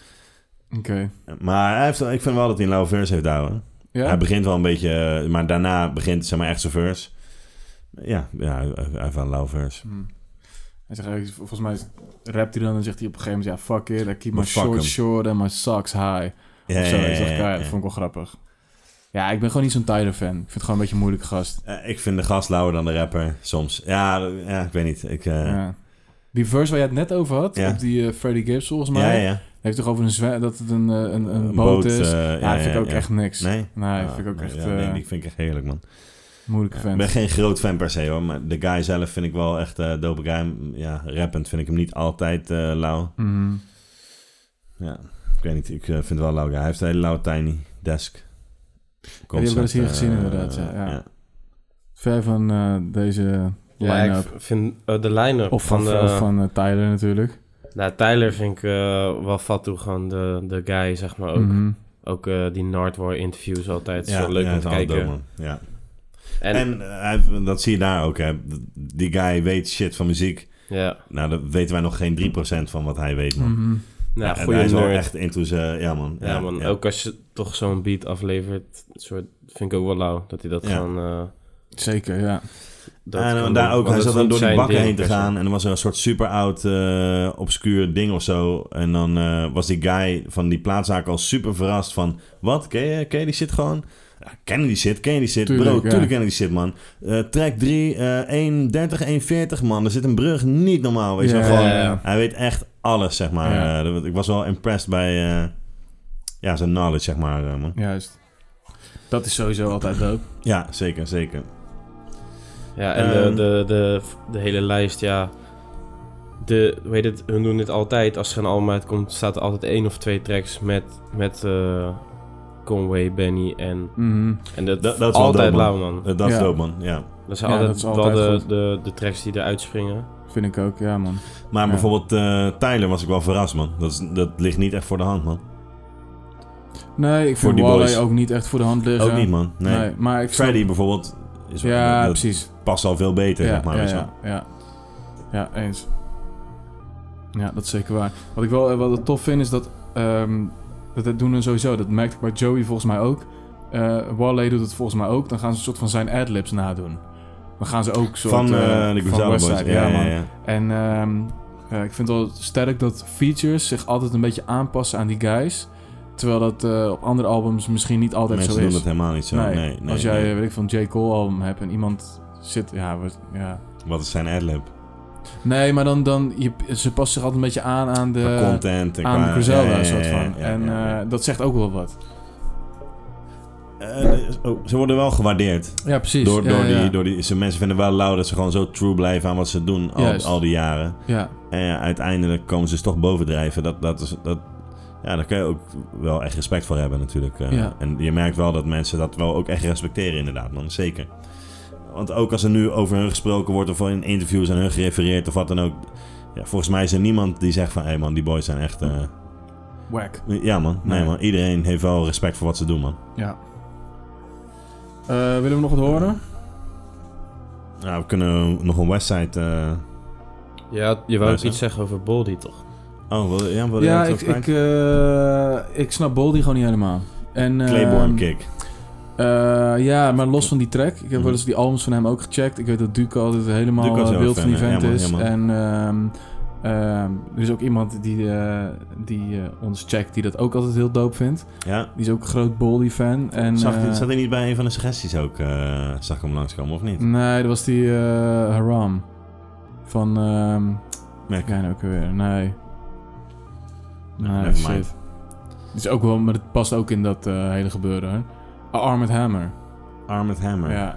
[SPEAKER 2] Oké.
[SPEAKER 1] Maar hij heeft, wel- ik vind wel dat hij een lauwe verse heeft houden.
[SPEAKER 2] Ja?
[SPEAKER 1] Hij begint wel een beetje... eh, Maar daarna begint zeg maar echt zijn verse. Ja, ja hij hij heeft wel een lauwe verse.
[SPEAKER 2] Hm. Hij zegt, eigenlijk, volgens mij rapt hij dan en zegt hij op een gegeven moment... Ja, fuck it. I keep my
[SPEAKER 1] Maar fuck
[SPEAKER 2] shorts
[SPEAKER 1] hem.
[SPEAKER 2] short and my socks high.
[SPEAKER 1] Ja,
[SPEAKER 2] of zo.
[SPEAKER 1] ja,
[SPEAKER 2] Hij
[SPEAKER 1] ja,
[SPEAKER 2] zegt,
[SPEAKER 1] ja,
[SPEAKER 2] ja,
[SPEAKER 1] ja.
[SPEAKER 2] dat vond ik wel grappig. Ja, ik ben gewoon niet zo'n Tyler-fan. Ik vind het gewoon een beetje een moeilijke gast.
[SPEAKER 1] Eh, ik vind de gast lauwer dan de rapper soms. Ja, eh, ja ik weet niet. Ik, eh, ja.
[SPEAKER 2] Ja. Die verse waar je het net over had,
[SPEAKER 1] Ja.
[SPEAKER 2] op die eh, Freddie Gibbs volgens mij...
[SPEAKER 1] Ja, ja.
[SPEAKER 2] heeft toch over een zwe- dat het een, eh, een, een, boot, is.
[SPEAKER 1] eh,
[SPEAKER 2] ja, dat vind ik ook echt niks.
[SPEAKER 1] Nee?
[SPEAKER 2] Nee, dat
[SPEAKER 1] Ah,
[SPEAKER 2] vind ik ook
[SPEAKER 1] nee,
[SPEAKER 2] echt
[SPEAKER 1] ja,
[SPEAKER 2] eh,
[SPEAKER 1] nee, die vind ik echt heerlijk, man.
[SPEAKER 2] moeilijke
[SPEAKER 1] Ik
[SPEAKER 2] fan.
[SPEAKER 1] ben geen groot fan per se, hoor. Maar de guy zelf vind ik wel echt eh dope guy. Ja, rappend vind ik hem niet altijd eh lauw.
[SPEAKER 2] Mhm.
[SPEAKER 1] Ja, ik weet niet. Ik eh, vind het wel lauw. Hij heeft een hele lauwe tiny desk.
[SPEAKER 2] hebben we wel eens hier
[SPEAKER 1] Concept,
[SPEAKER 2] gezien,
[SPEAKER 1] eh,
[SPEAKER 2] inderdaad, ja, ja. Ver van eh, deze
[SPEAKER 3] Ja,
[SPEAKER 2] line-up.
[SPEAKER 3] ik v- vind eh, de line-up
[SPEAKER 2] Of van,
[SPEAKER 3] van,
[SPEAKER 2] van,
[SPEAKER 3] eh,
[SPEAKER 2] van, eh, Tyler natuurlijk.
[SPEAKER 3] Nou, Tyler vind ik eh, wel fat toe, gewoon de, de guy, zeg maar ook.
[SPEAKER 2] Mhm.
[SPEAKER 3] Ook eh, die Nardwar interviews altijd, is
[SPEAKER 1] Ja,
[SPEAKER 3] wel leuk
[SPEAKER 1] ja,
[SPEAKER 3] om
[SPEAKER 1] is
[SPEAKER 3] te
[SPEAKER 1] wel
[SPEAKER 3] kijken.
[SPEAKER 1] dope, man. ja.
[SPEAKER 3] en,
[SPEAKER 1] En, eh, hij- dat zie je daar ook, hè. Die guy weet shit van muziek.
[SPEAKER 3] ja,
[SPEAKER 1] Nou, daar weten wij nog geen 3% van wat hij weet, man.
[SPEAKER 2] Mhm.
[SPEAKER 3] nou,
[SPEAKER 1] Ja, en
[SPEAKER 3] goede
[SPEAKER 1] hij is wel
[SPEAKER 3] nerd.
[SPEAKER 1] echt into zijn... Ja, man.
[SPEAKER 3] ja, man, ook als je toch zo'n beat aflevert, soort, vind ik ook wel lauw. Dat hij dat
[SPEAKER 1] Ja.
[SPEAKER 3] gewoon... eh,
[SPEAKER 2] Zeker, ja.
[SPEAKER 3] dat
[SPEAKER 1] en
[SPEAKER 3] kan
[SPEAKER 1] daar
[SPEAKER 3] doen.
[SPEAKER 1] ook,
[SPEAKER 3] Want
[SPEAKER 1] hij
[SPEAKER 3] dat
[SPEAKER 1] zat
[SPEAKER 3] is
[SPEAKER 1] dan
[SPEAKER 3] niet
[SPEAKER 1] door die
[SPEAKER 3] zijn
[SPEAKER 1] bakken
[SPEAKER 3] ding
[SPEAKER 1] heen te
[SPEAKER 3] per se.
[SPEAKER 1] gaan. En er was een soort super oud, eh, obscuur ding of zo. En dan eh, was die guy van die plaatszaak al super verrast van... Wat? Ken je, ken je die shit gewoon? Ja, ken je die shit? Ken je die shit?
[SPEAKER 2] Tuurlijk,
[SPEAKER 1] Bro,
[SPEAKER 2] ja.
[SPEAKER 1] tuurlijk ken ik die shit, man. Eh track 3, eh 1.30, 1.40, man. Er zit een brug niet normaal, weet je
[SPEAKER 2] Ja,
[SPEAKER 1] wel. Gewoon,
[SPEAKER 3] ja, ja.
[SPEAKER 1] Hij weet echt alles, zeg maar.
[SPEAKER 2] Ja.
[SPEAKER 1] Eh, dat- ik was wel impressed bij eh, ja, zijn knowledge, zeg maar, eh, man.
[SPEAKER 2] Juist. Dat is sowieso altijd dope.
[SPEAKER 1] Ja, zeker, zeker.
[SPEAKER 3] Ja, en
[SPEAKER 1] Ehm.
[SPEAKER 3] de, de, de, de hele lijst, ja. De, hoe heet het, hun doen dit altijd. Als er een album uitkomt, staat er altijd één of twee tracks met, met eh, Conway, Benny en...
[SPEAKER 2] Mhm.
[SPEAKER 3] En dat,
[SPEAKER 1] Dat- dat is wel
[SPEAKER 3] altijd
[SPEAKER 1] dope, man.
[SPEAKER 3] lauw, man.
[SPEAKER 1] Dat, dat is
[SPEAKER 2] Ja.
[SPEAKER 1] dope, man. Ja.
[SPEAKER 3] Dat
[SPEAKER 2] Ja,
[SPEAKER 3] zijn altijd,
[SPEAKER 2] dat is altijd
[SPEAKER 3] wel de,
[SPEAKER 2] goed.
[SPEAKER 3] de, de tracks die eruit springen.
[SPEAKER 2] Vind ik ook, ja man.
[SPEAKER 1] Maar
[SPEAKER 2] Ja.
[SPEAKER 1] bijvoorbeeld eh Tyler was ik wel verrast, man. Dat, is, dat ligt niet echt voor de hand, man.
[SPEAKER 2] Nee, ik
[SPEAKER 1] Voor
[SPEAKER 2] vind
[SPEAKER 1] die
[SPEAKER 2] Wally
[SPEAKER 1] boys.
[SPEAKER 2] ook niet echt voor de hand liggen.
[SPEAKER 1] Ook niet, man. Nee.
[SPEAKER 2] Nee, maar ik snap-
[SPEAKER 1] Freddy bijvoorbeeld is
[SPEAKER 2] Ja,
[SPEAKER 1] dat
[SPEAKER 2] precies.
[SPEAKER 1] past al veel beter,
[SPEAKER 2] ja,
[SPEAKER 1] zeg maar.
[SPEAKER 2] ja,
[SPEAKER 1] weet je
[SPEAKER 2] ja, ja. Ja, eens. Ja, dat is zeker waar. Wat ik wel eh, wat ik tof vind is dat... ehm, dat, dat doen we sowieso. Dat merkte ik bij Joey volgens mij ook. Eh Wally doet het volgens mij ook. Dan gaan ze een soort van zijn adlibs nadoen. Dan gaan ze ook soort...
[SPEAKER 1] wel. Van eh,
[SPEAKER 2] eh, van
[SPEAKER 1] de Griselda Boys.
[SPEAKER 2] Westside,
[SPEAKER 1] Ja,
[SPEAKER 2] man.
[SPEAKER 1] ja, ja.
[SPEAKER 2] En ehm, eh, ik vind het wel sterk dat features zich altijd een beetje aanpassen aan die guys. Terwijl dat eh, op andere albums misschien niet altijd
[SPEAKER 1] Mensen
[SPEAKER 2] zo
[SPEAKER 1] doen
[SPEAKER 2] is.
[SPEAKER 1] dat helemaal niet zo. Nee, nee,
[SPEAKER 2] Als jij,
[SPEAKER 1] nee.
[SPEAKER 2] weet ik, van J. Cole album hebt en iemand zit... Ja, wordt, ja.
[SPEAKER 1] Wat is zijn adlib?
[SPEAKER 2] Nee, maar dan... dan je, ze passen zich altijd een beetje aan aan de...
[SPEAKER 1] Qua content en
[SPEAKER 2] aan
[SPEAKER 1] qua...
[SPEAKER 2] de Griselda,
[SPEAKER 1] ja, ja, ja,
[SPEAKER 2] soort
[SPEAKER 1] ja,
[SPEAKER 2] van.
[SPEAKER 1] ja,
[SPEAKER 2] en
[SPEAKER 1] ja, ja.
[SPEAKER 2] eh, dat zegt ook wel wat.
[SPEAKER 1] Eh, oh, ze worden wel gewaardeerd.
[SPEAKER 2] Ja, precies.
[SPEAKER 1] Door,
[SPEAKER 2] ja,
[SPEAKER 1] door,
[SPEAKER 2] ja,
[SPEAKER 1] Die, door die, ze mensen vinden wel lauw dat ze gewoon zo true blijven aan wat ze doen al,
[SPEAKER 2] Juist.
[SPEAKER 1] al die jaren.
[SPEAKER 2] Ja,
[SPEAKER 1] En ja, uiteindelijk komen ze dus toch bovendrijven. Dat, dat is, dat, ja, daar kun je ook wel echt respect voor hebben natuurlijk. eh.
[SPEAKER 2] Ja.
[SPEAKER 1] En je merkt wel dat mensen dat wel ook echt respecteren inderdaad, man. Zeker. Want ook als er nu over hun gesproken wordt of in interviews aan hun gerefereerd of wat dan ook. Ja, volgens mij is er niemand die zegt van, hé hey man, die boys zijn echt... eh,
[SPEAKER 2] whack.
[SPEAKER 1] Ja man, nee,
[SPEAKER 2] Nee.
[SPEAKER 1] man. Iedereen heeft wel respect voor wat ze doen, man.
[SPEAKER 2] Ja. Eh, willen we nog wat horen?
[SPEAKER 1] Nou, we kunnen nog een website... eh
[SPEAKER 3] Ja, je wou ook
[SPEAKER 1] Luister.
[SPEAKER 3] iets zeggen over Boldy, toch?
[SPEAKER 1] Oh, wil, ja, wil je
[SPEAKER 2] ja,
[SPEAKER 1] dat
[SPEAKER 2] ik,
[SPEAKER 1] ook kwijt?
[SPEAKER 2] ik, eh, ik snap Boldy gewoon niet helemaal. En, ehm,
[SPEAKER 1] Claiborne Kick.
[SPEAKER 2] Eh, ja, maar los van die track. Ik heb
[SPEAKER 1] Mhm.
[SPEAKER 2] wel eens die albums van hem ook gecheckt. Ik weet dat Duco altijd helemaal
[SPEAKER 1] Duco is
[SPEAKER 2] eh,
[SPEAKER 1] heel
[SPEAKER 2] wild
[SPEAKER 1] fan,
[SPEAKER 2] van die
[SPEAKER 1] hè? Ja,
[SPEAKER 2] vent
[SPEAKER 1] man,
[SPEAKER 2] is.
[SPEAKER 1] ja, man.
[SPEAKER 2] en ehm, ehm, er is ook iemand die, eh, die eh, ons checkt die dat ook altijd heel dope vindt.
[SPEAKER 1] Ja.
[SPEAKER 2] Die is ook een groot Boldy fan. En,
[SPEAKER 1] Zag,
[SPEAKER 2] eh,
[SPEAKER 1] zat hij niet bij een van de suggesties ook? eh, zag ik hem langskomen, of niet?
[SPEAKER 2] Nee, dat was die eh, Haram. Van... ehm
[SPEAKER 1] Mac.
[SPEAKER 2] Kijk nou ook weer. Nee. Nee,
[SPEAKER 1] never
[SPEAKER 2] shit.
[SPEAKER 1] mind.
[SPEAKER 2] Het is ook wel, maar het past ook in dat eh, hele gebeuren. Hè? Ah, Armored Hammer.
[SPEAKER 1] Armored Hammer.
[SPEAKER 2] Ja.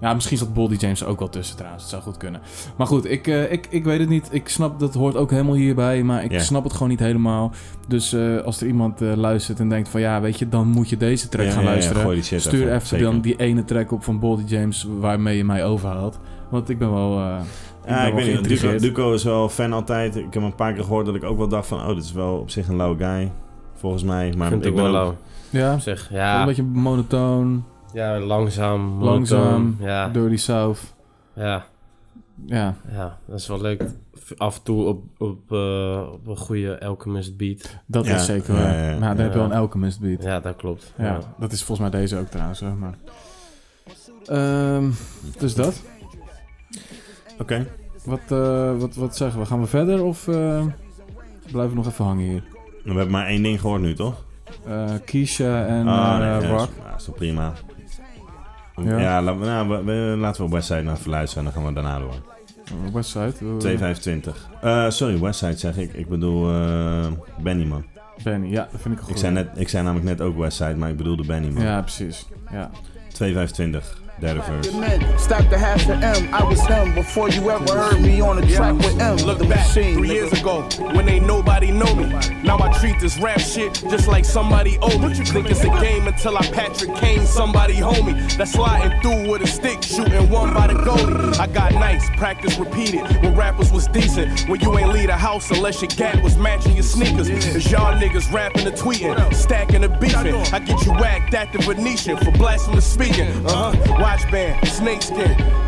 [SPEAKER 2] Ja, misschien zat Boldy James er ook wel tussen trouwens. Het zou goed kunnen. Maar goed, ik, eh, ik, ik weet het niet. Ik snap, dat hoort ook helemaal hierbij. Maar ik
[SPEAKER 1] Ja.
[SPEAKER 2] snap het gewoon niet helemaal. Dus eh, als er iemand eh, luistert en denkt van... Ja, weet je, dan moet je deze track
[SPEAKER 1] Ja,
[SPEAKER 2] gaan
[SPEAKER 1] ja, ja,
[SPEAKER 2] luisteren.
[SPEAKER 1] gooi die shit
[SPEAKER 2] Stuur even,
[SPEAKER 1] zeker.
[SPEAKER 2] dan die ene track op van Boldy James waarmee je mij overhaalt. Want ik ben wel... eh, ben
[SPEAKER 1] Ja,
[SPEAKER 2] wel
[SPEAKER 1] ik weet niet. Duco,
[SPEAKER 2] geïntrigeerd.
[SPEAKER 1] Duco is wel fan altijd. Ik heb hem een paar keer gehoord dat ik ook wel dacht van... Oh, dit is wel op zich een lauwe guy. Volgens mij. Maar
[SPEAKER 3] Vind ik wel
[SPEAKER 1] ben
[SPEAKER 3] lauw.
[SPEAKER 2] ja,
[SPEAKER 3] Op zich,
[SPEAKER 2] een
[SPEAKER 3] ja.
[SPEAKER 2] beetje monotoon.
[SPEAKER 3] Ja, langzaam. monotoon,
[SPEAKER 2] Langzaam,
[SPEAKER 3] Ja,
[SPEAKER 2] Dirty South.
[SPEAKER 3] ja,
[SPEAKER 2] Ja,
[SPEAKER 3] ja. Dat is wel leuk. Af en toe op, op, eh, op een goede Alchemist beat.
[SPEAKER 2] dat
[SPEAKER 1] Ja,
[SPEAKER 2] is zeker
[SPEAKER 1] ja,
[SPEAKER 2] waar.
[SPEAKER 1] ja, ja.
[SPEAKER 2] maar dan heb je wel
[SPEAKER 3] Ja.
[SPEAKER 2] een Alchemist beat.
[SPEAKER 3] Ja, dat klopt.
[SPEAKER 2] Ja,
[SPEAKER 3] Ja.
[SPEAKER 2] dat is volgens mij deze ook trouwens. Hè, maar. Ehm, dus dat.
[SPEAKER 1] Oké.
[SPEAKER 2] Wat, eh, wat, wat zeggen we? Gaan we verder of eh, blijven we nog even hangen hier?
[SPEAKER 1] We hebben maar één ding gehoord nu, toch?
[SPEAKER 2] Eh Keisha en
[SPEAKER 1] Ah,
[SPEAKER 2] eh,
[SPEAKER 1] nee,
[SPEAKER 2] Rock.
[SPEAKER 1] dat is, ah, is toch prima. Ja,
[SPEAKER 2] Ja.
[SPEAKER 1] laat- nou, we- we- laten we op Westside naar even luisteren. En dan gaan we daarna door.
[SPEAKER 2] Eh, Westside. eh,
[SPEAKER 1] 225. Eh, sorry, Westside zeg ik. Ik bedoel eh Benny, man.
[SPEAKER 2] Benny, ja, dat vind ik een
[SPEAKER 1] Ik
[SPEAKER 2] goed.
[SPEAKER 1] zei, net, ik zei namelijk net ook Westside, maar ik bedoelde Benny, man.
[SPEAKER 2] Ja, precies. Ja.
[SPEAKER 1] 225, derde verse.
[SPEAKER 8] Men Stacked the half the M. I was them before you ever heard me on a track with M.
[SPEAKER 9] Look
[SPEAKER 8] the
[SPEAKER 9] back
[SPEAKER 8] machine.
[SPEAKER 9] three
[SPEAKER 8] nigga.
[SPEAKER 9] years ago when ain't nobody know me. Now I treat this rap shit just like somebody owe me. Think it's a game until I Patrick Kane somebody homie. That's sliding through with a stick, shooting one by the goalie. I got nice practice repeated when rappers was decent. When you ain't leave the house unless your gat was matching your sneakers. It's y'all niggas rapping and tweeting, stacking and beefing. I get you whacked at the Venetian for blasphemous speaking. Uh huh. Watch band, snakeskin.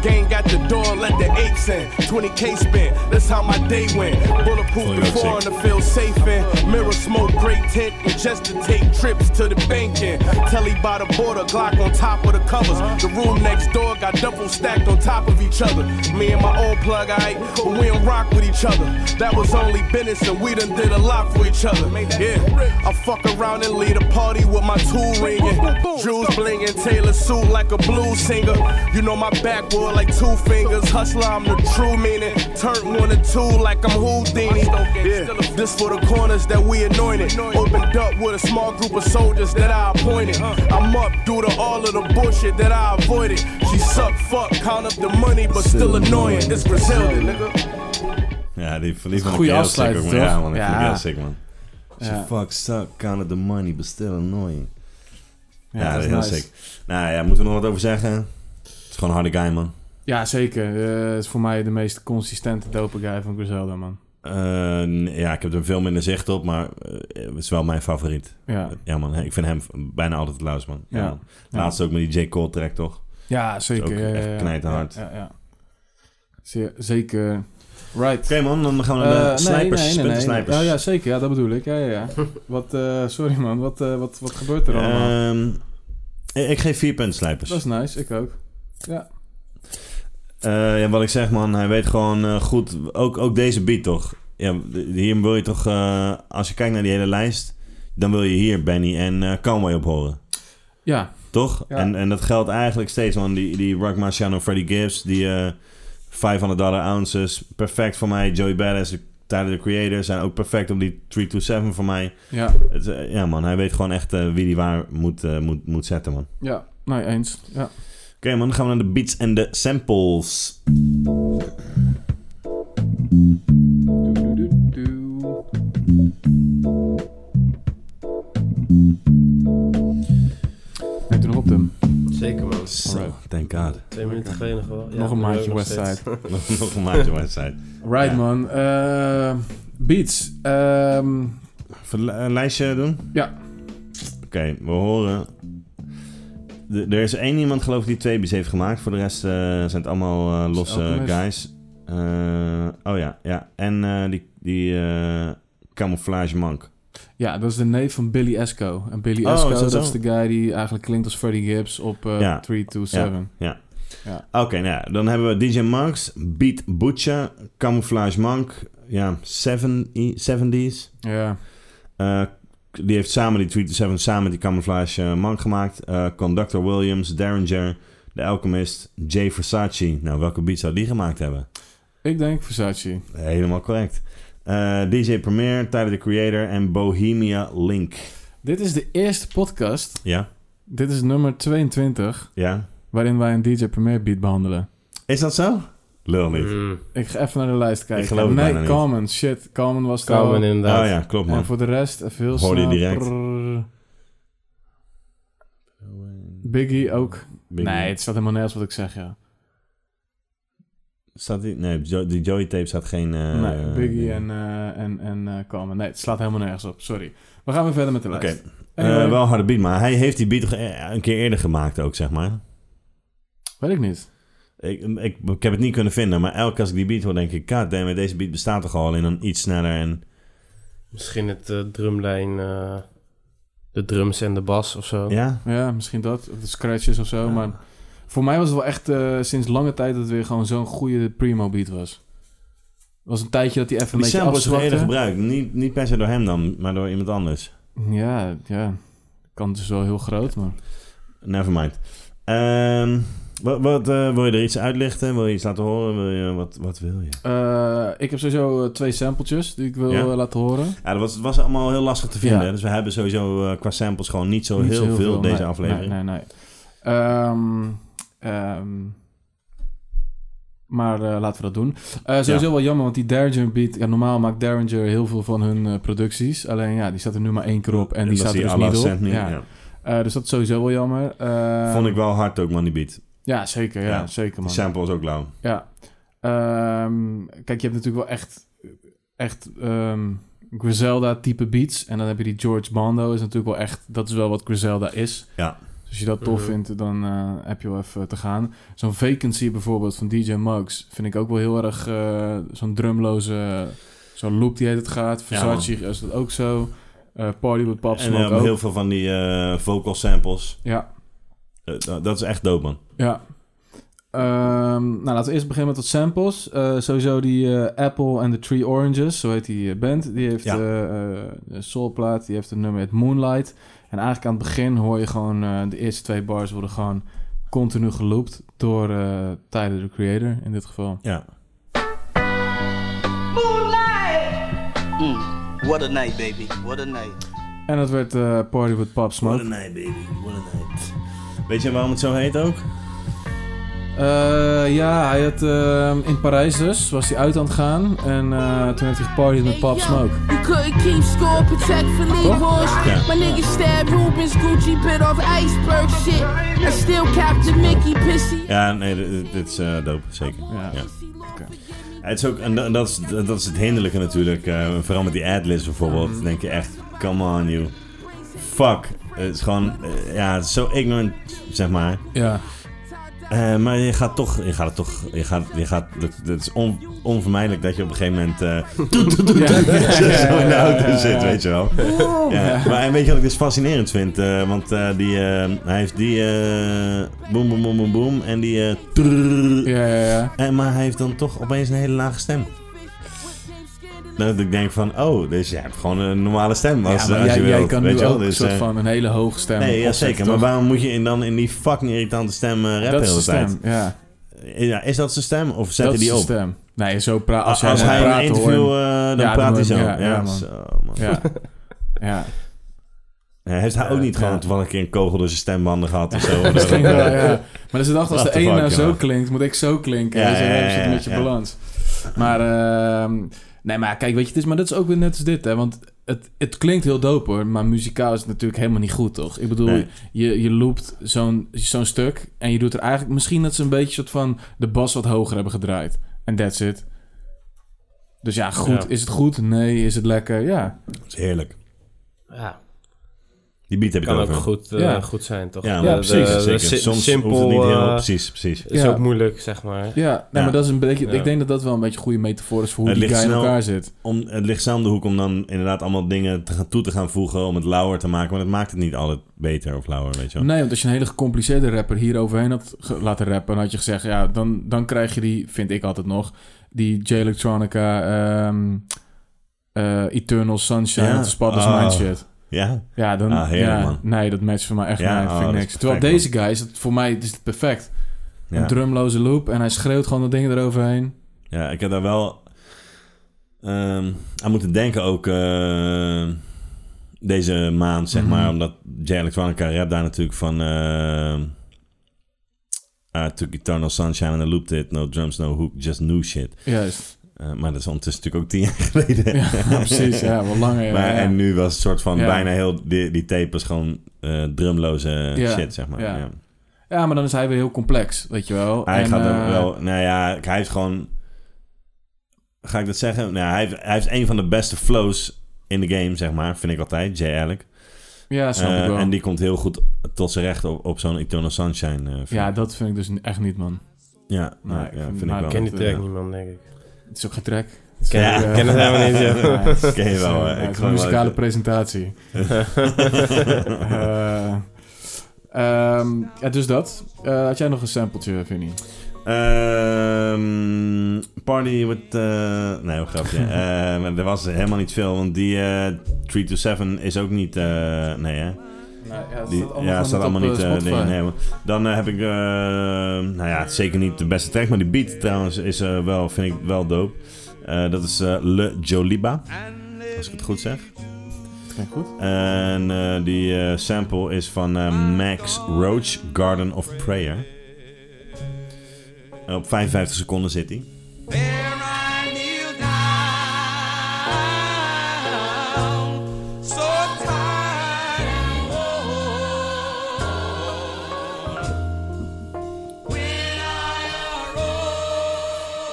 [SPEAKER 9] Gang got the door, let the apes in. 20k spin, that's how my day went. Bulletproof
[SPEAKER 1] Fully
[SPEAKER 9] before
[SPEAKER 1] sick.
[SPEAKER 9] to feel safe in. Mirror smoke, great tent, and just to take trips to the bank in. Telly by the border, Glock on top of the covers. The room next door got double stacked on top of each other. Me and my old plug, I but we don't rock with each other. That was only business, and we done did a lot for each other. Yeah, I fuck around and lead a party with my tool ringing. Jewels blinging, Taylor suit like a blue singer. You know my backwood like two fingers. Hustler, I'm the true meaning. Turn one to two like I'm Houdini. Yeah. This for the corners that we anointed. Opened up with a small group of soldiers that I appointed. I'm up due to all of the bullshit that I avoided. She suck, fuck, count up the money, but still annoying. It's Brazilian, nigga.
[SPEAKER 1] Ja, die, die vond ik
[SPEAKER 2] goede
[SPEAKER 1] heel sick,
[SPEAKER 2] afsluiter,
[SPEAKER 1] man. Ja,
[SPEAKER 2] toch?
[SPEAKER 1] man, ik
[SPEAKER 2] Ja.
[SPEAKER 1] vond ik heel sick, man.
[SPEAKER 2] Ja.
[SPEAKER 1] So fuck, suck, kind of the money, but still annoying. Ja,
[SPEAKER 2] dat
[SPEAKER 1] dat
[SPEAKER 2] is
[SPEAKER 1] is heel
[SPEAKER 2] nice.
[SPEAKER 1] sick. Nou ja, moeten we nog wat over zeggen? Het is gewoon een harde guy, man.
[SPEAKER 2] Ja, zeker. Eh, is voor mij de meest consistente dope guy van Griselda, man.
[SPEAKER 1] Eh, nee, ja, ik heb er veel minder zicht op, maar eh, het is wel mijn favoriet.
[SPEAKER 2] Ja,
[SPEAKER 1] Ja, man. Ik vind hem bijna altijd het luis, man. Ja,
[SPEAKER 2] Ja.
[SPEAKER 1] man. Laatst ook met die J. Cole track, toch?
[SPEAKER 2] ja zeker.
[SPEAKER 1] ook
[SPEAKER 2] ja, ja,
[SPEAKER 1] echt
[SPEAKER 2] ja.
[SPEAKER 1] knijterhard.
[SPEAKER 2] Ja, ja, ja. Zeer- zeker. Right.
[SPEAKER 1] Oké, man. Dan gaan we
[SPEAKER 2] Eh,
[SPEAKER 1] naar de snipers. Punten snipers.
[SPEAKER 2] Ja, ja, zeker. Ja, dat bedoel ik. Ja, ja, ja. wat, eh, sorry man, wat, eh, wat, wat gebeurt er allemaal?
[SPEAKER 1] Ehm, ik, ik geef vier punten snipers.
[SPEAKER 2] dat is nice, ik ook.
[SPEAKER 1] Eh, ja, wat ik zeg, man, hij weet gewoon eh, goed. Ook, ook deze beat toch? Ja, d- hier wil je toch, eh, als je kijkt naar die hele lijst, dan wil je hier Benny en eh Conway op horen.
[SPEAKER 2] Ja,
[SPEAKER 1] Toch?
[SPEAKER 2] Ja.
[SPEAKER 1] En, en dat geldt eigenlijk steeds, man. Die, die Rock Marciano, Freddie Gibbs, die eh 500 dollar ounces, perfect voor mij. Joey Badass, Tyler the Creator, zijn ook perfect op die 327 voor mij.
[SPEAKER 2] ja,
[SPEAKER 1] Het, is, eh, ja, man, hij weet gewoon echt eh, wie die waar moet, eh, moet, moet zetten, man.
[SPEAKER 2] ja. Nee, eh, eens. Ja.
[SPEAKER 1] Oké, man, dan gaan we naar de beats en de samples.
[SPEAKER 2] Doe, doe, doe, doe. Neemt u nog op, Tim?
[SPEAKER 3] Zeker man.
[SPEAKER 1] Zo, thank God.
[SPEAKER 3] Twee minuten geleden nog wel. Ja,
[SPEAKER 2] nog een
[SPEAKER 3] maar
[SPEAKER 2] maandje
[SPEAKER 3] ook nog steeds.
[SPEAKER 2] Westside.
[SPEAKER 1] Nog een maatje wedstrijd.
[SPEAKER 2] Right,
[SPEAKER 1] Ja.
[SPEAKER 2] man. Eh, beats. Ehm,
[SPEAKER 1] Even een lijstje doen?
[SPEAKER 2] Ja.
[SPEAKER 1] Oké, we horen. D- er is één iemand, geloof ik, die twee beats heeft gemaakt. Voor de rest eh, zijn het allemaal eh, losse
[SPEAKER 2] Alchemist.
[SPEAKER 1] guys. Eh, oh ja, ja. En eh, die, die eh, camouflage monk.
[SPEAKER 2] ja, dat is de neef van Billy Esco. En Billy
[SPEAKER 1] Oh, is
[SPEAKER 2] Esco,
[SPEAKER 1] dat
[SPEAKER 2] dat,
[SPEAKER 1] zo?
[SPEAKER 2] is de guy die eigenlijk klinkt als Freddie Gibbs op eh
[SPEAKER 1] Ja.
[SPEAKER 2] 327.
[SPEAKER 1] Oké, nou ja, dan hebben we DJ Monks, Beat Butcher, Camouflage Monk. Ja, 70, 70s.
[SPEAKER 2] Ja.
[SPEAKER 1] Eh, die heeft samen die Tweet 7 samen die Camouflage eh, Monk gemaakt. Eh, Conductor Williams, Derringer, The Alchemist, Jay Versace. Nou, welke beat zou die gemaakt hebben?
[SPEAKER 2] Ik denk Versace.
[SPEAKER 1] Helemaal correct. Eh, DJ Premier, Tyler the Creator en Bohemia Link.
[SPEAKER 2] Dit is de eerste podcast.
[SPEAKER 1] Ja?
[SPEAKER 2] Dit is nummer 22.
[SPEAKER 1] Ja?
[SPEAKER 2] Waarin wij een DJ Premier beat behandelen.
[SPEAKER 1] Is dat zo? Lul niet.
[SPEAKER 3] Mm,
[SPEAKER 2] Ik ga even naar de lijst kijken.
[SPEAKER 1] Ik geloof het
[SPEAKER 2] nee,
[SPEAKER 1] bijna niet.
[SPEAKER 2] Common. Shit, Common was er
[SPEAKER 3] Carmen
[SPEAKER 2] al.
[SPEAKER 3] inderdaad.
[SPEAKER 1] Oh ja, klopt man.
[SPEAKER 2] En voor de rest, even heel
[SPEAKER 1] Hoorde je
[SPEAKER 2] snel.
[SPEAKER 1] direct.
[SPEAKER 2] Prrr. Biggie ook.
[SPEAKER 1] Big-
[SPEAKER 2] Nee, het staat helemaal nergens wat ik zeg, ja.
[SPEAKER 1] Staat die? Nee, Jo- die Joey tape staat geen... eh,
[SPEAKER 2] nee, Biggie
[SPEAKER 1] ding.
[SPEAKER 2] en, eh, en, en eh Common. Nee, het slaat helemaal nergens op. Sorry. We gaan weer verder met de
[SPEAKER 1] Oké.
[SPEAKER 2] lijst.
[SPEAKER 1] Eh,
[SPEAKER 2] Anyway,
[SPEAKER 1] wel een harde beat, maar hij heeft die beat ge- eh, een keer eerder gemaakt ook, zeg maar.
[SPEAKER 2] Weet ik niet.
[SPEAKER 1] Ik, ik, ik heb het niet kunnen vinden, maar elke keer als ik die beat hoor, denk ik... God damn it, deze beat bestaat toch al? in dan iets sneller en...
[SPEAKER 3] Misschien het eh, drumlijn, eh, de drums en de bas of zo.
[SPEAKER 1] Ja?
[SPEAKER 2] Ja, misschien dat. Of de scratches of zo. Maar voor mij was het wel echt eh, sinds lange tijd dat het weer gewoon zo'n goede primo beat was. Het was een tijdje dat hij even een
[SPEAKER 1] Die
[SPEAKER 2] beetje
[SPEAKER 1] sample is toch eerder
[SPEAKER 2] afzwakte.
[SPEAKER 1] gebruikt? Niet, niet per se door hem dan, maar door iemand anders.
[SPEAKER 2] Ja, ja. De kans is wel heel groot, maar...
[SPEAKER 1] Nevermind. Ehm wat, wat, eh, wil je er iets uitlichten? Wil je iets laten horen? Wil je, wat, wat wil je?
[SPEAKER 2] Eh, ik heb sowieso eh, twee sampletjes die ik wil
[SPEAKER 1] Ja?
[SPEAKER 2] eh, laten horen.
[SPEAKER 1] Ja, dat was, het was allemaal heel lastig te vinden.
[SPEAKER 2] Ja.
[SPEAKER 1] hè. Dus we hebben sowieso eh, qua samples gewoon niet zo
[SPEAKER 2] Niet
[SPEAKER 1] heel, veel, deze
[SPEAKER 2] nee,
[SPEAKER 1] aflevering.
[SPEAKER 2] Nee, nee, nee. Ehm, ehm, maar eh, laten we dat doen. Eh, sowieso wel jammer, want die Derringer beat... Ja, normaal maakt Derringer heel veel van hun eh, producties. Alleen ja, die staat er nu maar één keer op en, die
[SPEAKER 1] dat
[SPEAKER 2] staat er
[SPEAKER 1] is
[SPEAKER 2] dus
[SPEAKER 1] Alla
[SPEAKER 2] niet op.
[SPEAKER 1] Cent nu,
[SPEAKER 2] ja.
[SPEAKER 1] ja.
[SPEAKER 2] Eh, dus dat is sowieso wel jammer. Eh,
[SPEAKER 1] Vond ik wel hard ook, man, die beat.
[SPEAKER 2] Ja, zeker. Ja,
[SPEAKER 1] Ja.
[SPEAKER 2] zeker
[SPEAKER 1] Die
[SPEAKER 2] man.
[SPEAKER 1] sample was ook lauw.
[SPEAKER 2] Ja. Ehm, kijk, je hebt natuurlijk wel echt, echt ehm, Griselda-type beats. En dan heb je die George Bando. Is natuurlijk wel echt, dat is wel wat Griselda is.
[SPEAKER 1] Ja.
[SPEAKER 2] Dus als je dat tof
[SPEAKER 3] Mhm.
[SPEAKER 2] vindt, dan eh, heb je wel even te gaan. Zo'n Vacancy bijvoorbeeld van DJ Muggs vind ik ook wel heel erg eh, zo'n drumloze, zo'n loop die heet het gaat. Versace is dat ook zo. Eh, Party with Pop
[SPEAKER 1] En
[SPEAKER 2] Smoke
[SPEAKER 1] eh,
[SPEAKER 2] ook.
[SPEAKER 1] heel veel van die eh, vocal samples.
[SPEAKER 2] Ja.
[SPEAKER 1] Eh, dat dat is echt dope, man.
[SPEAKER 2] Ja. Ehm, nou, laten we eerst beginnen met wat samples. Eh, sowieso die eh, Apple and the Tree Oranges, zo heet die eh, band. Die heeft
[SPEAKER 1] Ja.
[SPEAKER 2] eh, eh, een soulplaat, die heeft een nummer het Moonlight. En eigenlijk aan het begin hoor je gewoon eh, de eerste twee bars worden gewoon continu geloopt door eh Tyler, de creator in dit geval.
[SPEAKER 1] Ja.
[SPEAKER 10] Mm, what a night, baby. What a night.
[SPEAKER 2] En dat werd eh, Party with Pop
[SPEAKER 1] What
[SPEAKER 2] Smoke.
[SPEAKER 1] a night, baby. What a night. Weet je waarom het zo heet ook?
[SPEAKER 2] Eh, ja, hij had eh, in Parijs dus, was hij uit aan het gaan. En eh, toen heeft hij gepartied met Pop Smoke.
[SPEAKER 5] You couldn't keep score, protect for Leroy.
[SPEAKER 1] Yeah.
[SPEAKER 5] My niggas stabbed Rubens, Gucci bit off iceberg shit. I still Captain Mickey, pissy.
[SPEAKER 1] Ja, nee, dit- dit, dit is eh dope, zeker.
[SPEAKER 2] Ja.
[SPEAKER 1] Ja. Ja, Het is ook, en da- dat is, dat is het hinderlijke natuurlijk. eh, vooral met die adlibs bijvoorbeeld.
[SPEAKER 2] Mm.
[SPEAKER 1] Dan denk je echt, come on, you. Fuck. Het is gewoon, eh, ja, het is zo ignorant, zeg maar.
[SPEAKER 2] Ja,
[SPEAKER 1] Eh, maar je gaat toch, je gaat het toch, je gaat, je gaat, dat- dat is on- onvermijdelijk dat je op een gegeven moment eh,
[SPEAKER 2] Ja.
[SPEAKER 1] zo in de
[SPEAKER 2] Ja, ja,
[SPEAKER 1] auto
[SPEAKER 2] ja.
[SPEAKER 1] zit, weet je wel. Ja, maar en weet je wat ik dus fascinerend vind? Eh, want eh, die, eh, hij heeft die eh boom, boom, boom, boom, boom en die eh, trrrr.
[SPEAKER 2] Ja, ja, ja.
[SPEAKER 1] En, maar hij heeft dan toch opeens een hele lage stem. Dat ik denk van, oh, dus je hebt gewoon een normale stem als,
[SPEAKER 2] Ja, maar
[SPEAKER 1] als
[SPEAKER 2] jij,
[SPEAKER 1] je
[SPEAKER 2] jij
[SPEAKER 1] wilt,
[SPEAKER 2] kan
[SPEAKER 1] weet
[SPEAKER 2] nu
[SPEAKER 1] je wel.
[SPEAKER 2] ook een
[SPEAKER 1] Dus,
[SPEAKER 2] soort
[SPEAKER 1] eh,
[SPEAKER 2] van een hele hoge stem
[SPEAKER 1] nee, ja,
[SPEAKER 2] opzetten,
[SPEAKER 1] zeker. Maar
[SPEAKER 2] toch?
[SPEAKER 1] waarom moet je in dan in die fucking irritante stem eh rappen
[SPEAKER 2] Dat
[SPEAKER 1] de
[SPEAKER 2] is de
[SPEAKER 1] hele tijd?
[SPEAKER 2] stem, ja.
[SPEAKER 1] Ja, is dat zijn stem of zet
[SPEAKER 2] Dat
[SPEAKER 1] hij
[SPEAKER 2] is
[SPEAKER 1] die
[SPEAKER 2] de
[SPEAKER 1] op?
[SPEAKER 2] stem. Nee, zo pra
[SPEAKER 1] Als,
[SPEAKER 2] als, hij
[SPEAKER 1] hij in een
[SPEAKER 2] praat hoor je
[SPEAKER 1] interview,
[SPEAKER 2] hem.
[SPEAKER 1] eh, dan
[SPEAKER 2] Ja,
[SPEAKER 1] praat
[SPEAKER 2] dan
[SPEAKER 1] hij zo.
[SPEAKER 2] hoor je
[SPEAKER 1] Ja,
[SPEAKER 2] hem. Ja, ja, man.
[SPEAKER 1] zo, man.
[SPEAKER 2] Ja. ja.
[SPEAKER 1] Ja, heeft hij ook niet gewoon
[SPEAKER 2] Ja.
[SPEAKER 1] toevallig een keer een kogel door zijn stembanden gehad of zo?
[SPEAKER 2] Dat klinkt wel, ja. Maar dat ze dachten, als
[SPEAKER 1] What
[SPEAKER 2] de
[SPEAKER 1] the
[SPEAKER 2] een
[SPEAKER 1] fuck,
[SPEAKER 2] nou zo
[SPEAKER 1] ja.
[SPEAKER 2] klinkt, moet ik zo klinken. Dus Ja,
[SPEAKER 1] Ja,
[SPEAKER 2] zo
[SPEAKER 1] ja, ja,
[SPEAKER 2] zit een
[SPEAKER 1] ja,
[SPEAKER 2] beetje
[SPEAKER 1] ja.
[SPEAKER 2] balans. Maar, ehm, nee, maar kijk, weet je, het is, maar dat is ook weer net als dit, hè. Want het, het klinkt heel dope, hoor. Maar muzikaal is het natuurlijk helemaal niet goed, toch? Ik bedoel,
[SPEAKER 1] Nee.
[SPEAKER 2] je, je loopt zo'n zo'n stuk en je doet er eigenlijk... Misschien dat ze een beetje soort van de bas wat hoger hebben gedraaid. En that's it. Dus ja, goed.
[SPEAKER 3] Ja.
[SPEAKER 2] Is het goed? Nee. Is het lekker? Ja.
[SPEAKER 1] Dat is heerlijk.
[SPEAKER 3] Ja,
[SPEAKER 1] Die beat heb ik
[SPEAKER 3] kan ook
[SPEAKER 1] over.
[SPEAKER 3] goed, eh,
[SPEAKER 2] Ja.
[SPEAKER 3] goed zijn, toch?
[SPEAKER 1] Ja,
[SPEAKER 2] Ja,
[SPEAKER 1] maar
[SPEAKER 2] precies,
[SPEAKER 1] de- de-
[SPEAKER 3] zeker.
[SPEAKER 1] si- Soms
[SPEAKER 3] Simpel,
[SPEAKER 1] hoeft het niet heel...
[SPEAKER 3] eh,
[SPEAKER 1] precies, precies.
[SPEAKER 3] is
[SPEAKER 2] Ja.
[SPEAKER 3] ook moeilijk, zeg maar.
[SPEAKER 2] Ja, nee,
[SPEAKER 1] Ja.
[SPEAKER 2] maar dat is een beetje...
[SPEAKER 3] Ja.
[SPEAKER 2] Ik denk dat dat wel een beetje een goede metafoor is voor hoe
[SPEAKER 1] Het
[SPEAKER 2] die guy
[SPEAKER 1] ligt
[SPEAKER 2] in
[SPEAKER 1] snel-
[SPEAKER 2] elkaar zit.
[SPEAKER 1] Om, het ligt snel om de hoek om dan inderdaad allemaal dingen te gaan, toe te gaan voegen... om het lauwer te maken. Maar dat maakt het niet altijd beter of lauwer, weet je wel.
[SPEAKER 2] Nee, want als je een hele gecompliceerde rapper hier overheen had ge- laten rappen, dan had je gezegd, ja, dan, dan krijg je die, vind ik altijd nog, die J Electronica, ehm, eh, Eternal Sunshine,
[SPEAKER 1] Ja.
[SPEAKER 2] ja. Spot is
[SPEAKER 1] Oh.
[SPEAKER 2] Mine shit.
[SPEAKER 1] Ja?
[SPEAKER 2] Ja, dan,
[SPEAKER 1] Ah, heerlijk,
[SPEAKER 2] ja,
[SPEAKER 1] man.
[SPEAKER 2] nee, dat matcht voor mij echt
[SPEAKER 1] Ja,
[SPEAKER 2] nee,
[SPEAKER 1] oh,
[SPEAKER 2] vind
[SPEAKER 1] dat
[SPEAKER 2] ik
[SPEAKER 1] is
[SPEAKER 2] niks. Terwijl
[SPEAKER 1] perfect,
[SPEAKER 2] deze guy is het, voor mij is het perfect. Een
[SPEAKER 1] Ja.
[SPEAKER 2] drumloze loop en hij schreeuwt gewoon dat ding eroverheen.
[SPEAKER 1] ja, ik heb daar wel ehm, aan moeten denken ook eh, deze maand, zeg
[SPEAKER 2] Mhm.
[SPEAKER 1] maar. Omdat J. Electronica rap daar natuurlijk van... eh, I took Eternal Sunshine and I looped it. No drums, no hook, just new shit.
[SPEAKER 2] Juist.
[SPEAKER 1] Eh, maar dat is ondertussen natuurlijk ook tien jaar geleden.
[SPEAKER 2] Ja, precies. Ja, wat langer. ja,
[SPEAKER 1] Maar,
[SPEAKER 2] ja.
[SPEAKER 1] En nu was het soort van
[SPEAKER 2] Ja.
[SPEAKER 1] bijna heel... Die, die tape was gewoon eh, drumloze
[SPEAKER 2] Ja,
[SPEAKER 1] shit, zeg maar.
[SPEAKER 2] ja.
[SPEAKER 1] Ja.
[SPEAKER 2] ja, maar dan is hij weer heel complex, weet je wel.
[SPEAKER 1] Hij
[SPEAKER 2] En,
[SPEAKER 1] gaat er
[SPEAKER 2] eh,
[SPEAKER 1] wel... Nou ja, hij heeft gewoon... Ga ik dat zeggen? Nou, hij, heeft, hij heeft een van de beste flows in de game, zeg maar. Vind ik altijd, Jay Alec.
[SPEAKER 2] Ja, snap ik
[SPEAKER 1] Eh,
[SPEAKER 2] wel.
[SPEAKER 1] en die komt heel goed tot zijn recht op, op zo'n Eternal Sunshine. eh, film.
[SPEAKER 2] Ja, dat vind ik dus echt niet, man.
[SPEAKER 1] ja,
[SPEAKER 2] Nee,
[SPEAKER 1] ja,
[SPEAKER 2] ik
[SPEAKER 1] ja,
[SPEAKER 2] vind-
[SPEAKER 1] vind ik
[SPEAKER 2] maar
[SPEAKER 1] wel.
[SPEAKER 3] Ik ken die track
[SPEAKER 1] Ja.
[SPEAKER 3] niet, man, denk ik.
[SPEAKER 2] Het is ook geen track.
[SPEAKER 3] Ken,
[SPEAKER 1] Ja.
[SPEAKER 3] ik ken het helemaal niet, ja.
[SPEAKER 1] Ken je wel, hè?
[SPEAKER 2] Ja,
[SPEAKER 1] Ik
[SPEAKER 2] het is
[SPEAKER 1] gewoon
[SPEAKER 2] een muzikale
[SPEAKER 1] wel-
[SPEAKER 2] presentatie. Eh, ehm, ja, dus dat. Eh, had jij nog een sampletje, Vinnie?
[SPEAKER 1] Ehm, party with... eh, nee, een grapje. Eh, maar er was helemaal niet veel, want die eh 3 to 7 is ook niet... eh, nee, hè?
[SPEAKER 2] ja,
[SPEAKER 1] Die, Nou, ja, staat allemaal niet... eh, dingen. nee, maar dan eh, heb ik... eh, nou ja, het is zeker niet de beste track, maar die beat trouwens is eh, wel, vind ik wel dope. Eh, dat is eh, Le Joliba, als ik het goed zeg.
[SPEAKER 2] goed.
[SPEAKER 1] En eh, die eh, sample is van eh, Max Roach, Garden of Prayer. Op 55 seconden zit hij.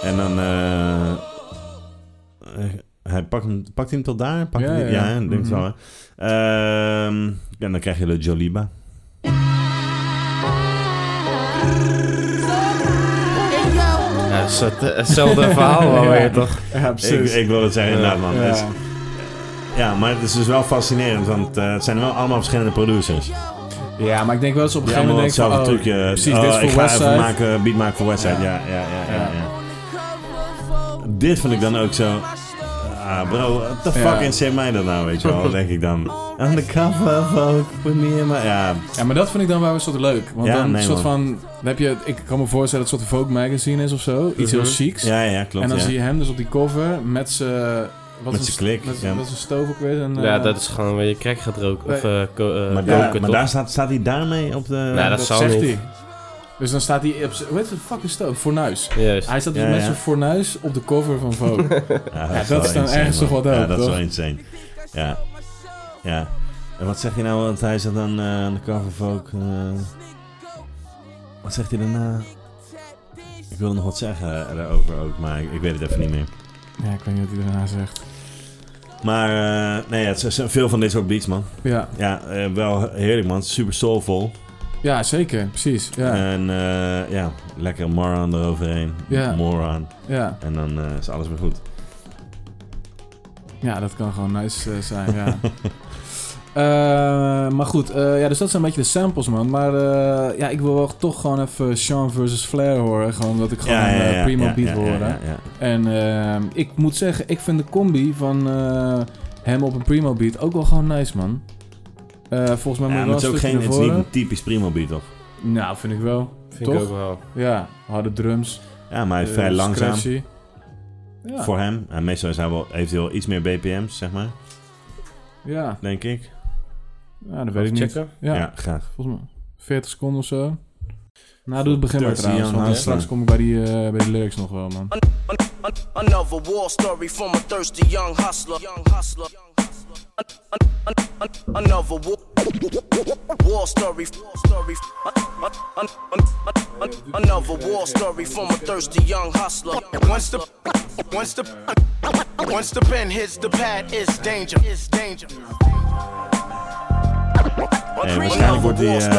[SPEAKER 1] En dan... eh, eh, hij pakt hem, pakt hij hem tot daar? Pakt
[SPEAKER 2] Ja,
[SPEAKER 1] hij,
[SPEAKER 2] ja, Mhm.
[SPEAKER 1] ja,
[SPEAKER 2] ja.
[SPEAKER 1] ik denk het wel. Hè. Ehm, ja, dan krijg je de Joliba.
[SPEAKER 5] Hey yo,
[SPEAKER 3] Ja, het is het- eh, hetzelfde verhaal wel weer, toch?
[SPEAKER 2] Ja,
[SPEAKER 1] Ik,
[SPEAKER 2] precies.
[SPEAKER 1] ik wil het zeggen, inderdaad man. Het is-
[SPEAKER 2] ja.
[SPEAKER 1] ja, maar het is dus wel fascinerend, want eh, het zijn wel allemaal verschillende producers.
[SPEAKER 2] ja, maar ik denk wel eens op een
[SPEAKER 1] Die
[SPEAKER 2] gegeven
[SPEAKER 1] allemaal
[SPEAKER 2] moment denk
[SPEAKER 1] hetzelfde
[SPEAKER 2] ik van, oh,
[SPEAKER 1] trucje.
[SPEAKER 2] precies,
[SPEAKER 1] oh,
[SPEAKER 2] dit is
[SPEAKER 1] ik
[SPEAKER 2] voor
[SPEAKER 1] ga even
[SPEAKER 2] Westside.
[SPEAKER 1] maken, beat maken voor Westside. Ja. Ja, ja, ja, ja, Dit vind ik dan ook zo... eh, ah, bro, what the
[SPEAKER 2] Ja.
[SPEAKER 1] fuck interesseert mij dat nou, weet je wel? denk ik dan. On the cover of Vogue, put me in my... Ja,
[SPEAKER 2] Ja, maar dat vind ik dan wel een soort leuk. Want
[SPEAKER 1] Ja,
[SPEAKER 2] dan
[SPEAKER 1] nee,
[SPEAKER 2] een soort
[SPEAKER 1] man.
[SPEAKER 2] van... Dan heb je, ik kan me voorstellen dat het een soort Vogue magazine is of zo. Iets heel
[SPEAKER 3] Mhm.
[SPEAKER 2] chics.
[SPEAKER 1] ja, ja, klopt.
[SPEAKER 2] en dan
[SPEAKER 1] ja.
[SPEAKER 2] zie je hem dus op die cover met zijn... Wat
[SPEAKER 1] Met
[SPEAKER 2] is
[SPEAKER 1] z'n
[SPEAKER 2] een-
[SPEAKER 1] klik,
[SPEAKER 2] Met z'n-
[SPEAKER 1] ja.
[SPEAKER 2] met z'n stoof ook weer. En,
[SPEAKER 3] ja,
[SPEAKER 2] eh,
[SPEAKER 3] dat is gewoon waar je crack gaat roken. Of eh, ko- eh,
[SPEAKER 1] maar
[SPEAKER 3] koken,
[SPEAKER 1] daar, maar
[SPEAKER 3] toch?
[SPEAKER 1] daar staat, staat hij daarmee op de...
[SPEAKER 3] Ja, Nou, dat
[SPEAKER 2] dat
[SPEAKER 3] zal
[SPEAKER 2] zegt
[SPEAKER 3] niet.
[SPEAKER 2] hij. Dus dan staat hij op... z'n- Hoe heet het? Fucking stoof. Fornuis.
[SPEAKER 3] Juist.
[SPEAKER 2] Hij staat dus
[SPEAKER 1] Ja,
[SPEAKER 2] met
[SPEAKER 1] ja.
[SPEAKER 2] zijn fornuis op de cover van Vogue.
[SPEAKER 1] Ja,
[SPEAKER 2] Ja, dat
[SPEAKER 1] wel
[SPEAKER 2] is dan
[SPEAKER 1] insane,
[SPEAKER 2] ergens
[SPEAKER 1] man.
[SPEAKER 2] toch wel
[SPEAKER 1] Ja,
[SPEAKER 2] dope,
[SPEAKER 1] dat is wel
[SPEAKER 2] toch?
[SPEAKER 1] insane. Ja. Ja. En wat zeg je nou, want hij zat dan eh, aan de cover van ook... eh, wat zegt hij daarna? Ik wilde nog wat zeggen eh, daarover ook, maar ik, ik weet het even niet meer.
[SPEAKER 2] ja, ik weet niet wat hij daarna zegt.
[SPEAKER 1] Maar eh, nee, ja, het zijn veel van dit soort beats, man.
[SPEAKER 2] Ja,
[SPEAKER 1] Ja, eh, wel heerlijk, man. Super soulful.
[SPEAKER 2] ja zeker. Precies. Ja.
[SPEAKER 1] En eh, ja, lekker moron eroverheen.
[SPEAKER 2] Ja.
[SPEAKER 1] Moron.
[SPEAKER 2] ja.
[SPEAKER 1] En dan eh, is alles weer goed.
[SPEAKER 2] Ja, dat kan gewoon nice eh, zijn, ja. Eh, maar goed, eh, ja, dus dat zijn een beetje de samples, man. Maar eh, ja, ik wil wel toch gewoon even Sean versus Flair horen. Gewoon omdat ik gewoon een eh, prima beat wil horen.
[SPEAKER 1] Ja, ja.
[SPEAKER 2] En eh, ik moet zeggen, ik vind de combi van eh, hem op een primo beat ook wel gewoon nice, man. Eh, volgens mij
[SPEAKER 1] Ja,
[SPEAKER 2] moet
[SPEAKER 1] maar
[SPEAKER 2] wel
[SPEAKER 1] het is
[SPEAKER 2] een
[SPEAKER 1] ook
[SPEAKER 2] stukje
[SPEAKER 1] geen,
[SPEAKER 2] naar
[SPEAKER 1] het is niet
[SPEAKER 2] voren.
[SPEAKER 1] een typisch primo beat, toch?
[SPEAKER 2] Nou, vind ik wel.
[SPEAKER 3] Vind
[SPEAKER 2] toch?
[SPEAKER 3] ik ook wel.
[SPEAKER 2] Ja, harde drums.
[SPEAKER 1] Ja, maar hij is
[SPEAKER 2] eh,
[SPEAKER 1] vrij langzaam
[SPEAKER 2] scratchy. Ja,
[SPEAKER 1] voor hem. En meestal is hij wel, heeft hij wel iets meer BPM's, zeg maar.
[SPEAKER 2] ja.
[SPEAKER 1] Denk ik.
[SPEAKER 2] ja, dat weet ik niet.
[SPEAKER 3] Checken?
[SPEAKER 1] Ja,
[SPEAKER 2] Ja.
[SPEAKER 1] graag.
[SPEAKER 2] Volgens mij 40 seconden of zo. Nou, doe het begin maar
[SPEAKER 1] Dirty
[SPEAKER 2] trouwens,
[SPEAKER 1] Jan
[SPEAKER 2] want
[SPEAKER 1] Huisman.
[SPEAKER 2] straks kom ik bij die, eh, bij die lyrics nog wel, man.
[SPEAKER 5] Another war story from a thirsty young hustler. Young hustler. Another war, war story. War story. Another war story from a thirsty young hustler.
[SPEAKER 9] Once the once the once the pen hits the pad, it's danger. It's danger.
[SPEAKER 1] En Eh, waarschijnlijk wordt hij eh eh, gechoked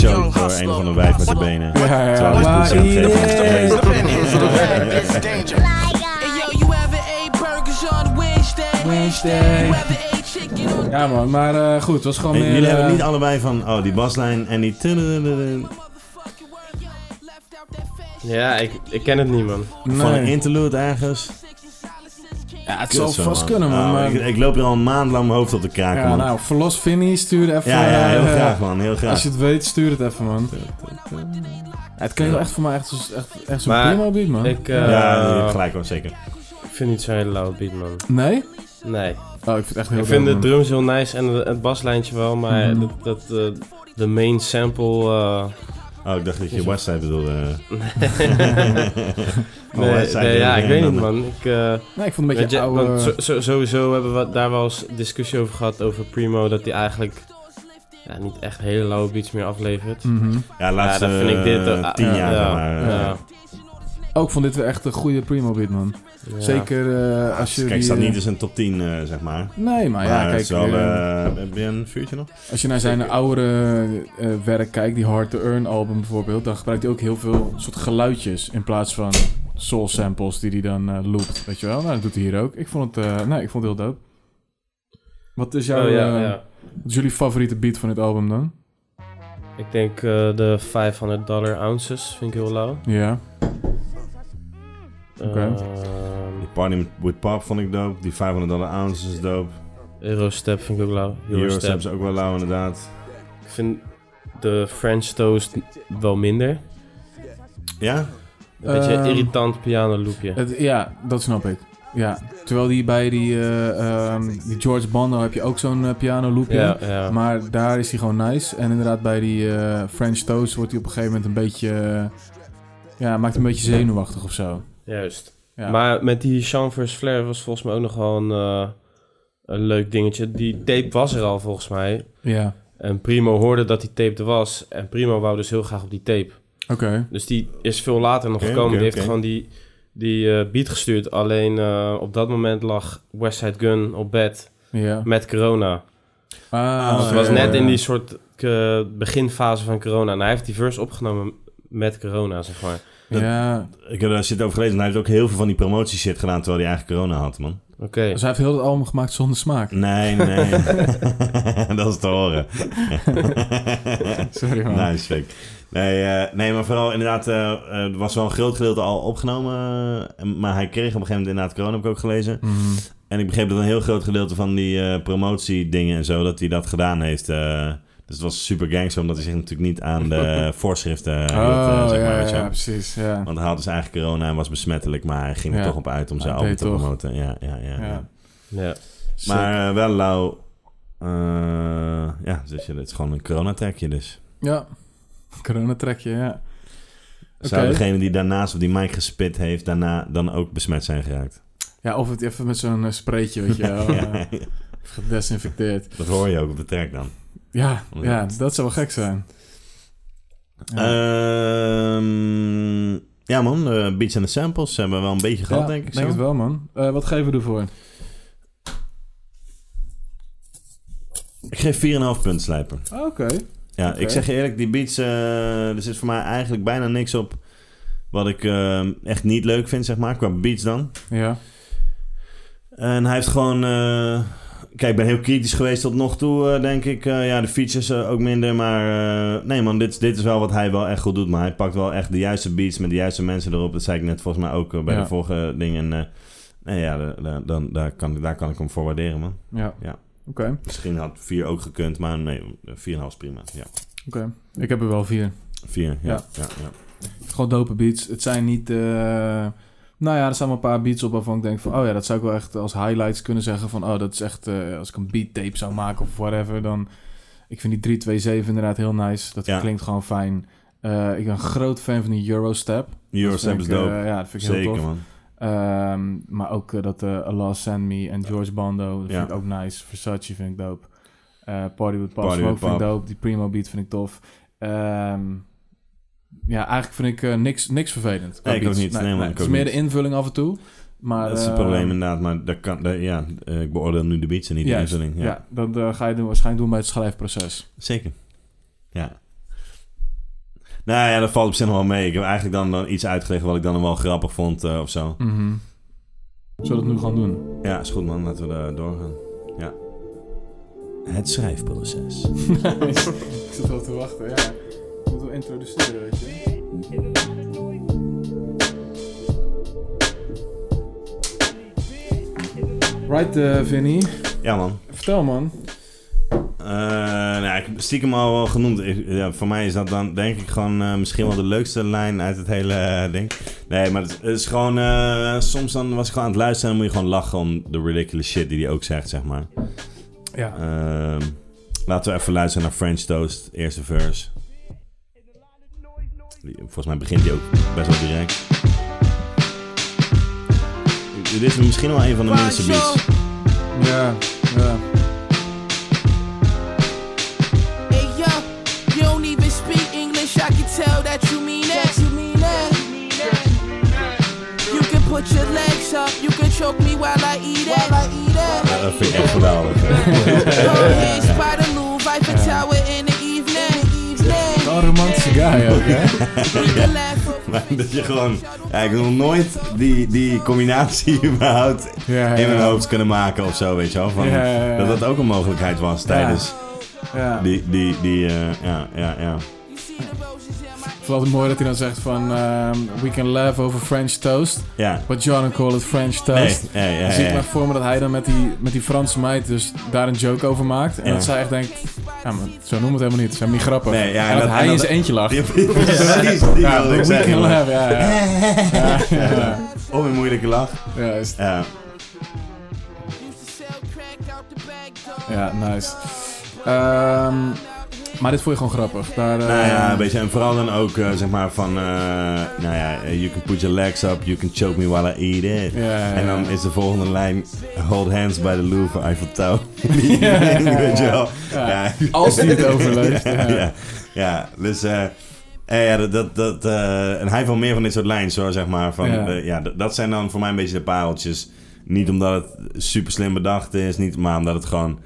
[SPEAKER 1] door een van de wijf met de benen.
[SPEAKER 2] Ja, ja,
[SPEAKER 1] Terwijl hij dus
[SPEAKER 2] maar
[SPEAKER 1] zijn poes aan het
[SPEAKER 2] yeah.
[SPEAKER 1] geven is.
[SPEAKER 9] The pen hits the pad, it's danger.
[SPEAKER 5] Hey yo, you ever ate burgers on Wednesday?
[SPEAKER 2] Wednesday.
[SPEAKER 5] You ever ate chicken on
[SPEAKER 2] Ja, man, maar eh, goed, het was gewoon
[SPEAKER 1] Hey,
[SPEAKER 2] meer...
[SPEAKER 1] jullie
[SPEAKER 2] eh,
[SPEAKER 1] hebben niet allebei van, oh, die baslijn en die... tudududududud.
[SPEAKER 5] motherfucking word? Yo, left out that fashion.
[SPEAKER 3] Ja, ik, ik ken het niet, man.
[SPEAKER 1] Van een
[SPEAKER 2] nee.
[SPEAKER 1] interlude ergens.
[SPEAKER 2] Ja, het
[SPEAKER 1] Kut,
[SPEAKER 2] zou
[SPEAKER 1] zo,
[SPEAKER 2] vast
[SPEAKER 1] man.
[SPEAKER 2] kunnen, man.
[SPEAKER 1] Oh,
[SPEAKER 2] maar,
[SPEAKER 1] ik, ik loop hier al een maand lang mijn hoofd op de kraken,
[SPEAKER 2] ja,
[SPEAKER 1] man.
[SPEAKER 2] nou, verlos Vinny, stuur even...
[SPEAKER 1] ja, ja, heel
[SPEAKER 2] eh,
[SPEAKER 1] graag, man. Heel graag.
[SPEAKER 2] Als je het weet, stuur het even, man. Ja, het kan je wel echt voor mij echt, zo- echt, echt zo'n
[SPEAKER 3] Maar
[SPEAKER 2] primo beat, man.
[SPEAKER 3] Ik eh,
[SPEAKER 1] ja, je hebt gelijk hoor, zeker.
[SPEAKER 3] ik vind niet zo'n hele lauwe beat, man.
[SPEAKER 2] Nee?
[SPEAKER 3] Nee.
[SPEAKER 2] Oh, ik vind het echt heel
[SPEAKER 3] Ik
[SPEAKER 2] dope,
[SPEAKER 3] vind de
[SPEAKER 2] man.
[SPEAKER 3] drums heel nice en het baslijntje wel, maar
[SPEAKER 2] Mhm.
[SPEAKER 3] dat, dat, eh, de main sample... eh,
[SPEAKER 1] Oh, ik dacht dat je Westside bedoelde. Oh,
[SPEAKER 3] nee,
[SPEAKER 1] Westside
[SPEAKER 3] nee, ja, ik
[SPEAKER 1] Ring
[SPEAKER 3] weet
[SPEAKER 1] dan.
[SPEAKER 3] niet, man. Ik, eh,
[SPEAKER 2] Nee, ik vond het een
[SPEAKER 3] Weet
[SPEAKER 2] beetje
[SPEAKER 3] je,
[SPEAKER 2] oude...
[SPEAKER 3] want zo- zo- sowieso hebben we daar wel eens discussie over gehad over Primo dat hij eigenlijk ja, niet echt hele lauwe beats meer aflevert.
[SPEAKER 2] Mhm.
[SPEAKER 1] Ja, laatste
[SPEAKER 3] Ja, dat vind ik dit, eh,
[SPEAKER 1] tien
[SPEAKER 3] ja,
[SPEAKER 1] jaar,
[SPEAKER 3] ja,
[SPEAKER 1] zeg maar. eh.
[SPEAKER 3] ja.
[SPEAKER 2] Ook vond dit weer echt een goede primo beat, man.
[SPEAKER 3] Ja.
[SPEAKER 2] Zeker eh, als je
[SPEAKER 1] Kijk,
[SPEAKER 2] die,
[SPEAKER 1] staat
[SPEAKER 2] eh,
[SPEAKER 1] niet eens een top 10, eh, zeg maar.
[SPEAKER 2] Nee, maar ja,
[SPEAKER 1] Maar het
[SPEAKER 2] kijk,
[SPEAKER 1] is wel,
[SPEAKER 2] eh,
[SPEAKER 1] eh, heb je een vuurtje nog?
[SPEAKER 2] als je naar zijn oude eh, werk kijkt, die Hard to Earn album bijvoorbeeld, dan gebruikt hij ook heel veel soort geluidjes in plaats van soul samples die hij dan eh, loopt, weet je wel? Nou, dat doet hij hier ook. Ik vond het, eh, nee, ik vond het heel dope. Wat is jouw,
[SPEAKER 3] Oh, ja,
[SPEAKER 2] eh,
[SPEAKER 3] ja.
[SPEAKER 2] wat is jullie favoriete beat van dit album dan?
[SPEAKER 3] Ik denk eh, de 500 dollar ounces vind ik heel lauw.
[SPEAKER 2] Ja,
[SPEAKER 3] Ehm Eh,
[SPEAKER 2] Oké.
[SPEAKER 1] Die Party with Pop vond ik dope. Die 500 dollar ounces is dope.
[SPEAKER 3] Eurostep vind ik ook lauw.
[SPEAKER 1] Eurostep
[SPEAKER 3] Eurostep.
[SPEAKER 1] is ook wel lauw, inderdaad.
[SPEAKER 3] Ik vind de French Toast wel minder.
[SPEAKER 1] Ja?
[SPEAKER 3] Een beetje
[SPEAKER 2] Ehm,
[SPEAKER 3] irritant piano loopje.
[SPEAKER 2] het, ja, dat snap ik. Ja, terwijl die bij die, eh, ehm, die George Bando heb je ook zo'n eh, piano loopje.
[SPEAKER 3] Ja, ja.
[SPEAKER 2] Maar daar is hij gewoon nice. En inderdaad, bij die eh, French Toast wordt hij op een gegeven moment een beetje. eh, ja, maakt een beetje zenuwachtig of zo.
[SPEAKER 3] Juist.
[SPEAKER 2] Ja.
[SPEAKER 3] Maar met die Sean vs. Flair was volgens mij ook nog wel een, eh, een leuk dingetje. Die tape was er al volgens mij.
[SPEAKER 2] Ja,
[SPEAKER 3] En Primo hoorde dat die tape er was. En Primo wou dus heel graag op die tape.
[SPEAKER 2] oké.
[SPEAKER 3] Dus die is veel later nog
[SPEAKER 1] Oké,
[SPEAKER 3] gekomen.
[SPEAKER 1] oké,
[SPEAKER 3] die heeft
[SPEAKER 1] oké.
[SPEAKER 3] gewoon die, die eh, beat gestuurd. Alleen eh, op dat moment lag Westside Gun op bed
[SPEAKER 2] Ja.
[SPEAKER 3] met corona.
[SPEAKER 2] Ah,
[SPEAKER 3] Dus
[SPEAKER 2] oké.
[SPEAKER 3] het was net in
[SPEAKER 2] Ja.
[SPEAKER 3] die soort eh, beginfase van corona. En hij heeft die verse opgenomen met corona, zeg maar.
[SPEAKER 2] Ja,
[SPEAKER 1] Ik heb daar shit over gelezen. En hij heeft ook heel veel van die promotie shit gedaan terwijl hij eigenlijk corona had, man.
[SPEAKER 3] Oké.
[SPEAKER 2] dus hij heeft heel het album gemaakt zonder smaak.
[SPEAKER 1] eh, Nee, nee. dat is te horen.
[SPEAKER 2] Sorry man.
[SPEAKER 1] Nice, Fik. Nee, eh, nee, maar vooral inderdaad, eh, eh, er was wel een groot gedeelte al opgenomen. eh, maar hij kreeg op een gegeven moment inderdaad corona, heb ik ook gelezen.
[SPEAKER 2] Mhm.
[SPEAKER 1] En ik begreep dat een heel groot gedeelte van die eh, promotiedingen en zo, dat hij dat gedaan heeft. eh, dus het was super gangster, omdat hij zich natuurlijk niet aan de voorschriften hield, eh,
[SPEAKER 2] oh,
[SPEAKER 1] zeg maar,
[SPEAKER 2] ja,
[SPEAKER 1] weet je wel.
[SPEAKER 2] ja, precies. Ja.
[SPEAKER 1] Want hij had dus eigenlijk corona en was besmettelijk, maar hij ging er
[SPEAKER 2] Ja.
[SPEAKER 1] toch op uit om zijn
[SPEAKER 2] Hij
[SPEAKER 1] album
[SPEAKER 2] deed
[SPEAKER 1] te
[SPEAKER 2] toch.
[SPEAKER 1] promoten. Ja, ja, ja. ja.
[SPEAKER 2] Ja.
[SPEAKER 3] Ja.
[SPEAKER 2] Sick.
[SPEAKER 1] Maar eh, wel lauw. eh, ja, dus je- het is gewoon een coronatrackje dus.
[SPEAKER 2] Ja. Coronatrekje, ja.
[SPEAKER 1] Zou
[SPEAKER 2] Oké.
[SPEAKER 1] degene die daarnaast of die Mike gespit heeft, daarna dan ook besmet zijn geraakt?
[SPEAKER 2] Ja, of het even met zo'n eh, spreetje, weet je wel. eh, gedesinfecteerd.
[SPEAKER 1] dat hoor je ook op de track dan.
[SPEAKER 2] Ja, ja, dat zou wel gek zijn. Ja.
[SPEAKER 1] Ehm, ja man, de beats en de samples hebben we wel een beetje gehad,
[SPEAKER 2] Ja,
[SPEAKER 1] denk ik zo.
[SPEAKER 2] het wel, man. Eh, wat geven we ervoor?
[SPEAKER 1] Ik geef 4,5 punt slijper.
[SPEAKER 2] Ah, Oké.
[SPEAKER 1] Ja,
[SPEAKER 2] Oké.
[SPEAKER 1] ik zeg je eerlijk, die beats, eh, er zit voor mij eigenlijk bijna niks op wat ik eh, echt niet leuk vind, zeg maar, qua beats dan.
[SPEAKER 2] Ja.
[SPEAKER 1] En hij heeft gewoon. eh, kijk, ik ben heel kritisch geweest tot nog toe, eh, denk ik. Eh, ja, de features eh, ook minder. Maar eh, nee, man, dit, dit is wel wat hij wel echt goed doet. Maar hij pakt wel echt de juiste beats met de juiste mensen erop. Dat zei ik net volgens mij ook eh, bij
[SPEAKER 2] Ja.
[SPEAKER 1] de vorige ding. En eh, nee, ja, de- de- dan, daar, kan, daar kan ik hem voor waarderen, man.
[SPEAKER 2] Ja.
[SPEAKER 1] Ja.
[SPEAKER 2] Oké.
[SPEAKER 1] Misschien had 4 ook gekund, maar nee, 4,5 is prima. Ja,
[SPEAKER 2] Oké. Ik heb er wel vier.
[SPEAKER 1] 4. Ja,
[SPEAKER 2] Ja.
[SPEAKER 1] ja. Ja, ja.
[SPEAKER 2] Gewoon dope beats. Het zijn niet... eh, Nou ja, er staan wel een paar beats op waarvan ik denk van... Oh ja, dat zou ik wel echt als highlights kunnen zeggen van... Oh, dat is echt... eh, als ik een beat tape zou maken of whatever, dan... Ik vind die 327 inderdaad heel nice. Dat
[SPEAKER 1] Ja.
[SPEAKER 2] klinkt gewoon fijn. Eh, ik ben een groot fan van die Eurostep.
[SPEAKER 1] Eurostep is
[SPEAKER 2] vind ik,
[SPEAKER 1] dope.
[SPEAKER 2] eh, ja, dat vind ik heel
[SPEAKER 1] Zeker,
[SPEAKER 2] tof.
[SPEAKER 1] man.
[SPEAKER 2] Ehm, maar ook eh, dat eh Allah Send Me en George Bando, dat
[SPEAKER 1] Ja.
[SPEAKER 2] vind ik ook nice. Versace vind ik dope. Eh, Party with Pop
[SPEAKER 1] Party
[SPEAKER 2] Smoke
[SPEAKER 1] with
[SPEAKER 2] vind ik
[SPEAKER 1] Pop.
[SPEAKER 2] dope. Die Primo Beat vind ik tof. Ehm, ja, eigenlijk vind ik eh, niks, niks vervelend. qua
[SPEAKER 1] Nee, ik ook
[SPEAKER 2] beats.
[SPEAKER 1] niet. Nee, man, ik
[SPEAKER 2] het is
[SPEAKER 1] ook
[SPEAKER 2] meer
[SPEAKER 1] niet.
[SPEAKER 2] de invulling af en toe. Maar,
[SPEAKER 1] dat is het
[SPEAKER 2] eh,
[SPEAKER 1] probleem inderdaad. Maar dat kan, dat- ja, eh, ik beoordeel nu de beats en niet de
[SPEAKER 2] juist.
[SPEAKER 1] invulling.
[SPEAKER 2] Ja,
[SPEAKER 1] Ja.
[SPEAKER 2] dat eh, ga je doen, waarschijnlijk doen bij het schrijfproces.
[SPEAKER 1] Zeker. Ja. Nou ja, dat valt op zich nog wel mee. Ik heb eigenlijk dan, dan iets uitgelegd wat ik dan wel grappig vond eh, of zo.
[SPEAKER 2] Mhm. Zullen we dat nu gaan doen?
[SPEAKER 1] Ja, is goed man. Laten we daar doorgaan. Ja. Het schrijfproces.
[SPEAKER 2] Ik zit wel te wachten, ja. Ik moet wel introduceren, weet je. Right, eh, Vinny.
[SPEAKER 1] Ja man.
[SPEAKER 2] Vertel, man.
[SPEAKER 1] Eh, nou, ja, ik heb stiekem al wel genoemd. Ik- ja, voor mij is dat dan denk ik gewoon eh, misschien wel de leukste lijn uit het hele eh, ding. Nee, maar het is, het is gewoon... eh, soms dan was ik gewoon aan het luisteren en dan moet je gewoon lachen om de ridiculous shit die hij ook zegt, zeg maar.
[SPEAKER 2] Ja.
[SPEAKER 1] Ehm, laten we even luisteren naar French Toast, eerste verse. Die- Volgens mij begint die ook best wel direct. Dit is misschien wel een van de minste beats.
[SPEAKER 2] Ja, ja.
[SPEAKER 5] Hey yo, you don't even speak English. I can tell that you mean that. You mean that. You can put your legs up. You can choke me while I eat it. While I eat
[SPEAKER 1] Ja, dat vind ik echt geweldig.
[SPEAKER 5] by the Louvre, Eiffel Tower in the evening. Evening.
[SPEAKER 2] Wel een romantische guy ook, hè?
[SPEAKER 5] We can laugh over
[SPEAKER 1] Maar dat je gewoon... Ja, ik heb nog nooit die, die combinatie überhaupt
[SPEAKER 2] Ja,
[SPEAKER 1] in mijn
[SPEAKER 2] ja.
[SPEAKER 1] hoofd kunnen maken of zo, weet je wel. Van,
[SPEAKER 2] Ja, ja, ja.
[SPEAKER 1] Dat dat ook een mogelijkheid was tijdens
[SPEAKER 2] Ja.
[SPEAKER 1] die... die, die eh, ja, ja, ja.
[SPEAKER 5] You see the roses in my
[SPEAKER 2] Ik vond het mooi dat hij dan zegt van... ehm, we can laugh over French toast.
[SPEAKER 1] Ja.
[SPEAKER 2] But John call it French
[SPEAKER 1] Nee,
[SPEAKER 2] toast.
[SPEAKER 1] ja, ja,
[SPEAKER 2] Dan zie ik
[SPEAKER 1] ja.
[SPEAKER 2] maar voor me dat hij dan met die, met die Franse meid dus daar een joke over maakt. En
[SPEAKER 1] Ja.
[SPEAKER 2] dat zij echt denkt, ja, maar zo noemen we het helemaal niet. Het is helemaal niet grappig.
[SPEAKER 1] Nee, ja,
[SPEAKER 2] en dat,
[SPEAKER 1] dat-
[SPEAKER 2] hij
[SPEAKER 1] en
[SPEAKER 2] in
[SPEAKER 1] dat-
[SPEAKER 2] zijn eentje lacht.
[SPEAKER 1] Ja,
[SPEAKER 2] Ja,
[SPEAKER 1] precies. Die
[SPEAKER 2] ja,
[SPEAKER 1] wilde ik
[SPEAKER 2] we
[SPEAKER 1] zeggen,
[SPEAKER 2] can
[SPEAKER 1] man.
[SPEAKER 2] laugh, ja, ja. ja, ja.
[SPEAKER 1] Of een moeilijke lach.
[SPEAKER 2] Ja, is-
[SPEAKER 1] Ja.
[SPEAKER 5] used to sell crack out the bag, dog.
[SPEAKER 2] ja, nice. Ehm, maar dit vond je gewoon grappig. Daar, eh,
[SPEAKER 1] Nou ja, weet je, en vooral dan ook eh, zeg maar van, eh, nou ja, eh, you can put your legs up, you can choke me while I eat it.
[SPEAKER 2] Ja, ja, ja.
[SPEAKER 1] En dan is de volgende lijn, hold hands by the Louvre Eiffel Tower.
[SPEAKER 2] Ja, ja, ja.
[SPEAKER 1] Weet je wel?
[SPEAKER 2] Ja.
[SPEAKER 1] Ja.
[SPEAKER 2] Als hij het overleeft. Ja.
[SPEAKER 1] ja, ja, dus... eh, eh, ja, dat, dat, dat, eh, en hij heeft wel meer van dit soort lijns hoor, zeg maar. Van,
[SPEAKER 2] Ja.
[SPEAKER 1] eh, ja, d- dat zijn dan voor mij een beetje de pareltjes. Niet omdat het super slim bedacht is, niet, maar omdat het gewoon...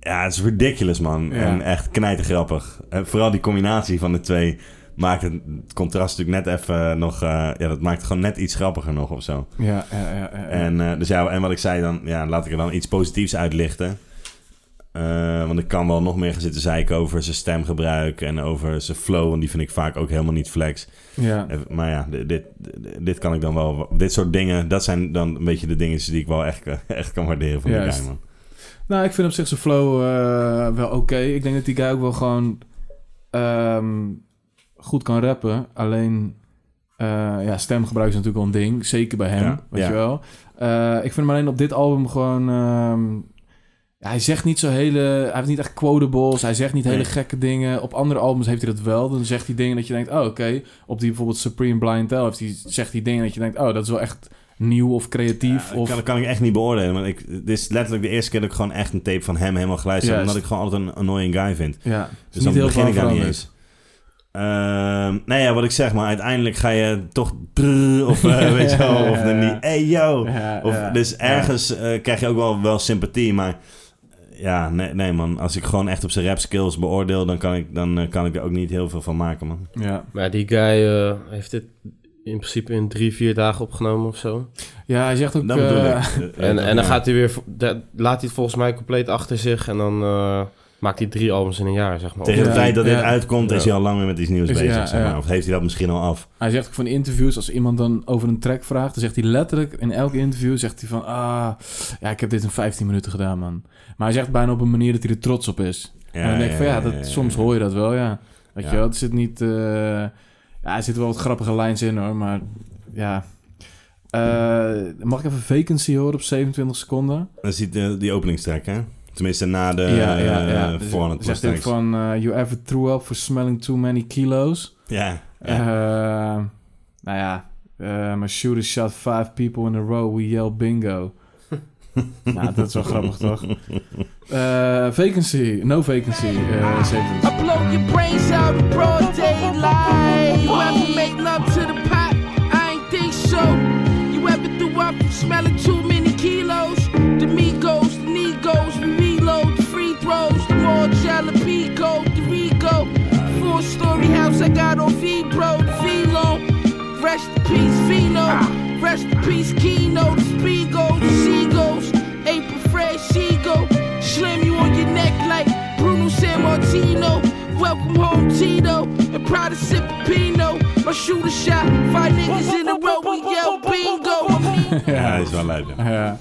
[SPEAKER 1] Ja, het is ridiculous man.
[SPEAKER 2] Ja.
[SPEAKER 1] En echt knijtergrappig. En vooral die combinatie van de twee maakt het, het contrast natuurlijk net even nog... eh, ja, dat maakt het gewoon net iets grappiger nog of zo.
[SPEAKER 2] Ja, ja, ja, ja, ja.
[SPEAKER 1] En, eh, dus ja, en wat ik zei dan, ja, laat ik er dan iets positiefs uitlichten. Eh, want ik kan wel nog meer gaan zitten zeiken over zijn stemgebruik en over zijn flow. Want die vind ik vaak ook helemaal niet flex.
[SPEAKER 2] Ja.
[SPEAKER 1] Eh, Maar ja, dit, dit, dit kan ik dan wel. Dit soort dingen, dat zijn dan een beetje de dingen die ik wel echt, eh, echt kan waarderen van die
[SPEAKER 2] Juist.
[SPEAKER 1] guy, man.
[SPEAKER 2] Nou, ik vind op zich zijn flow eh, wel oké. Ik denk dat die guy ook wel gewoon ehm, goed kan rappen. Alleen, eh, ja, stemgebruik is natuurlijk wel een ding. Zeker bij hem,
[SPEAKER 1] Ja,
[SPEAKER 2] weet
[SPEAKER 1] ja.
[SPEAKER 2] je wel. Eh, ik vind hem alleen op dit album gewoon... ehm, ja, hij zegt niet zo hele... Hij heeft niet echt quotables. Hij zegt niet hele
[SPEAKER 1] Nee.
[SPEAKER 2] gekke dingen. Op andere albums heeft hij dat wel. Dan zegt hij dingen dat je denkt... Oh, oké. Op die bijvoorbeeld Supreme Blind Tell heeft hij, zegt hij dingen dat je denkt... Oh, dat is wel echt nieuw of creatief.
[SPEAKER 1] Ja,
[SPEAKER 2] of...
[SPEAKER 1] kan, kan ik echt niet beoordelen. Want ik, dit is letterlijk de eerste keer dat ik gewoon echt een tape van hem helemaal geluisterd heb.
[SPEAKER 2] Juist.
[SPEAKER 1] Omdat ik gewoon altijd een annoying guy vind.
[SPEAKER 2] Ja,
[SPEAKER 1] Dus dan begin ik
[SPEAKER 2] veel
[SPEAKER 1] daar niet
[SPEAKER 2] veranderd.
[SPEAKER 1] eens. Ehm, nou ja, wat ik zeg, maar uiteindelijk ga je toch... brrr, Of eh, weet je wel, of dan niet. Hey yo!
[SPEAKER 2] Ja,
[SPEAKER 1] Of,
[SPEAKER 2] ja,
[SPEAKER 1] dus
[SPEAKER 2] ja.
[SPEAKER 1] ergens eh, krijg je ook wel, wel sympathie, maar... eh, Ja, nee, nee man. Als ik gewoon echt op zijn rap skills beoordeel, dan kan ik, dan, eh, kan ik er ook niet heel veel van maken, man.
[SPEAKER 2] Ja.
[SPEAKER 3] Maar die guy eh, heeft dit in principe in drie, vier dagen opgenomen of zo.
[SPEAKER 2] ja, hij zegt ook...
[SPEAKER 1] Dat bedoel
[SPEAKER 2] eh,
[SPEAKER 1] ik. Eh,
[SPEAKER 3] En,
[SPEAKER 1] eh,
[SPEAKER 3] en dan
[SPEAKER 1] ja.
[SPEAKER 3] gaat hij weer, vo- da- laat hij het volgens mij compleet achter zich en dan eh, maakt hij drie albums in een jaar, zeg maar.
[SPEAKER 1] Tegen de
[SPEAKER 2] Oh, Ja,
[SPEAKER 1] tijd dat dit
[SPEAKER 2] ja.
[SPEAKER 1] uitkomt, is
[SPEAKER 3] Ja.
[SPEAKER 1] hij al lang weer met iets nieuws
[SPEAKER 2] Is-
[SPEAKER 1] bezig,
[SPEAKER 2] ja,
[SPEAKER 1] zeg maar.
[SPEAKER 2] ja.
[SPEAKER 1] Of heeft hij dat misschien al af?
[SPEAKER 2] Hij zegt ook van interviews, als iemand dan over een track vraagt, dan zegt hij letterlijk in elk interview zegt hij van, ah, ja, ik heb dit in 15 minuten gedaan, man. Maar hij zegt bijna op een manier dat hij er trots op is. en dan denk ik van, ja, dat, soms hoor je dat wel, ja. Weet
[SPEAKER 1] Ja.
[SPEAKER 2] je wel, het zit niet, eh, ja, er zitten wel wat grappige lijns in hoor, maar ja. Eh, mag ik even vacancy horen op 27 seconden?
[SPEAKER 1] Dan ziet eh, die openingstrek, hè? Tenminste, na de
[SPEAKER 2] ja, ja, ja.
[SPEAKER 1] eh,
[SPEAKER 2] Dus
[SPEAKER 1] 400 plus
[SPEAKER 2] Zegt hij
[SPEAKER 1] tracks.
[SPEAKER 2] van, eh, you ever threw up for smelling too many kilos?
[SPEAKER 1] Ja, ja.
[SPEAKER 2] Eh, nou ja, eh, mijn shooter shot five people in a row. We yell bingo. nou, dat is wel grappig, toch? Eh, vacancy. No vacancy. eh, 70.
[SPEAKER 5] I blow your brains out in broad daylight. You ever make love to the pot? I ain't think so. You ever threw up from smelling too many kilos? The Migos, the Negos, we reload the free throws. The more jalapeno, the Rico. Four story house I got on V, bro, the Velo. Rest in peace, Vino. Rest in peace, Kino, the Spiegel, the Seagulls. April Fred, Shego. Slim you on your neck like Bruno San Martino. Welcome home, Tito. And proud of sipping Pino. My shooter shot. Five niggas in a row, we yell bingo.
[SPEAKER 1] ja, is wel leuk. hè.
[SPEAKER 2] Ja.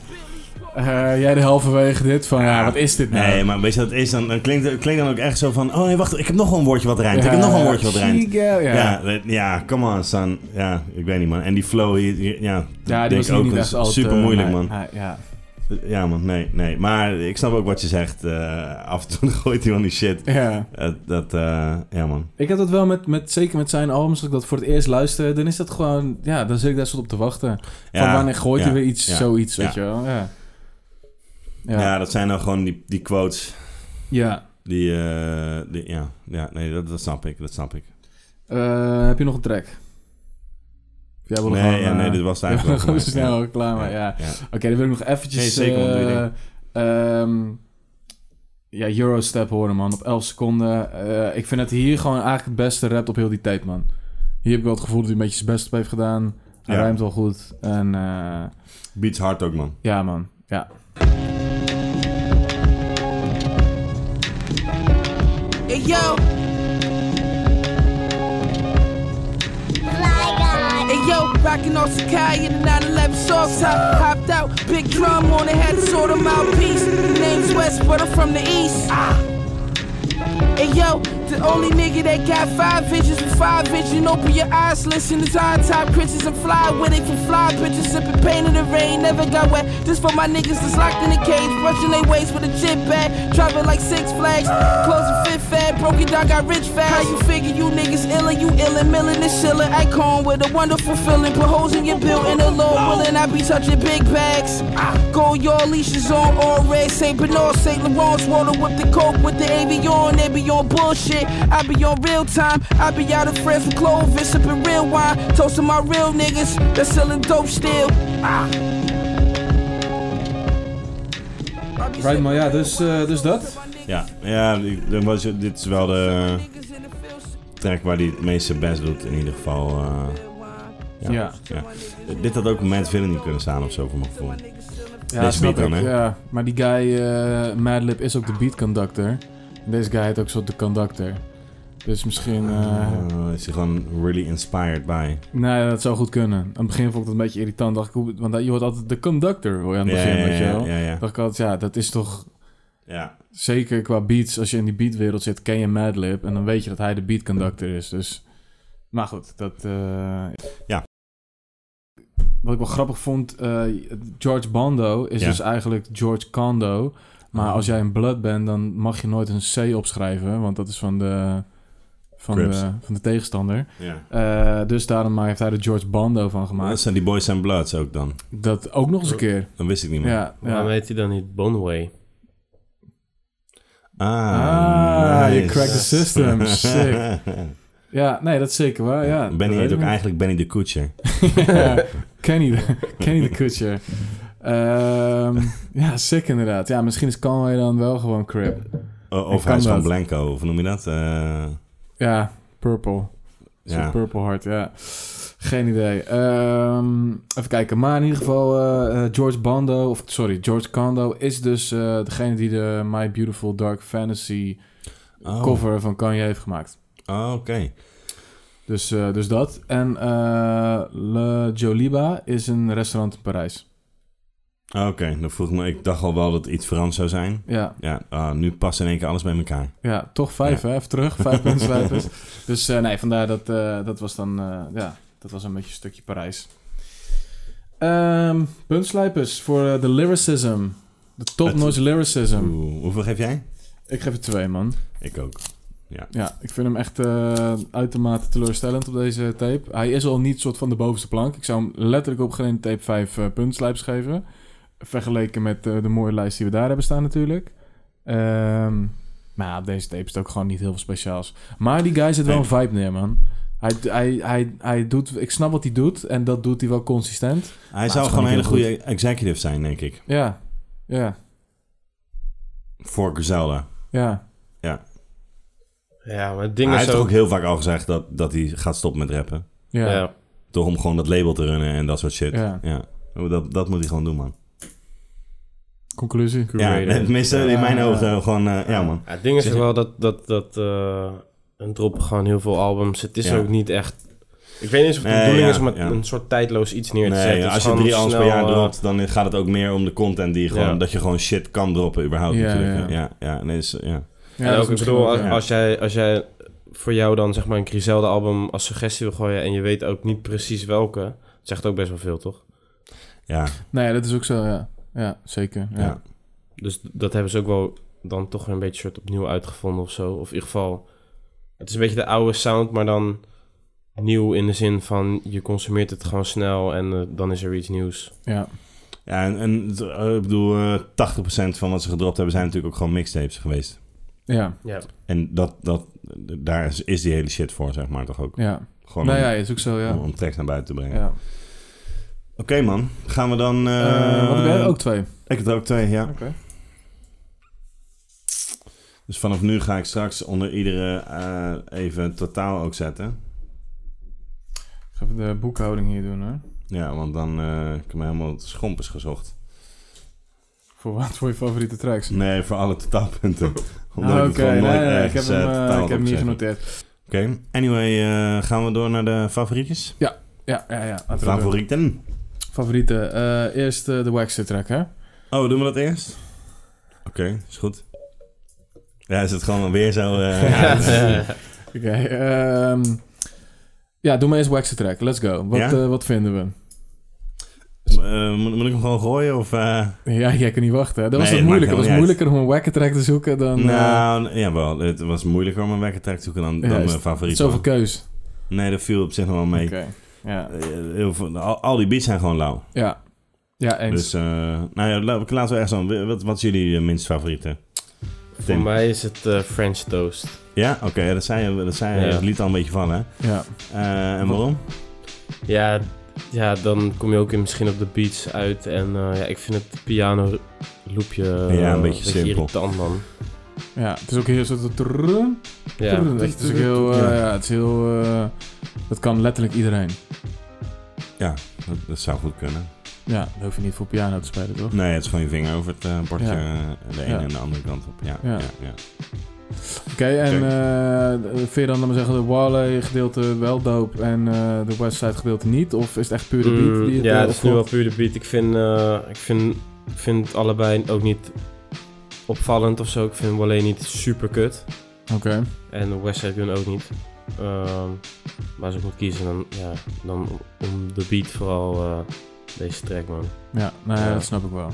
[SPEAKER 2] Eh, jij de halverwege dit van, ja, wat is dit nou?
[SPEAKER 1] Nee, maar weet je wat het is? Dan, dan klinkt, het klinkt dan ook echt zo van... Oh, nee, wacht, ik heb nog een woordje wat rijmt. ik heb nog een woordje wat rijmt.
[SPEAKER 2] She girl,
[SPEAKER 1] Ja,
[SPEAKER 2] Ja, ja.
[SPEAKER 1] ja, dat- ja, come on, son. Ja, ik weet niet, man. En die flow hier, hier- ja...
[SPEAKER 2] die
[SPEAKER 1] denk
[SPEAKER 2] was
[SPEAKER 1] ik ook
[SPEAKER 2] niet
[SPEAKER 1] een
[SPEAKER 2] echt altijd,
[SPEAKER 1] Super
[SPEAKER 2] eh,
[SPEAKER 1] moeilijk,
[SPEAKER 2] hij-
[SPEAKER 1] man.
[SPEAKER 2] hij- ja.
[SPEAKER 1] Ja, man, nee, nee. Maar ik snap ook wat je zegt. eh, af en toe gooit hij van die shit.
[SPEAKER 2] ja.
[SPEAKER 1] Eh, dat, eh, ja, man.
[SPEAKER 2] Ik heb dat wel met, met, zeker met zijn albums, als ik dat voor het eerst luister, dan is dat gewoon, ja, dan zit ik daar soort op te wachten.
[SPEAKER 1] Ja,
[SPEAKER 2] van wanneer gooit hij
[SPEAKER 1] ja,
[SPEAKER 2] weer iets,
[SPEAKER 1] ja,
[SPEAKER 2] zoiets, weet
[SPEAKER 1] ja.
[SPEAKER 2] je wel. Ja.
[SPEAKER 1] Ja.
[SPEAKER 2] Ja. ja.
[SPEAKER 1] dat zijn dan gewoon die, die quotes. Die, eh, die ja, ja, nee, dat, dat snap ik, dat snap ik.
[SPEAKER 2] Eh, heb je nog een track? Of Jij wil
[SPEAKER 1] Nee,
[SPEAKER 2] gewoon,
[SPEAKER 1] ja, nee,
[SPEAKER 2] eh,
[SPEAKER 1] dit was het
[SPEAKER 2] jij wil
[SPEAKER 1] eigenlijk wel
[SPEAKER 2] gewoon
[SPEAKER 1] voor mij.
[SPEAKER 2] snel klaar, maar ja.
[SPEAKER 1] Ja.
[SPEAKER 2] Oké, dan wil ik nog eventjes...
[SPEAKER 1] Nee, zeker, man, doe je ding.
[SPEAKER 2] eh, ehm, ja, Eurostep horen, man. Op 11 seconden. Eh, ik vind dat hij hier gewoon eigenlijk het beste rapt op heel die tape, man. Hier heb ik wel het gevoel dat hij een beetje zijn best op heeft gedaan. Hij
[SPEAKER 1] Ja.
[SPEAKER 2] ruimt wel goed. En eh,
[SPEAKER 1] Beats hard ook, man.
[SPEAKER 2] ja, man. Ja.
[SPEAKER 5] Hey, yo. Hey yo, rockin' on Sakai in the 911 sauce top. Hopped out, big drum on the head, sort of mouthpiece. Name's West, but I'm from the east. Hey yo, the only nigga that got five visions with five vision. Open your eyes, listen to time top pictures and fly with it from fly pictures. Sipping pain in the rain, never got wet. This for my niggas that's locked in the cage, brushing their waist with a chip bag. Driving like six flags, closing fifth fat. Broken down, got rich fast. How you figure you niggas illin', you illin', millin' and shillin'. Icon with a wonderful feeling, put holes in your building. The Lord willing, I be touching big bags. Go your leashes on all red, St. Bernard, St. Laurent's water with the coke with the avion. They be on bullshit. I be on real time. I be out of friends with Clovis, sipping real wine. Toasting my real niggas that's selling dope still.
[SPEAKER 2] Right, maar ja, dus, eh, dus dat.
[SPEAKER 1] Ja, ja ik- dan was, het- dit is wel de track waar hij het meeste best doet, in ieder geval. eh,
[SPEAKER 2] Ja.
[SPEAKER 1] ja. Dit had ook met Villain niet kunnen staan of zo, voor mijn gevoel.
[SPEAKER 2] Ja,
[SPEAKER 1] Deze
[SPEAKER 2] snap
[SPEAKER 1] beat dan,
[SPEAKER 2] ik.
[SPEAKER 1] hè?
[SPEAKER 2] Ja, maar die guy, eh Madlib, is ook de beat conductor. Deze guy heet ook zo de conductor. Dus misschien... eh,
[SPEAKER 1] Oh, is hij gewoon really inspired by.
[SPEAKER 2] Nee, dat zou goed kunnen. Aan het begin vond ik dat een beetje irritant. Dacht ik, hoe- want je hoort altijd de conductor hoor je aan het
[SPEAKER 1] Ja,
[SPEAKER 2] begin,
[SPEAKER 1] ja,
[SPEAKER 2] weet je
[SPEAKER 1] ja,
[SPEAKER 2] wel.
[SPEAKER 1] ja, ja.
[SPEAKER 2] Dacht ik altijd, ja, dat is toch...
[SPEAKER 1] Ja.
[SPEAKER 2] Zeker qua beats, als je in die beatwereld zit, ken je Madlib. En dan weet je dat hij de beat conductor is, dus... Maar goed, dat... eh,
[SPEAKER 1] Ja.
[SPEAKER 2] Wat ik wel grappig vond, eh, George Bondo is
[SPEAKER 1] Ja.
[SPEAKER 2] dus eigenlijk George Kondo. Maar
[SPEAKER 1] Oh.
[SPEAKER 2] als jij een blood bent, dan mag je nooit een C opschrijven, want dat is van de... Van
[SPEAKER 1] Crips.
[SPEAKER 2] de, van de tegenstander.
[SPEAKER 1] ja.
[SPEAKER 2] Eh, dus daarom heeft hij er George Bondo van
[SPEAKER 1] Maar
[SPEAKER 2] gemaakt.
[SPEAKER 1] dat zijn die Boys and Bloods ook dan.
[SPEAKER 2] Dat ook nog eens een keer.
[SPEAKER 1] Dat wist ik niet meer.
[SPEAKER 2] Ja,
[SPEAKER 3] Waarom
[SPEAKER 2] ja.
[SPEAKER 3] heet hij dan niet Bonway?
[SPEAKER 1] Ah,
[SPEAKER 2] Ah, you
[SPEAKER 1] nice.
[SPEAKER 2] cracked the system. Sick. ja, nee, dat is zeker waar. Ja,
[SPEAKER 1] Benny
[SPEAKER 2] dat
[SPEAKER 1] heet
[SPEAKER 2] weet
[SPEAKER 1] ook
[SPEAKER 2] ik
[SPEAKER 1] eigenlijk Benny de Koetser.
[SPEAKER 2] niet. Ja, Kenny, de- Kenny de Kutcher. Ehm, ja, sick inderdaad. Ja, misschien is Conway dan wel gewoon crap.
[SPEAKER 1] O-
[SPEAKER 2] Ik
[SPEAKER 1] Of
[SPEAKER 2] kan
[SPEAKER 1] hij is van
[SPEAKER 2] dat.
[SPEAKER 1] Blanco, of hoe noem je dat? Eh,
[SPEAKER 2] Ja, purple. Ja.
[SPEAKER 1] ja.
[SPEAKER 2] Purple Heart, ja. Geen idee. Ehm, even kijken. Maar in ieder geval, eh, eh, George Bondo, of sorry, George Kondo is dus eh, degene die de My Beautiful Dark Fantasy
[SPEAKER 1] Oh,
[SPEAKER 2] cover van Kanye heeft gemaakt.
[SPEAKER 1] oh, Oké.
[SPEAKER 2] Dus, eh, dus dat. En eh Le Joliba is een restaurant in Parijs.
[SPEAKER 1] Ah, Oké, dan vroeg ik me. Ik dacht al wel dat het iets Frans zou zijn.
[SPEAKER 2] Ja,
[SPEAKER 1] Ja, ah, nu past in één keer alles bij elkaar.
[SPEAKER 2] ja toch vijf,
[SPEAKER 1] Ja.
[SPEAKER 2] hè? Even terug, vijf puntslijpers. Dus eh, nee, vandaar dat eh, dat was dan... eh, ja, dat was een beetje een stukje Parijs. Ehm puntslijpers voor eh, de lyricism. De top-notch lyricism.
[SPEAKER 1] Oeh, hoeveel geef jij?
[SPEAKER 2] Ik geef er twee, man.
[SPEAKER 1] Ik ook.
[SPEAKER 2] Ja, ik vind hem echt eh, uitermate teleurstellend op deze tape. Hij is al niet soort van de bovenste plank. Ik zou hem letterlijk op geen tape 5 eh puntslijps geven. Vergeleken met eh, de mooie lijst die we daar hebben staan natuurlijk. Ehm, maar ja, op deze tape is het ook gewoon niet heel veel speciaals. Maar die guy zet wel
[SPEAKER 1] Nee.
[SPEAKER 2] een vibe neer, man. Hij, hij, hij, hij doet... Ik snap wat hij doet en dat doet hij wel consistent.
[SPEAKER 1] Hij
[SPEAKER 2] Ah, het
[SPEAKER 1] zou
[SPEAKER 2] is
[SPEAKER 1] gewoon een hele
[SPEAKER 2] gewoon heel
[SPEAKER 1] goede executive zijn, denk ik.
[SPEAKER 2] Ja, ja,
[SPEAKER 1] Voor Griselda.
[SPEAKER 2] ja.
[SPEAKER 3] Ja, maar het
[SPEAKER 1] Maar
[SPEAKER 3] ding
[SPEAKER 1] Hij
[SPEAKER 3] is
[SPEAKER 1] heeft
[SPEAKER 3] ook...
[SPEAKER 1] ook heel vaak al gezegd dat, dat hij gaat stoppen met rappen.
[SPEAKER 2] Ja, ja.
[SPEAKER 3] Ja.
[SPEAKER 1] Door om gewoon dat label te runnen en dat soort shit.
[SPEAKER 2] Ja.
[SPEAKER 1] Ja. Oh, Dat, dat moet hij gewoon doen, man.
[SPEAKER 2] conclusie.
[SPEAKER 1] Ja,
[SPEAKER 3] Creator.
[SPEAKER 1] tenminste, in mijn ogen gewoon... eh, ja, man.
[SPEAKER 3] Ja, het ding is
[SPEAKER 1] Zeg
[SPEAKER 3] ook
[SPEAKER 1] je-
[SPEAKER 3] wel dat, dat, dat eh, een drop gewoon heel veel albums. Het is
[SPEAKER 1] Ja.
[SPEAKER 3] ook niet echt. Ik weet niet eens of het de
[SPEAKER 1] Nee,
[SPEAKER 3] bedoeling
[SPEAKER 1] ja,
[SPEAKER 3] is om het
[SPEAKER 1] ja.
[SPEAKER 3] een soort tijdloos iets neer te
[SPEAKER 1] Nee,
[SPEAKER 3] zetten. Het
[SPEAKER 1] als
[SPEAKER 3] is
[SPEAKER 1] je
[SPEAKER 3] gewoon
[SPEAKER 1] drie albums per
[SPEAKER 3] snel,
[SPEAKER 1] jaar
[SPEAKER 3] eh,
[SPEAKER 1] dropt, dan gaat het ook meer om de content die gewoon...
[SPEAKER 3] Ja.
[SPEAKER 1] Dat je gewoon shit kan droppen überhaupt
[SPEAKER 2] Ja,
[SPEAKER 1] natuurlijk.
[SPEAKER 2] ja.
[SPEAKER 1] Ja, ja. nee, is, ja.
[SPEAKER 2] Ja,
[SPEAKER 3] en
[SPEAKER 2] dat is
[SPEAKER 3] ook, ik
[SPEAKER 2] misschien
[SPEAKER 3] bedoel,
[SPEAKER 2] ook,
[SPEAKER 3] als,
[SPEAKER 2] ja.
[SPEAKER 1] ja.
[SPEAKER 3] als, jij, als jij voor jou dan zeg maar een Griselda album als suggestie wil gooien en je weet ook niet precies welke, het zegt ook best wel veel, toch?
[SPEAKER 1] ja,
[SPEAKER 2] Nee, dat is ook zo, Nou ja. Ja, zeker. Ja.
[SPEAKER 1] ja.
[SPEAKER 3] Dus dat hebben ze ook wel dan toch weer een beetje soort opnieuw uitgevonden of zo. Of in ieder geval, het is een beetje de oude sound, maar dan nieuw in de zin van je consumeert het gewoon snel en eh, dan is er weer iets nieuws.
[SPEAKER 2] ja.
[SPEAKER 1] Ja, en, en eh, ik bedoel, eh, 80% van wat ze gedropt hebben zijn natuurlijk ook gewoon mixtapes geweest.
[SPEAKER 2] ja.
[SPEAKER 3] Ja.
[SPEAKER 1] En dat, dat, daar is, is die hele shit voor, zeg maar, toch ook.
[SPEAKER 2] Ja,
[SPEAKER 1] Gewoon
[SPEAKER 2] nou
[SPEAKER 1] om,
[SPEAKER 2] ja, is ook zo, ja.
[SPEAKER 1] om, om tracks naar buiten te brengen.
[SPEAKER 2] ja.
[SPEAKER 1] Oké, man. Gaan we dan... eh,
[SPEAKER 2] Eh, wat heb jij? Ook twee.
[SPEAKER 1] Ik heb er ook twee, ja.
[SPEAKER 2] Oké.
[SPEAKER 1] Dus vanaf nu ga ik straks onder iedere eh, even het totaal ook zetten.
[SPEAKER 2] Ik ga even de boekhouding hier doen, hoor.
[SPEAKER 1] Ja, want dan eh ik heb me helemaal het schompers gezocht.
[SPEAKER 2] Voor wat? Voor je favoriete tracks?
[SPEAKER 1] Nee, voor alle totaalpunten. Omdat
[SPEAKER 2] Ah,
[SPEAKER 1] ik het gewoon nooit
[SPEAKER 2] ik heb
[SPEAKER 1] ergens,
[SPEAKER 2] hem,
[SPEAKER 1] eh,
[SPEAKER 2] eh,
[SPEAKER 1] totaal had
[SPEAKER 2] ik heb hem hier
[SPEAKER 1] opgezet.
[SPEAKER 2] genoteerd.
[SPEAKER 1] Oké, anyway, eh, gaan we door naar de favorietjes?
[SPEAKER 2] Ja, ja, ja. laten we dat doen.
[SPEAKER 1] Favorieten?
[SPEAKER 2] Favoriete. eh, eerst eh, de Waxter track, hè?
[SPEAKER 1] Oh, doen we dat eerst? Oké, is goed. Ja, is het gewoon weer zo... eh, ja, het-
[SPEAKER 2] Oké. ehm, ja, doe maar eerst Waxter track. Let's go. Wat,
[SPEAKER 1] Ja?
[SPEAKER 2] eh, wat vinden we?
[SPEAKER 1] eh, moet, moet ik hem gewoon gooien of... eh,
[SPEAKER 2] Ja, jij kan niet wachten. hè? Dat was
[SPEAKER 1] Nee,
[SPEAKER 2] het
[SPEAKER 1] dat maakt
[SPEAKER 2] moeilijke. Het was
[SPEAKER 1] helemaal niet
[SPEAKER 2] moeilijker om een wacker track te zoeken dan... eh,
[SPEAKER 1] Nou, jawel. Het was moeilijker om een wekkertrek te zoeken dan,
[SPEAKER 2] Ja,
[SPEAKER 1] dan
[SPEAKER 2] is-
[SPEAKER 1] mijn favoriet.
[SPEAKER 2] zoveel
[SPEAKER 1] man.
[SPEAKER 2] keus.
[SPEAKER 1] Nee, dat viel op zich nog wel mee.
[SPEAKER 2] Oké. Ja.
[SPEAKER 1] Eh, Heel veel, al, al die beats zijn gewoon lauw.
[SPEAKER 2] Ja. Ja, eens.
[SPEAKER 1] Dus, eh, nou ja, la- laten we echt zo. Wat, wat is jullie eh, minst favoriete?
[SPEAKER 3] Voor
[SPEAKER 1] Tim.
[SPEAKER 3] mij is het eh, French Toast.
[SPEAKER 1] Ja, oké, eh, dat zei je. Dat zei je.
[SPEAKER 3] Ja.
[SPEAKER 1] Het liet al een beetje van, hè?
[SPEAKER 2] ja.
[SPEAKER 1] Eh, en waarom?
[SPEAKER 3] Ja, ja, dan kom je ook in, misschien op de beats uit en eh, ja, ik vind het piano loopje eh,
[SPEAKER 1] Ja, een beetje simpel.
[SPEAKER 3] irritant dan.
[SPEAKER 2] Ja, het is ook heel soort... trrrrrrrrrrrrrrrrrrrrrrrrrrrrrrrrrrrrrrrrrrrrrrrrrrrrrrrrrrrrrrrrrrrrr.
[SPEAKER 3] Ja,
[SPEAKER 2] Dat is ook heel, eh, ja, het is heel, eh, dat kan letterlijk iedereen.
[SPEAKER 1] Ja, dat, dat zou goed kunnen.
[SPEAKER 2] Ja, daar hoef je niet voor piano te spelen, toch?
[SPEAKER 1] Nee, het is gewoon je vinger over het eh, bordje
[SPEAKER 2] Ja.
[SPEAKER 1] eh, de ene
[SPEAKER 2] Ja.
[SPEAKER 1] en de andere kant op. Ja, ja.
[SPEAKER 2] Ja.
[SPEAKER 1] Ja,
[SPEAKER 2] Oké, en eh vind je dan, laten we zeggen, de Wale gedeelte wel dope en eh, de Westside gedeelte niet? Of is het echt puur de beat
[SPEAKER 3] Mm,
[SPEAKER 2] die het
[SPEAKER 3] ja,
[SPEAKER 2] eh,
[SPEAKER 3] het is nu wel
[SPEAKER 2] opkomt?
[SPEAKER 3] puur de beat. Ik vind, eh, ik vind, ik vind het allebei ook niet opvallend of zo. Ik vind Wale niet super kut.
[SPEAKER 2] Oké,
[SPEAKER 3] En Westside Gun ook niet. Ehm, maar als ik moet kiezen, dan, ja, dan om de beat vooral eh, deze track, man.
[SPEAKER 2] ja, nou ja,
[SPEAKER 3] Ja.
[SPEAKER 2] dat snap ik wel.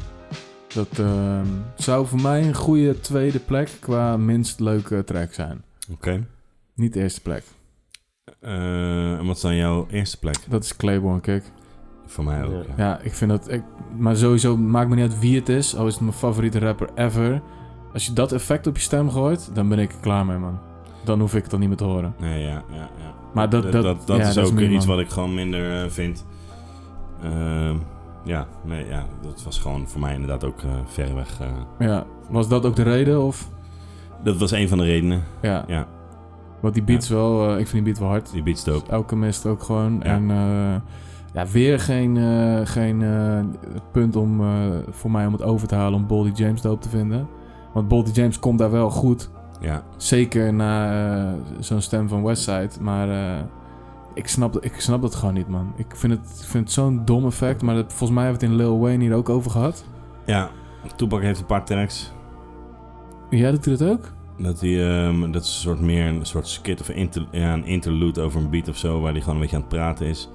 [SPEAKER 2] Dat ehm, zou voor mij een goede tweede plek qua minst leuke track zijn.
[SPEAKER 1] Oké.
[SPEAKER 2] Niet de eerste plek.
[SPEAKER 1] Eh, en wat is dan jouw eerste plek?
[SPEAKER 2] Dat is Claiborne Kick.
[SPEAKER 1] Voor mij ook. Ja.
[SPEAKER 2] Ja, ik vind dat... Ik, maar sowieso, maakt me niet uit wie het is. Al is het mijn favoriete rapper ever. Als je dat effect op je stem gooit, dan ben ik er klaar mee, man. Dan hoef ik het dan niet meer te horen.
[SPEAKER 1] Nee, ja, ja, ja.
[SPEAKER 2] Maar dat- dat-
[SPEAKER 1] dat,
[SPEAKER 2] ja,
[SPEAKER 1] is
[SPEAKER 2] dat is
[SPEAKER 1] ook
[SPEAKER 2] meer,
[SPEAKER 1] iets
[SPEAKER 2] man.
[SPEAKER 1] wat ik gewoon minder eh, vind. Ehm, ja, nee, ja, dat was gewoon voor mij inderdaad ook eh, verreweg. eh,
[SPEAKER 2] Ja, was dat ook de reden? Of?
[SPEAKER 1] dat was een van de redenen.
[SPEAKER 2] Ja.
[SPEAKER 1] Ja,
[SPEAKER 2] Want die beats wel, eh, ik vind die beat wel hard.
[SPEAKER 1] die beat dope.
[SPEAKER 2] Alchemist ook gewoon.
[SPEAKER 1] Ja.
[SPEAKER 2] En eh, ja, weer geen, eh, geen eh, punt om, eh, voor mij om het over te halen om Boldy James doop te vinden. Want Boldy James komt daar wel goed.
[SPEAKER 1] Ja,
[SPEAKER 2] Zeker na eh, zo'n stem van Westside. Maar eh, ik, snap, dat- ik snap dat gewoon niet, man. Ik vind het, ik vind het zo'n dom effect. Maar dat, volgens mij hebben we het in Lil Wayne hier ook over gehad.
[SPEAKER 1] ja. Toepak heeft een paar tracks.
[SPEAKER 2] Jij doet dat ook?
[SPEAKER 1] Dat, die, ehm, dat is een soort meer een soort skit of inter, ja, een interlude over een beat of zo, waar hij gewoon een beetje aan het praten is.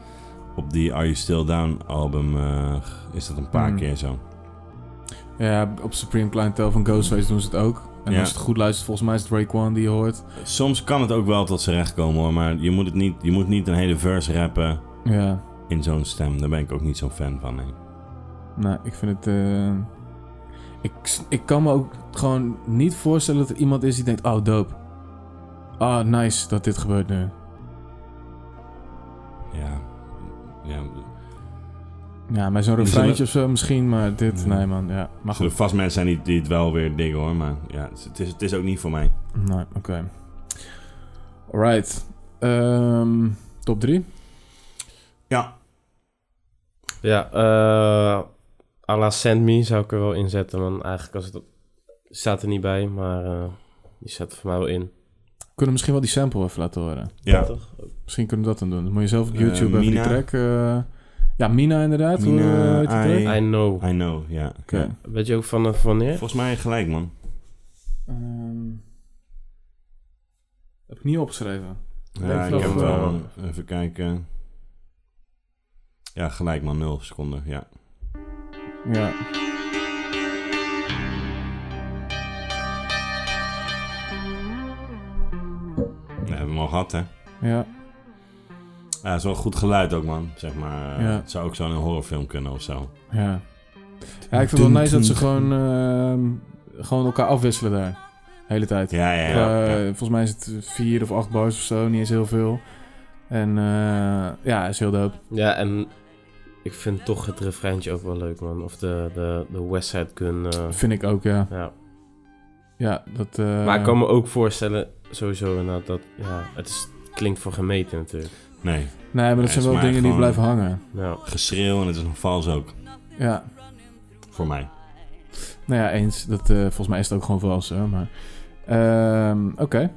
[SPEAKER 1] Op die Are You Still Down album eh, is dat een paar
[SPEAKER 2] Mm.
[SPEAKER 1] keer zo.
[SPEAKER 2] Ja, op Supreme Clientele van Ghostface doen ze het ook. En
[SPEAKER 1] Ja.
[SPEAKER 2] als je het goed luistert, volgens mij is het Drake One die je hoort.
[SPEAKER 1] Soms kan het ook wel tot zijn recht komen hoor, maar je moet, het niet, je moet niet een hele verse rappen
[SPEAKER 2] Ja,
[SPEAKER 1] in zo'n stem. Daar ben ik ook niet zo'n fan van. nee.
[SPEAKER 2] nou, ik vind het... eh, ik, s- ik kan me ook gewoon niet voorstellen dat er iemand is die denkt... Oh, dope. Ah, nice dat dit gebeurt nu.
[SPEAKER 1] Ja. ja.
[SPEAKER 2] Ja, bij zo'n
[SPEAKER 1] Zullen-
[SPEAKER 2] refreintje of zo misschien, maar dit...
[SPEAKER 1] Ja.
[SPEAKER 2] Nee, man, ja. Maar
[SPEAKER 1] Er
[SPEAKER 2] goed.
[SPEAKER 1] zullen vast mensen zijn die, die het wel weer diggen hoor, maar ja, het is- het, is, het is ook niet voor mij.
[SPEAKER 2] Nee, oké. Alright. Ehm, top 3.
[SPEAKER 3] Ja, eh à la Send Me zou ik er wel inzetten, man. Eigenlijk als het, staat er niet bij, maar eh, die staat er voor mij wel in.
[SPEAKER 2] Kunnen we misschien wel die sample even laten horen?
[SPEAKER 1] Ja.
[SPEAKER 3] Toch?
[SPEAKER 2] Misschien kunnen we dat dan doen. Dan moet je zelf op
[SPEAKER 1] Eh,
[SPEAKER 2] YouTube even die
[SPEAKER 1] Mina.
[SPEAKER 2] track... eh, ja, Mina inderdaad. Hoe
[SPEAKER 1] Mina,
[SPEAKER 2] eh, heet die track?
[SPEAKER 1] I-
[SPEAKER 3] I know.
[SPEAKER 1] I know, ja.
[SPEAKER 2] Oké.
[SPEAKER 1] Ja.
[SPEAKER 3] Weet je ook vanaf wanneer?
[SPEAKER 1] Volgens mij gelijk man.
[SPEAKER 2] Ehm, heb ik niet opgeschreven.
[SPEAKER 1] Ja,
[SPEAKER 2] Leuk
[SPEAKER 1] ik heb
[SPEAKER 2] nog,
[SPEAKER 1] het wel.
[SPEAKER 2] eh,
[SPEAKER 1] man. Even kijken. Ja, gelijk man, 0 seconden. Ja.
[SPEAKER 2] Ja.
[SPEAKER 1] Ja, we hebben hem al gehad, hè?
[SPEAKER 2] Ja.
[SPEAKER 1] Ja, het is wel goed geluid ook, man. Zeg maar, eh,
[SPEAKER 2] Ja.
[SPEAKER 1] Het zou ook zo in een horrorfilm kunnen of zo.
[SPEAKER 2] Ja. Ja, ik vind het wel nice dat ze gewoon, ehm, gewoon elkaar afwisselen daar. De hele tijd.
[SPEAKER 1] Ja, ja, ja.
[SPEAKER 2] Eh,
[SPEAKER 1] ja.
[SPEAKER 2] Volgens mij is het vier of acht bars of zo. Niet eens heel veel. En eh, ja, is heel dope.
[SPEAKER 3] Ja, en ik vind toch het refreintje ook wel leuk, man. Of de, de, de Westside Gun. eh,
[SPEAKER 2] Vind ik ook, ja.
[SPEAKER 3] ja.
[SPEAKER 2] Ja, dat... eh,
[SPEAKER 3] Maar ik kan me ook voorstellen, sowieso inderdaad, dat ja, het is, klinkt voor gemeten natuurlijk.
[SPEAKER 1] Nee,
[SPEAKER 2] Nee, maar
[SPEAKER 1] Ja,
[SPEAKER 2] dat
[SPEAKER 1] is
[SPEAKER 2] zijn wel
[SPEAKER 1] maar
[SPEAKER 2] dingen die
[SPEAKER 1] gewoon-
[SPEAKER 2] blijven hangen.
[SPEAKER 3] Ja.
[SPEAKER 1] geschreeuw en het is nog vals ook.
[SPEAKER 2] Ja.
[SPEAKER 1] Voor mij.
[SPEAKER 2] Nou ja, eens. Dat, eh, volgens mij is het ook gewoon vals, hè. Maar... Ehm, Oké.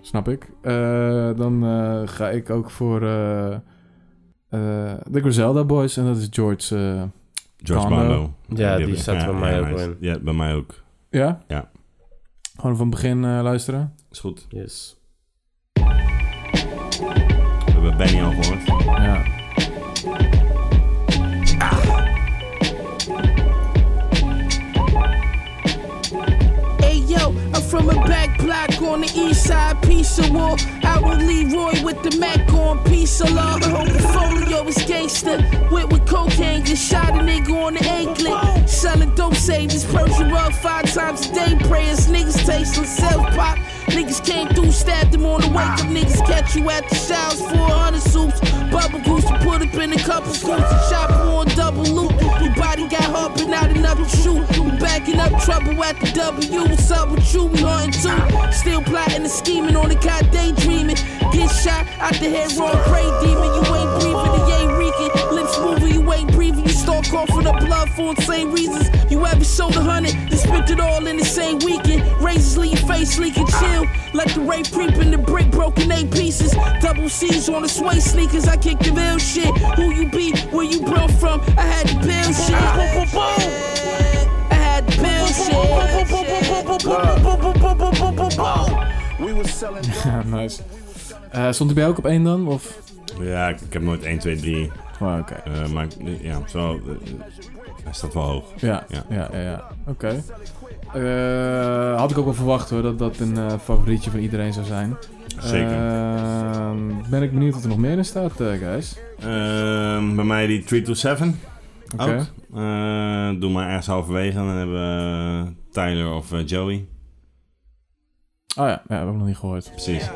[SPEAKER 2] Snap ik. Eh, dan eh, ga ik ook voor... eh, eh, de Griselda Boys. En dat is George... eh,
[SPEAKER 1] George
[SPEAKER 2] Condo.
[SPEAKER 1] Bando.
[SPEAKER 3] Ja, die staat bij mij ook
[SPEAKER 1] nice.
[SPEAKER 3] wel in.
[SPEAKER 1] Ja, bij mij ook.
[SPEAKER 2] ja?
[SPEAKER 1] Ja.
[SPEAKER 2] Gewoon van begin eh, luisteren.
[SPEAKER 1] Is goed.
[SPEAKER 3] Yes.
[SPEAKER 1] We hebben Benny al gehoord.
[SPEAKER 2] Ja.
[SPEAKER 5] Hey yo, I'm from a back block on the east side, piece of war. I will Leroy with the Mac on piece of law. The whole portfolio is gangster. Went with cocaine, just shot a nigga on the anklet. Selling dope, saying this Persian rug five times a day. Prayers, niggas tasting self pop. Niggas came through, stabbed him on the wake up. Niggas catch you at the showers, 400 soups. Bubble goose to put up in a couple scoops. Chopper on double loop. Your body got hard, but not enough to shoot. Backing up trouble at the W. What's up with you? We hunting too. Still plotting and scheming on the cot, daydreaming. Get shot out the head, wrong prey demon. You ain't breathing, you ain't reeking. Lips moving, you ain't breathing. You stalking all coughing up blood for insane reasons. You ever sold a hundred, then spent it all in the same weekend. Razors leave your face leaking, chill. Let the rape creep in the brick, broken eight pieces. Double C's on the sway sneakers, I kick the real shit. Who you be, where you bro from, I had the pill shit. Boom, boom, boom, boom. I had the pill
[SPEAKER 9] Oh.
[SPEAKER 5] shit.
[SPEAKER 9] We was selling
[SPEAKER 2] Ja, nice. Eh, stond hij bij ook op één dan? Of?
[SPEAKER 1] Ja, ik, ik heb nooit 1, 2, 3.
[SPEAKER 2] Oh, oké.
[SPEAKER 1] eh, maar eh, ja, zo, eh, hij staat wel hoog.
[SPEAKER 2] Ja, ja,
[SPEAKER 1] Ja.
[SPEAKER 2] ja, ja. Oké. Eh, had ik ook wel verwacht hoor, dat dat een eh, favorietje van iedereen zou zijn.
[SPEAKER 1] Zeker.
[SPEAKER 2] Eh, ben ik benieuwd wat er nog meer in staat, eh, guys.
[SPEAKER 1] Ehm, bij mij die 3 to 7.
[SPEAKER 2] Oké.
[SPEAKER 1] Ook. Eh, doe maar ergens halverwege. Dan hebben we eh, Tyler of eh, Joey.
[SPEAKER 2] Oh ja, ja, we hebben nog niet gehoord.
[SPEAKER 1] Precies.
[SPEAKER 4] I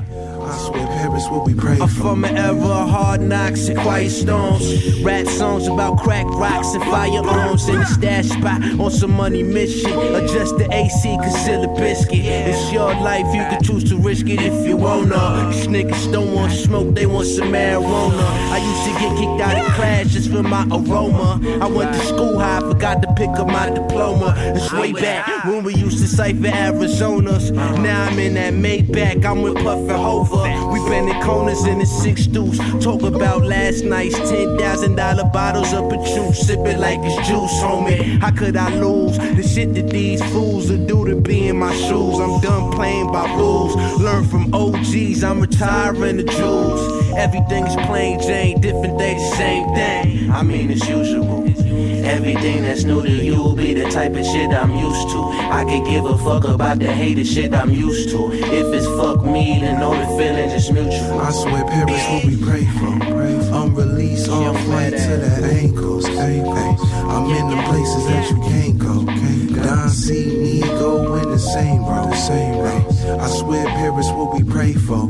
[SPEAKER 4] swear Paris will be prayed
[SPEAKER 11] I'm
[SPEAKER 4] for.
[SPEAKER 11] from an era of hard knocks and quiet storms. Rap songs about crack rocks and firearms in the stash spot on some money mission. Adjust the AC, conceal the biscuit. It's your life, you can choose to risk it if you wanna. These niggas don't want smoke, they want some marijuana. I used to get kicked out of class just for my aroma. I went to school high, forgot to pick up my diploma. It's way back when we used to cipher Arizonas. Now I'm in that Maybach, I'm with Puff and Hova. We been in corners in the six deuce. Talk about last night's ten thousand dollar bottles of juice. Sip it like it's juice, homie. How could I lose the shit that these fools will do to be in my shoes? I'm done playing by rules. Learn from OGs, I'm retiring the jewels. Everything is plain Jane, different day, the same thing. I mean, it's usual. Everything that's new to you will be the type of shit I'm used to. I could give a fuck about the hated shit I'm used to. If it's fuck me, then all the feelings is mutual.
[SPEAKER 4] I swear Paris will be prayed for. I'm released all flight to the ankles. ankles. I'm in the places that you can't go. Don C, me go in the same road. Same road. I swear Paris will be prayed for.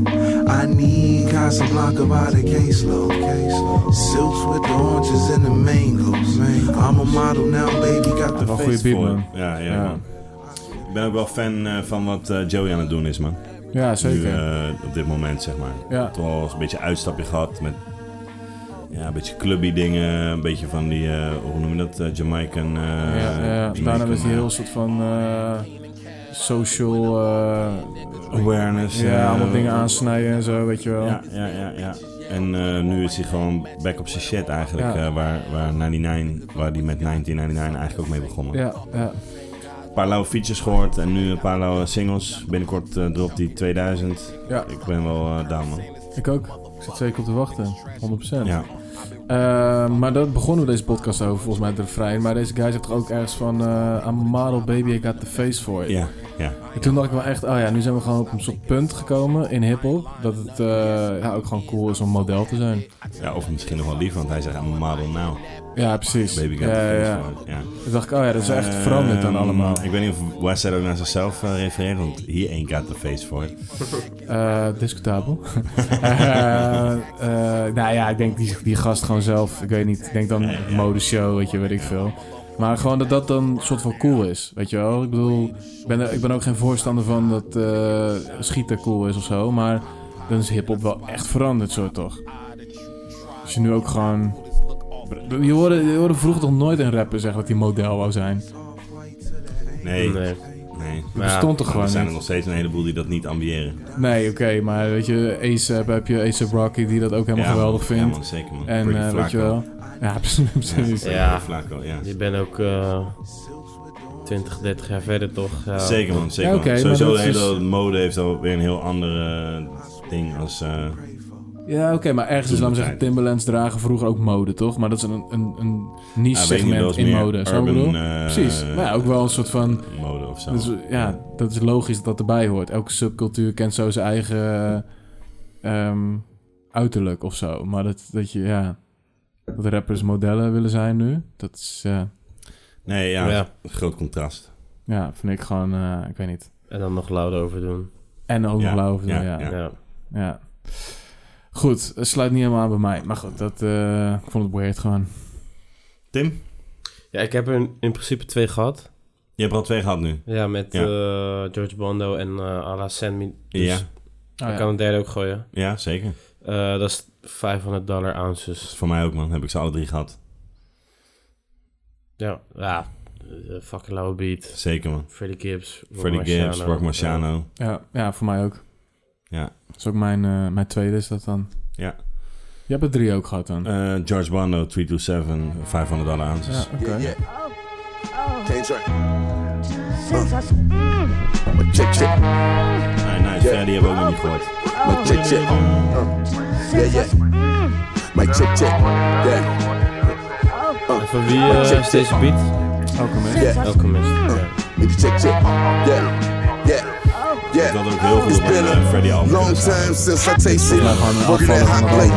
[SPEAKER 4] I need Casablanca by the caseload. caseload. Silks with the oranges and the mangoes. I'm a model now, baby. Got the
[SPEAKER 2] Wel
[SPEAKER 4] face
[SPEAKER 2] goede beat,
[SPEAKER 1] Voor-
[SPEAKER 2] man.
[SPEAKER 1] Ja, ja,
[SPEAKER 2] Ja.
[SPEAKER 1] man. Ik ben ook wel fan eh, van wat eh, Joey aan het doen is, man.
[SPEAKER 2] Ja, zeker.
[SPEAKER 1] Nu, eh, op dit moment, zeg maar.
[SPEAKER 2] Ja.
[SPEAKER 1] Toch wel eens een beetje uitstapje gehad met... Ja, een beetje clubby dingen. Een beetje van die... eh, hoe noem je dat? eh, Jamaican... eh,
[SPEAKER 2] ja, ja, ja. Daarna
[SPEAKER 1] Jamaican,
[SPEAKER 2] was hij
[SPEAKER 1] eh,
[SPEAKER 2] heel soort van eh, social. eh,
[SPEAKER 1] Awareness.
[SPEAKER 2] ja,
[SPEAKER 1] eh,
[SPEAKER 2] allemaal dingen aansnijden en zo, weet je wel.
[SPEAKER 1] Ja, ja, ja, ja. En eh, nu is hij gewoon back op zijn shit eigenlijk.
[SPEAKER 2] Ja.
[SPEAKER 1] eh, waar, waar, 99, waar die met 1999 eigenlijk ook mee begonnen.
[SPEAKER 2] Ja, ja.
[SPEAKER 1] Een paar lauwe features gehoord en nu een paar lauwe singles. Binnenkort eh, dropt die 2000.
[SPEAKER 2] Ja.
[SPEAKER 1] Ik ben wel eh down, man.
[SPEAKER 2] Ik ook. Ik zit zeker op te wachten. 100%.
[SPEAKER 1] Ja.
[SPEAKER 2] Eh, maar daar begonnen we deze podcast over, volgens mij, de refrein. Maar deze guy zegt toch ook ergens van... eh I'm a model, baby, I got the face for it.
[SPEAKER 1] Ja, ja.
[SPEAKER 2] En toen dacht ik wel echt... Oh ja, nu zijn we gewoon op een soort punt gekomen in hiphop. Dat het eh, ja, ook gewoon cool is om model te zijn.
[SPEAKER 1] ja. Of misschien nog wel liever, want hij zegt I'm a model now.
[SPEAKER 2] Ja, precies.
[SPEAKER 1] Baby got
[SPEAKER 2] ja,
[SPEAKER 1] the face
[SPEAKER 2] ja.
[SPEAKER 1] for it. Ja.
[SPEAKER 2] Toen dacht ik, oh ja, dat is echt veranderd dan
[SPEAKER 1] Ehm,
[SPEAKER 2] allemaal.
[SPEAKER 1] Ik weet niet of Westside ook naar zichzelf eh, refereert, want he ain't got the face for it.
[SPEAKER 2] Eh, discutabel. Eh, eh, nou ja, ik denk die, die gast gewoon zelf. Ik weet niet. Ik denk dan modeshow, weet je, weet ik veel. Maar gewoon dat dat dan soort van cool is, weet je wel? Ik bedoel, ik ben, er- ik ben ook geen voorstander van dat eh schieten cool is of zo. Maar dan is hiphop wel echt veranderd, zo toch? Als je nu ook gewoon... Je hoorde, je hoorde vroeger toch nooit een rapper zeggen dat hij model wou zijn?
[SPEAKER 1] Nee, nee.
[SPEAKER 3] Nee.
[SPEAKER 1] nee.
[SPEAKER 2] Dat bestond toch
[SPEAKER 1] Maar
[SPEAKER 2] gewoon
[SPEAKER 1] er zijn
[SPEAKER 2] niet?
[SPEAKER 1] er nog steeds een heleboel die dat niet ambiëren.
[SPEAKER 2] Nee, oké, maar weet je, ASAP heb je ASAP Rocky die dat ook helemaal
[SPEAKER 1] Ja,
[SPEAKER 2] geweldig
[SPEAKER 1] man.
[SPEAKER 2] vindt.
[SPEAKER 1] Ja, man, zeker man.
[SPEAKER 2] En
[SPEAKER 1] Pretty
[SPEAKER 2] eh, weet je
[SPEAKER 1] Flaco.
[SPEAKER 2] wel. Ja, precies. precies.
[SPEAKER 1] Ja,
[SPEAKER 3] Ja.
[SPEAKER 1] ja. Flaco, ja.
[SPEAKER 3] Je bent ook eh 20, 30 jaar verder toch? Ja.
[SPEAKER 1] Zeker man, zeker
[SPEAKER 2] Ja, oké,
[SPEAKER 1] man.
[SPEAKER 2] maar
[SPEAKER 1] Sowieso
[SPEAKER 2] dat
[SPEAKER 1] de hele
[SPEAKER 2] is- dus-
[SPEAKER 1] mode heeft al weer een heel ander eh, ding als... eh,
[SPEAKER 2] Ja, oké, maar ergens is, laten we zeggen, Timberlands dragen vroeger ook mode, toch? Maar dat is een, een, een niche
[SPEAKER 1] Ja, weet ik niet, dat
[SPEAKER 2] segment
[SPEAKER 1] is
[SPEAKER 2] in
[SPEAKER 1] meer
[SPEAKER 2] mode, zo
[SPEAKER 1] urban,
[SPEAKER 2] bedoel
[SPEAKER 1] eh,
[SPEAKER 2] Precies, maar ja, ook wel een soort van...
[SPEAKER 1] mode of zo.
[SPEAKER 2] Dat is, ja, dat is logisch dat dat erbij hoort. Elke subcultuur kent zo zijn eigen ehm, uiterlijk of zo. Maar dat, dat je, ja... Dat rappers modellen willen zijn nu, dat is... eh,
[SPEAKER 1] Nee, ja,
[SPEAKER 3] Ja.
[SPEAKER 1] groot contrast.
[SPEAKER 2] ja, vind ik gewoon, eh, ik weet niet.
[SPEAKER 3] En dan nog loud over doen.
[SPEAKER 2] En ook
[SPEAKER 1] Ja,
[SPEAKER 2] nog lauw over doen, ja.
[SPEAKER 1] ja, ja.
[SPEAKER 3] Ja.
[SPEAKER 2] Ja. Goed, het sluit niet helemaal aan bij mij. Maar goed, dat, eh, ik vond het weird gewoon.
[SPEAKER 1] Tim,
[SPEAKER 3] ja, ik heb er in principe twee gehad.
[SPEAKER 1] je hebt er al twee gehad nu.
[SPEAKER 3] Ja, met
[SPEAKER 1] Ja.
[SPEAKER 3] eh, George Bondo en eh Ala Send Me. Dus
[SPEAKER 2] Oh,
[SPEAKER 1] Ja.
[SPEAKER 3] ik kan een derde ook gooien.
[SPEAKER 1] Ja, zeker.
[SPEAKER 3] Eh, dat is 500 dollar
[SPEAKER 1] Dat
[SPEAKER 3] ounces.
[SPEAKER 1] is voor mij ook man, heb ik ze alle drie gehad.
[SPEAKER 3] Ja, ja. eh, fucking lauwe beat.
[SPEAKER 1] Zeker, man.
[SPEAKER 3] Freddie Gibbs. Rock
[SPEAKER 1] Freddie Gibbs,
[SPEAKER 3] Marciano.
[SPEAKER 1] Rock Marciano.
[SPEAKER 2] Ja, ja voor mij ook.
[SPEAKER 1] Nou. Ja.
[SPEAKER 2] Dat is ook mijn, eh, mijn tweede, is dat dan?
[SPEAKER 1] Ja.
[SPEAKER 2] Je hebt er drie ook gehad dan?
[SPEAKER 1] Eh, George Bono, 327, 500 dollar ounces.
[SPEAKER 2] Ja, oké.
[SPEAKER 4] Yeah, yeah. Change track.
[SPEAKER 5] Mm.
[SPEAKER 4] Uh. Check, check.
[SPEAKER 1] Nee, nice. Verder die hebben we ook nog niet gehoord. Oh.
[SPEAKER 4] Mic check, check. Uh. Yeah, yeah. Mic check, check. Yeah. Uh.
[SPEAKER 3] En Van wie eh, is deze beat?
[SPEAKER 2] Alchemist.
[SPEAKER 4] Yeah.
[SPEAKER 3] Alchemist. Ja.
[SPEAKER 4] Mic check, check. Yeah. Yeah. Yeah.
[SPEAKER 1] Dat ook heel
[SPEAKER 4] It's
[SPEAKER 1] goed op
[SPEAKER 4] been
[SPEAKER 1] een Freddy
[SPEAKER 4] a
[SPEAKER 1] album.
[SPEAKER 4] long time since I tasted working at hot plate,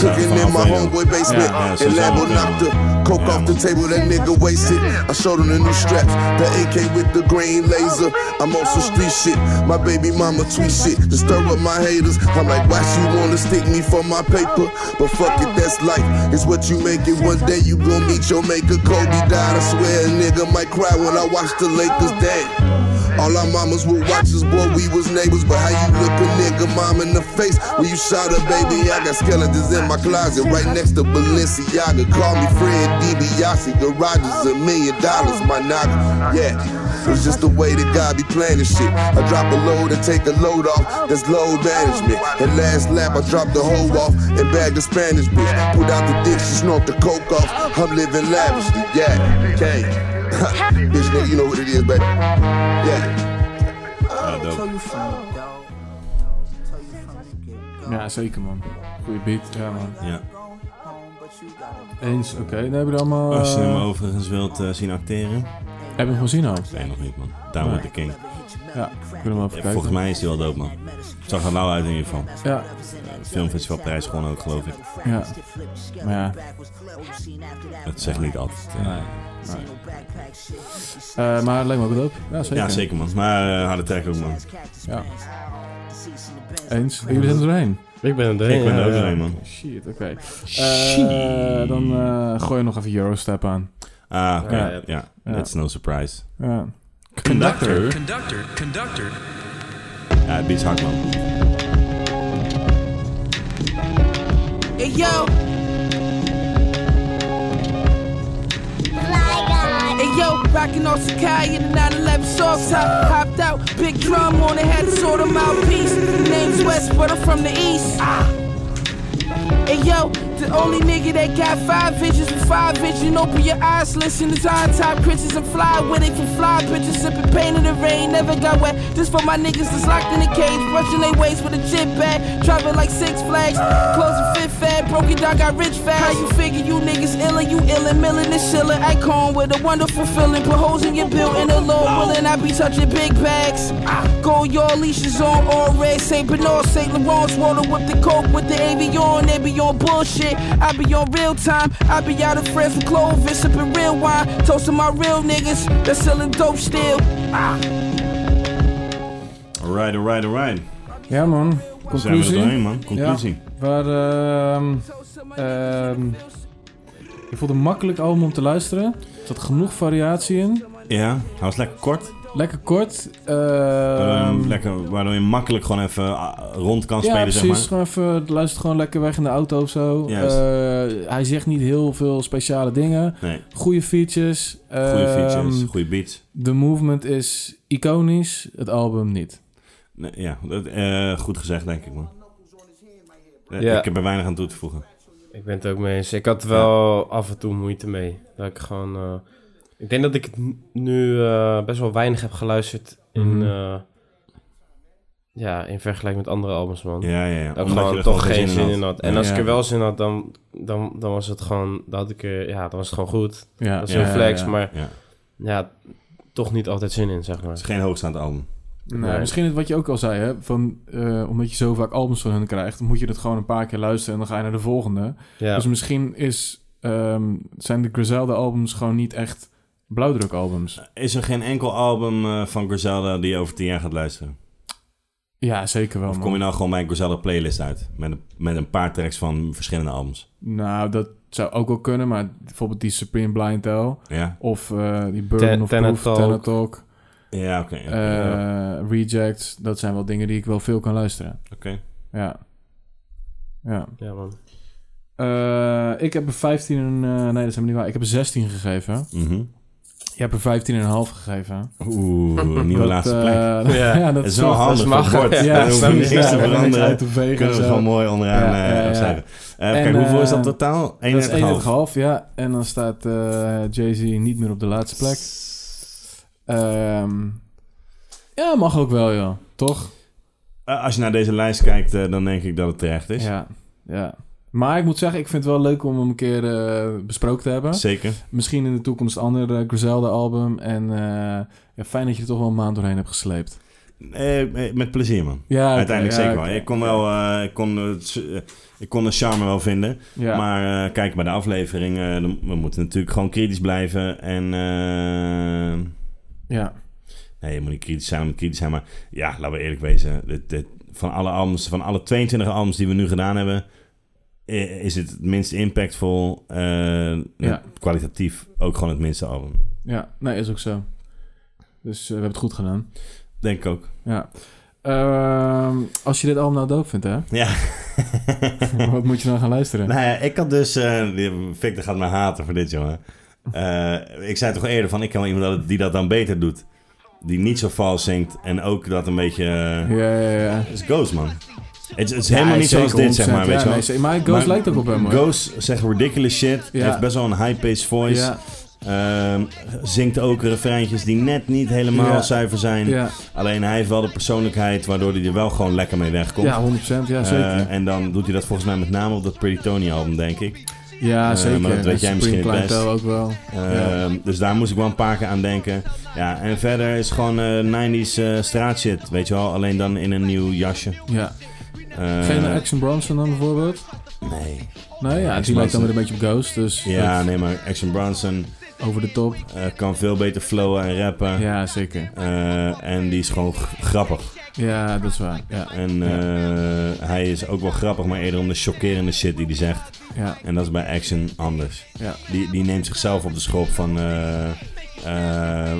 [SPEAKER 4] cooking in my homeboy basement.
[SPEAKER 1] Yeah, so
[SPEAKER 4] And
[SPEAKER 1] it's all
[SPEAKER 4] Lambo
[SPEAKER 1] good.
[SPEAKER 4] knocked the coke
[SPEAKER 1] Yeah,
[SPEAKER 4] off the
[SPEAKER 1] man.
[SPEAKER 4] table, that nigga wasted. I showed him the new straps, the AK with the green laser. I'm on some street shit, my baby mama tweet shit to stir up my haters. I'm like, why she wanna stick me for my paper? But fuck it, that's life. It's what you make it. One day you gon' meet your maker. Kobe died, I swear a nigga might cry when I watch the Lakers dead. All our mamas were watchers, boy, we was neighbors. But how you look a nigga mom in the face when you shot a baby? I got skeletons in my closet, right next to Balenciaga. Call me Fred DiBiase, garage is a million dollars, my nigga. Yeah, it's just the way that God be playing this shit. I drop a load and take a load off, that's load management. And last lap, I dropped the hoe off and bagged the Spanish bitch. Pulled out the dick, she snorted the coke off. I'm living lavishly, yeah, okay. bitch, nigga, you know what it is, baby. Yeah.
[SPEAKER 1] Ja, dope.
[SPEAKER 2] Ja, zeker man. Goeie beat. Ja man.
[SPEAKER 1] Ja.
[SPEAKER 2] Eens, oké. Dan hebben we er allemaal...
[SPEAKER 1] Als je hem
[SPEAKER 2] eh,
[SPEAKER 1] overigens wilt eh, zien acteren.
[SPEAKER 2] Heb je hem gezien al?
[SPEAKER 1] Nee, nog niet, man. Downward the King.
[SPEAKER 2] Ja, kunnen we hem even
[SPEAKER 1] Ja,
[SPEAKER 2] kijken.
[SPEAKER 1] volgens mij is hij wel dope, man. Zag er nou uit in ieder geval.
[SPEAKER 2] Ja.
[SPEAKER 1] filmfestivalprijs gewoon ook, geloof ik.
[SPEAKER 2] Ja. Maar ja.
[SPEAKER 1] Dat zegt niet altijd. eh.
[SPEAKER 2] Eh, maar het lijkt me ook wel dope. Ja, zeker.
[SPEAKER 1] Ja, zeker, man. Maar eh, harde track ook, man.
[SPEAKER 2] Ja. Eens. Jullie zijn er doorheen.
[SPEAKER 3] Ik ben er doorheen.
[SPEAKER 1] Ik ben er
[SPEAKER 3] ja,
[SPEAKER 1] ook
[SPEAKER 3] ja.
[SPEAKER 1] doorheen, man.
[SPEAKER 2] Shit, oké. Eh, dan eh, gooi je nog even Eurostep aan.
[SPEAKER 1] Ah, oké.
[SPEAKER 2] Ja.
[SPEAKER 1] Ja, That's no surprise.
[SPEAKER 2] Ja.
[SPEAKER 1] Conductor.
[SPEAKER 12] Conductor, conductor.
[SPEAKER 1] Ja, het beats hard, man.
[SPEAKER 5] Hey yo. Hey yo, rockin' on Sakai in the 911 sauce top. Hopped out, big drum on the head, sort of mouthpiece. Name's West, but I'm from the east. Hey yo, the only nigga that got five visions with five vision. Open your eyes, listen to on top pictures and fly where they can fly. Pictures sipping pain in the rain, never got wet. This for my niggas that's locked in a cage, brushing their waist with a chip bag. Driving like six flags, closing fifth fat, broken down, got rich fast. How you figure you niggas illin', you illin', millin' and shillin'. Icon with a wonderful feeling, put holes in your building alone, willin'. I be touching big bags. Go your leashes on all red, Saint Bernard, Saint Laurent's water with the coke with the avion. They be on bullshit. I be on real time. I be out of friends with Clovis, sipping real wine, toasting my real niggas that's selling dope still.
[SPEAKER 1] Alright, alright, alright.
[SPEAKER 2] Ja man.
[SPEAKER 1] Zijn we er
[SPEAKER 2] Conclusie.
[SPEAKER 1] doorheen, man. Conclusie.
[SPEAKER 2] Waar, ehm ehm ik vond het een makkelijk album om te luisteren. Er zat genoeg variatie in.
[SPEAKER 1] Ja, hij was lekker kort.
[SPEAKER 2] Lekker kort. ehm
[SPEAKER 1] Ehm, lekker, waardoor je makkelijk gewoon even ah, rond kan
[SPEAKER 2] ja,
[SPEAKER 1] spelen,
[SPEAKER 2] precies.
[SPEAKER 1] zeg maar.
[SPEAKER 2] Gewoon even, luister gewoon lekker weg in de auto of zo.
[SPEAKER 1] Juist.
[SPEAKER 2] Eh, hij zegt niet heel veel speciale dingen.
[SPEAKER 1] Nee,
[SPEAKER 2] Goede features.
[SPEAKER 1] goede features,
[SPEAKER 2] Ehm,
[SPEAKER 1] goede beats.
[SPEAKER 2] De movement is iconisch, het album niet.
[SPEAKER 1] Nee, ja, dat, eh, goed gezegd, denk ik, man. Eh,
[SPEAKER 3] Ja.
[SPEAKER 1] Ik heb er weinig aan toe te voegen.
[SPEAKER 3] Ik ben het ook mee eens. Ik had wel af en toe moeite mee. Dat ik gewoon... eh, ik denk dat ik het n- nu eh, best wel weinig heb geluisterd in...
[SPEAKER 2] Mhm.
[SPEAKER 3] eh, ja, in vergelijking met andere albums, man.
[SPEAKER 1] Ja, ja, ja.
[SPEAKER 3] Dat ik
[SPEAKER 1] Omdat
[SPEAKER 3] gewoon
[SPEAKER 1] je er
[SPEAKER 3] toch geen zin in had. En als ik
[SPEAKER 2] Ja.
[SPEAKER 3] er wel zin had, dan, dan, dan was het gewoon... Dan had ik er, ja, dan was het gewoon goed.
[SPEAKER 2] Ja,
[SPEAKER 3] Dat is
[SPEAKER 1] ja,
[SPEAKER 3] een flex,
[SPEAKER 2] ja.
[SPEAKER 3] maar
[SPEAKER 1] Ja.
[SPEAKER 3] ja, toch niet altijd zin in, zeg
[SPEAKER 1] Het
[SPEAKER 3] maar.
[SPEAKER 1] is geen hoogstaand album.
[SPEAKER 2] Nou,
[SPEAKER 3] Nee.
[SPEAKER 2] Misschien het wat je ook al zei, hè, van, eh, omdat je zo vaak albums van hun krijgt, moet je dat gewoon een paar keer luisteren en dan ga je naar de volgende.
[SPEAKER 3] Ja,
[SPEAKER 2] Dus misschien is, ehm, zijn de Griselda-albums gewoon niet echt blauwdruk-albums.
[SPEAKER 1] Is er geen enkel album eh, van Griselda die je over tien jaar gaat luisteren?
[SPEAKER 2] Ja, zeker wel.
[SPEAKER 1] Of
[SPEAKER 2] Oh, man.
[SPEAKER 1] kom je nou gewoon bij een Griselda playlist uit? Met een, met een paar tracks van verschillende albums.
[SPEAKER 2] Nou, dat zou ook wel kunnen, maar bijvoorbeeld die Supreme Blind Tell
[SPEAKER 1] Ja?
[SPEAKER 2] of eh, die Burden
[SPEAKER 3] Ten-
[SPEAKER 2] of
[SPEAKER 3] Tenet
[SPEAKER 2] Proof,
[SPEAKER 3] Talk.
[SPEAKER 2] Tenet Talk,
[SPEAKER 1] Ja, oké. oké,
[SPEAKER 2] eh,
[SPEAKER 1] ja,
[SPEAKER 2] Rejects, dat zijn wel dingen die ik wel veel kan luisteren.
[SPEAKER 1] Oké.
[SPEAKER 2] Ja. Ja.
[SPEAKER 3] ja man.
[SPEAKER 2] Eh, ik heb er 15 en... eh, nee, dat is helemaal niet waar. Ik heb er 16 gegeven. Je hebt er 15 en een half gegeven.
[SPEAKER 1] Mhm. Oeh, nieuwe
[SPEAKER 2] Dat,
[SPEAKER 1] laatste
[SPEAKER 2] eh,
[SPEAKER 1] plek.
[SPEAKER 2] ja. dat
[SPEAKER 1] is
[SPEAKER 2] is
[SPEAKER 1] wel
[SPEAKER 2] zo- dat
[SPEAKER 1] handig
[SPEAKER 2] is mag-
[SPEAKER 1] voor het bord.
[SPEAKER 2] ja,
[SPEAKER 1] Ja, hoef je
[SPEAKER 2] snap
[SPEAKER 1] niks
[SPEAKER 2] je. Ja,
[SPEAKER 1] te
[SPEAKER 2] niks
[SPEAKER 1] veranderen.
[SPEAKER 2] uit te vegen
[SPEAKER 1] Kunnen we
[SPEAKER 2] en zo.
[SPEAKER 1] gewoon mooi onderaan
[SPEAKER 2] Ja,
[SPEAKER 1] eh,
[SPEAKER 2] ja, ja.
[SPEAKER 1] opschrijven. Eh,
[SPEAKER 2] En,
[SPEAKER 1] kijk, hoeveel is
[SPEAKER 2] eh,
[SPEAKER 1] dat totaal?
[SPEAKER 2] Dat is
[SPEAKER 1] 31,5.
[SPEAKER 2] 31,5, ja. En dan staat eh, Jay-Z niet meer op de laatste plek. Ehm, ja, mag ook wel, ja. Toch?
[SPEAKER 1] Eh, als je naar deze lijst kijkt, eh, dan denk ik dat het terecht is.
[SPEAKER 2] Ja, ja. Maar ik moet zeggen, ik vind het wel leuk om hem een keer eh, besproken te hebben.
[SPEAKER 1] Zeker.
[SPEAKER 2] Misschien in de toekomst een ander eh, Griselda-album. En eh, ja, fijn dat je er toch wel een maand doorheen hebt gesleept.
[SPEAKER 1] Eh, eh, met plezier, man.
[SPEAKER 2] Ja, oké,
[SPEAKER 1] Uiteindelijk
[SPEAKER 2] ja,
[SPEAKER 1] zeker
[SPEAKER 2] oké.
[SPEAKER 1] wel. Ik kon, wel eh, ik, kon, het, eh, ik kon de charme wel vinden.
[SPEAKER 2] Ja.
[SPEAKER 1] Maar eh, kijk, bij de aflevering... eh, dan- we moeten natuurlijk gewoon kritisch blijven. En... eh,
[SPEAKER 2] Ja.
[SPEAKER 1] Nee, je moet niet kritisch zijn, je moet kritisch zijn. Maar ja, laten we eerlijk wezen. Dit, dit- van, alle albums, van alle 22 albums die we nu gedaan hebben... eh, is het het minst impactvol. eh,
[SPEAKER 2] Ja.
[SPEAKER 1] Kwalitatief ook gewoon het minste album.
[SPEAKER 2] Ja, nee, is ook zo. Dus eh, we hebben het goed gedaan.
[SPEAKER 1] Denk ik ook.
[SPEAKER 2] Ja. Ehm, als je dit allemaal nou doop vindt, hè?
[SPEAKER 1] Ja.
[SPEAKER 2] Wat moet je dan gaan luisteren?
[SPEAKER 1] Nou ja, ik had dus... eh, die- Victor gaat me haten voor dit, jongen. Eh, ik zei toch eerder van... Ik ken wel iemand die dat dan beter doet. Die niet zo vals zingt. En ook dat een beetje... eh,
[SPEAKER 2] Ja, ja, ja.
[SPEAKER 1] Het is Ghost, man. Het is- het is
[SPEAKER 2] Ja,
[SPEAKER 1] helemaal niet
[SPEAKER 2] zeker,
[SPEAKER 1] zoals dit, zeg maar.
[SPEAKER 2] 100%,
[SPEAKER 1] Weet
[SPEAKER 2] ja,
[SPEAKER 1] je wel.
[SPEAKER 2] nee, zeker. Maar Ghost lijkt ook op hem, hoor.
[SPEAKER 1] Ghost zegt ridiculous shit.
[SPEAKER 2] Ja.
[SPEAKER 1] Heeft best wel een high-pitched voice.
[SPEAKER 2] Ja.
[SPEAKER 1] Ehm, zingt ook refreintjes die net niet helemaal
[SPEAKER 2] Ja.
[SPEAKER 1] zuiver zijn.
[SPEAKER 2] Ja.
[SPEAKER 1] Alleen hij heeft wel de persoonlijkheid waardoor hij er wel gewoon lekker mee wegkomt.
[SPEAKER 2] Ja, 100%, ja,
[SPEAKER 1] Eh,
[SPEAKER 2] zeker.
[SPEAKER 1] en dan doet hij dat volgens mij met name op dat Pretty Tony album, denk ik.
[SPEAKER 2] Ja,
[SPEAKER 1] Eh,
[SPEAKER 2] zeker.
[SPEAKER 1] Maar dat
[SPEAKER 2] En
[SPEAKER 1] weet jij misschien
[SPEAKER 2] Supreme
[SPEAKER 1] het best.
[SPEAKER 2] Clientele ook wel.
[SPEAKER 1] Ehm, Dus daar moest ik wel een paar keer aan denken. Ja, en verder is gewoon eh 90s eh, straatshit, weet je wel. Alleen dan in een nieuw jasje.
[SPEAKER 2] Ja.
[SPEAKER 1] Eh,
[SPEAKER 2] Geen Action Bronson dan bijvoorbeeld?
[SPEAKER 1] Nee.
[SPEAKER 2] Nee, ja, die
[SPEAKER 1] Action
[SPEAKER 2] lijkt dan
[SPEAKER 1] Bronson.
[SPEAKER 2] weer een beetje op Ghost, dus...
[SPEAKER 1] Ja,
[SPEAKER 2] dat-
[SPEAKER 1] nee, maar Action Bronson... eh,
[SPEAKER 2] Over de top.
[SPEAKER 1] kan veel beter flowen en rappen. Eh,
[SPEAKER 2] Ja, zeker.
[SPEAKER 1] en die is gewoon g- grappig.
[SPEAKER 2] Ja, dat is waar. Ja.
[SPEAKER 1] En eh, hij is ook wel grappig, maar eerder om de chockerende shit die hij zegt.
[SPEAKER 2] Ja.
[SPEAKER 1] En dat is bij Action anders.
[SPEAKER 2] Ja.
[SPEAKER 1] Die, die neemt zichzelf op de schop van... eh eh,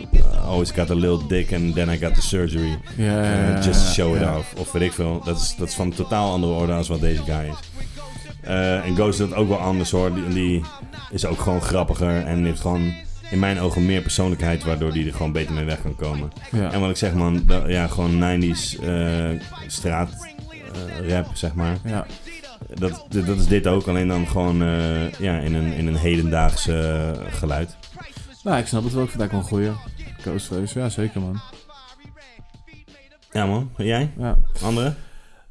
[SPEAKER 1] always got a little dick and then I got the surgery.
[SPEAKER 2] Ja, ja,
[SPEAKER 1] Eh,
[SPEAKER 2] ja,
[SPEAKER 1] just
[SPEAKER 2] ja,
[SPEAKER 1] show it
[SPEAKER 2] ja.
[SPEAKER 1] off. Of weet ik veel. Dat is, dat is van een totaal andere orde als wat deze guy is. Eh, en Ghost doet dat ook wel anders hoor. Die, die is ook gewoon grappiger en heeft gewoon in mijn ogen meer persoonlijkheid, waardoor die er gewoon beter mee weg kan komen.
[SPEAKER 2] Ja.
[SPEAKER 1] En wat ik zeg man, dat- ja, gewoon 90s eh, straat eh, rap, zeg maar.
[SPEAKER 2] Ja.
[SPEAKER 1] Dat, dat dat is dit ook, alleen dan gewoon eh, ja, in, een, in een hedendaagse eh, geluid.
[SPEAKER 2] Nou, ik snap het wel. Ik vind het eigenlijk wel een goeie. Ghost Face, ja, zeker, man.
[SPEAKER 1] Ja man, En jij?
[SPEAKER 2] Ja.
[SPEAKER 1] Andere?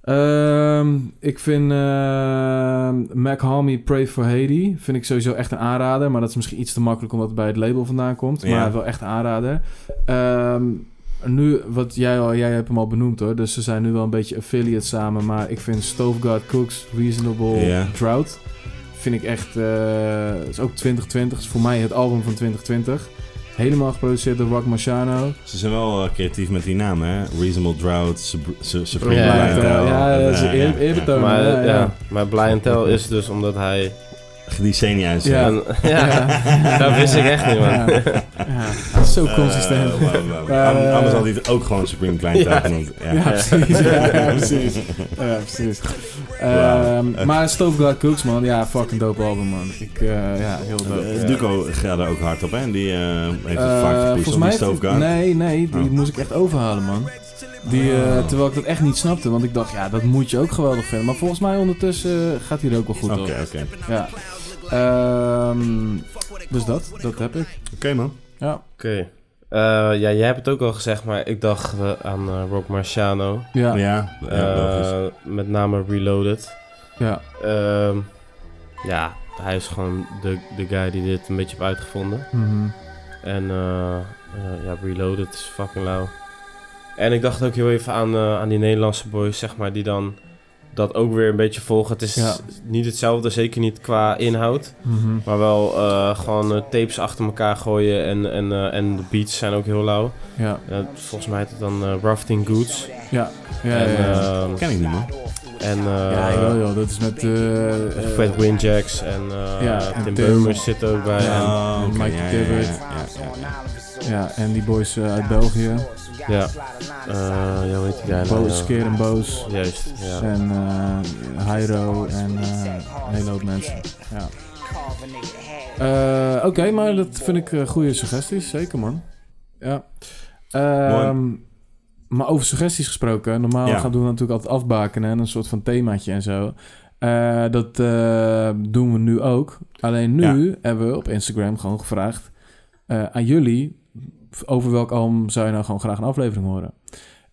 [SPEAKER 2] Ehm, ik vind ehm Mac Hami Pray for Haiti vind ik sowieso echt een aanrader. Maar dat is misschien iets te makkelijk omdat het bij het label vandaan komt.
[SPEAKER 1] Ja.
[SPEAKER 2] Maar wel echt een aanrader. Ehm, nu, wat jij, al, jij hebt hem al benoemd hoor. Dus ze zijn nu wel een beetje affiliate samen. Maar ik vind Stoveguard Cooks, Reasonable
[SPEAKER 1] Ja.
[SPEAKER 2] Drought... Vind ik echt... eh, is ook 2020. Is voor mij het album van 2020. Helemaal geproduceerd door Rock Marciano.
[SPEAKER 1] Ze zijn wel eh, creatief met die naam, hè? Reasonable Drought, Sub- Su- Supreme
[SPEAKER 3] Ja, ja,
[SPEAKER 1] Clientele.
[SPEAKER 2] ja, dat is
[SPEAKER 1] Eh,
[SPEAKER 2] eer- eerbetoon.
[SPEAKER 1] ja.
[SPEAKER 3] Maar,
[SPEAKER 2] Ja,
[SPEAKER 3] ja,
[SPEAKER 2] ja.
[SPEAKER 3] maar Blind Tell is dus omdat hij...
[SPEAKER 1] Die senior is.
[SPEAKER 2] Ja.
[SPEAKER 3] En- ja, dat wist ik echt niet, man.
[SPEAKER 2] Ja. Ja. Zo
[SPEAKER 1] Eh,
[SPEAKER 2] consistent.
[SPEAKER 1] wauw, wauw.
[SPEAKER 2] Eh,
[SPEAKER 1] An- Anders had hij het ook gewoon Supreme Clientele
[SPEAKER 2] ja.
[SPEAKER 1] genoemd.
[SPEAKER 2] Ja, precies. Ja, ja, precies. Ja, precies. Ehm,
[SPEAKER 1] Wauw.
[SPEAKER 2] maar Stoveguard Cooks, man. Ja, fucking dope album, man. Ik, eh, ja, heel dope.
[SPEAKER 1] Eh,
[SPEAKER 2] Ja.
[SPEAKER 1] Duco gaat er ook hard op, hè? Die eh, heeft het
[SPEAKER 2] Eh,
[SPEAKER 1] vaak gepiest op die
[SPEAKER 2] heeft-
[SPEAKER 1] stoofkaart.
[SPEAKER 2] Nee, nee, die
[SPEAKER 1] Oh.
[SPEAKER 2] moest ik echt overhalen, man. Die, eh, terwijl ik dat echt niet snapte, want ik dacht, ja, dat moet je ook geweldig vinden. Maar volgens mij ondertussen eh, gaat hij er ook wel goed
[SPEAKER 1] Oké,
[SPEAKER 2] op.
[SPEAKER 1] oké.
[SPEAKER 2] Ja. Ehm, dus dat, dat heb ik.
[SPEAKER 1] Oké, man.
[SPEAKER 2] Ja.
[SPEAKER 3] Oké. Eh, ja, jij hebt het ook al gezegd, maar ik dacht eh, aan eh, Rock Marciano.
[SPEAKER 2] Ja.
[SPEAKER 1] Ja, ja,
[SPEAKER 3] Eh,
[SPEAKER 1] logisch.
[SPEAKER 3] met name Reloaded.
[SPEAKER 2] Ja.
[SPEAKER 3] Ehm, ja, hij is gewoon de, de guy die dit een beetje heeft uitgevonden.
[SPEAKER 2] Mhm.
[SPEAKER 3] En eh, eh, ja, Reloaded is fucking lauw. En ik dacht ook heel even aan, eh, aan die Nederlandse boys, zeg maar, die dan dat ook weer een beetje volgen. Het is
[SPEAKER 2] Ja.
[SPEAKER 3] niet hetzelfde, zeker niet qua inhoud.
[SPEAKER 2] Mhm.
[SPEAKER 3] Maar wel eh, gewoon eh, tapes achter elkaar gooien en, en, eh, en de beats zijn ook heel lauw.
[SPEAKER 2] Ja.
[SPEAKER 3] Eh, volgens mij heet het dan eh, Rafting Goods.
[SPEAKER 2] Ja. Ja, ja,
[SPEAKER 3] En,
[SPEAKER 2] ja.
[SPEAKER 3] ehm,
[SPEAKER 1] Ken ik niet, man.
[SPEAKER 3] en eh,
[SPEAKER 2] Ja, jawel, joh, dat is met... eh, eh,
[SPEAKER 3] Fred Winjacks en eh,
[SPEAKER 2] Ja, en
[SPEAKER 3] Tim
[SPEAKER 2] Tim.
[SPEAKER 3] Burmers zit ook bij.
[SPEAKER 2] Ja.
[SPEAKER 3] En-
[SPEAKER 1] Oh, oké,
[SPEAKER 2] Mike
[SPEAKER 1] ja, ja,
[SPEAKER 2] Tibbet.
[SPEAKER 1] ja, ja, ja.
[SPEAKER 2] Ja, en die boys eh, uit België.
[SPEAKER 3] ja, Eh, ja, hoe heet die guy nou?
[SPEAKER 2] Boos, Keer en Boos.
[SPEAKER 3] Juist, ja.
[SPEAKER 2] En eh Hyro en eh, Een hele hoop mensen. Ja.
[SPEAKER 12] Eh,
[SPEAKER 2] Eh, Oké, maar dat vind ik eh, goede suggesties. Zeker, man. Ja. Ehm, maar over suggesties gesproken. Normaal
[SPEAKER 1] Ja.
[SPEAKER 2] gaan doen we natuurlijk altijd afbaken en een soort van themaatje en zo. Eh, dat eh, doen we nu ook. Alleen nu hebben we op Instagram gewoon gevraagd eh, aan jullie... over welk album zou je nou gewoon graag een aflevering horen.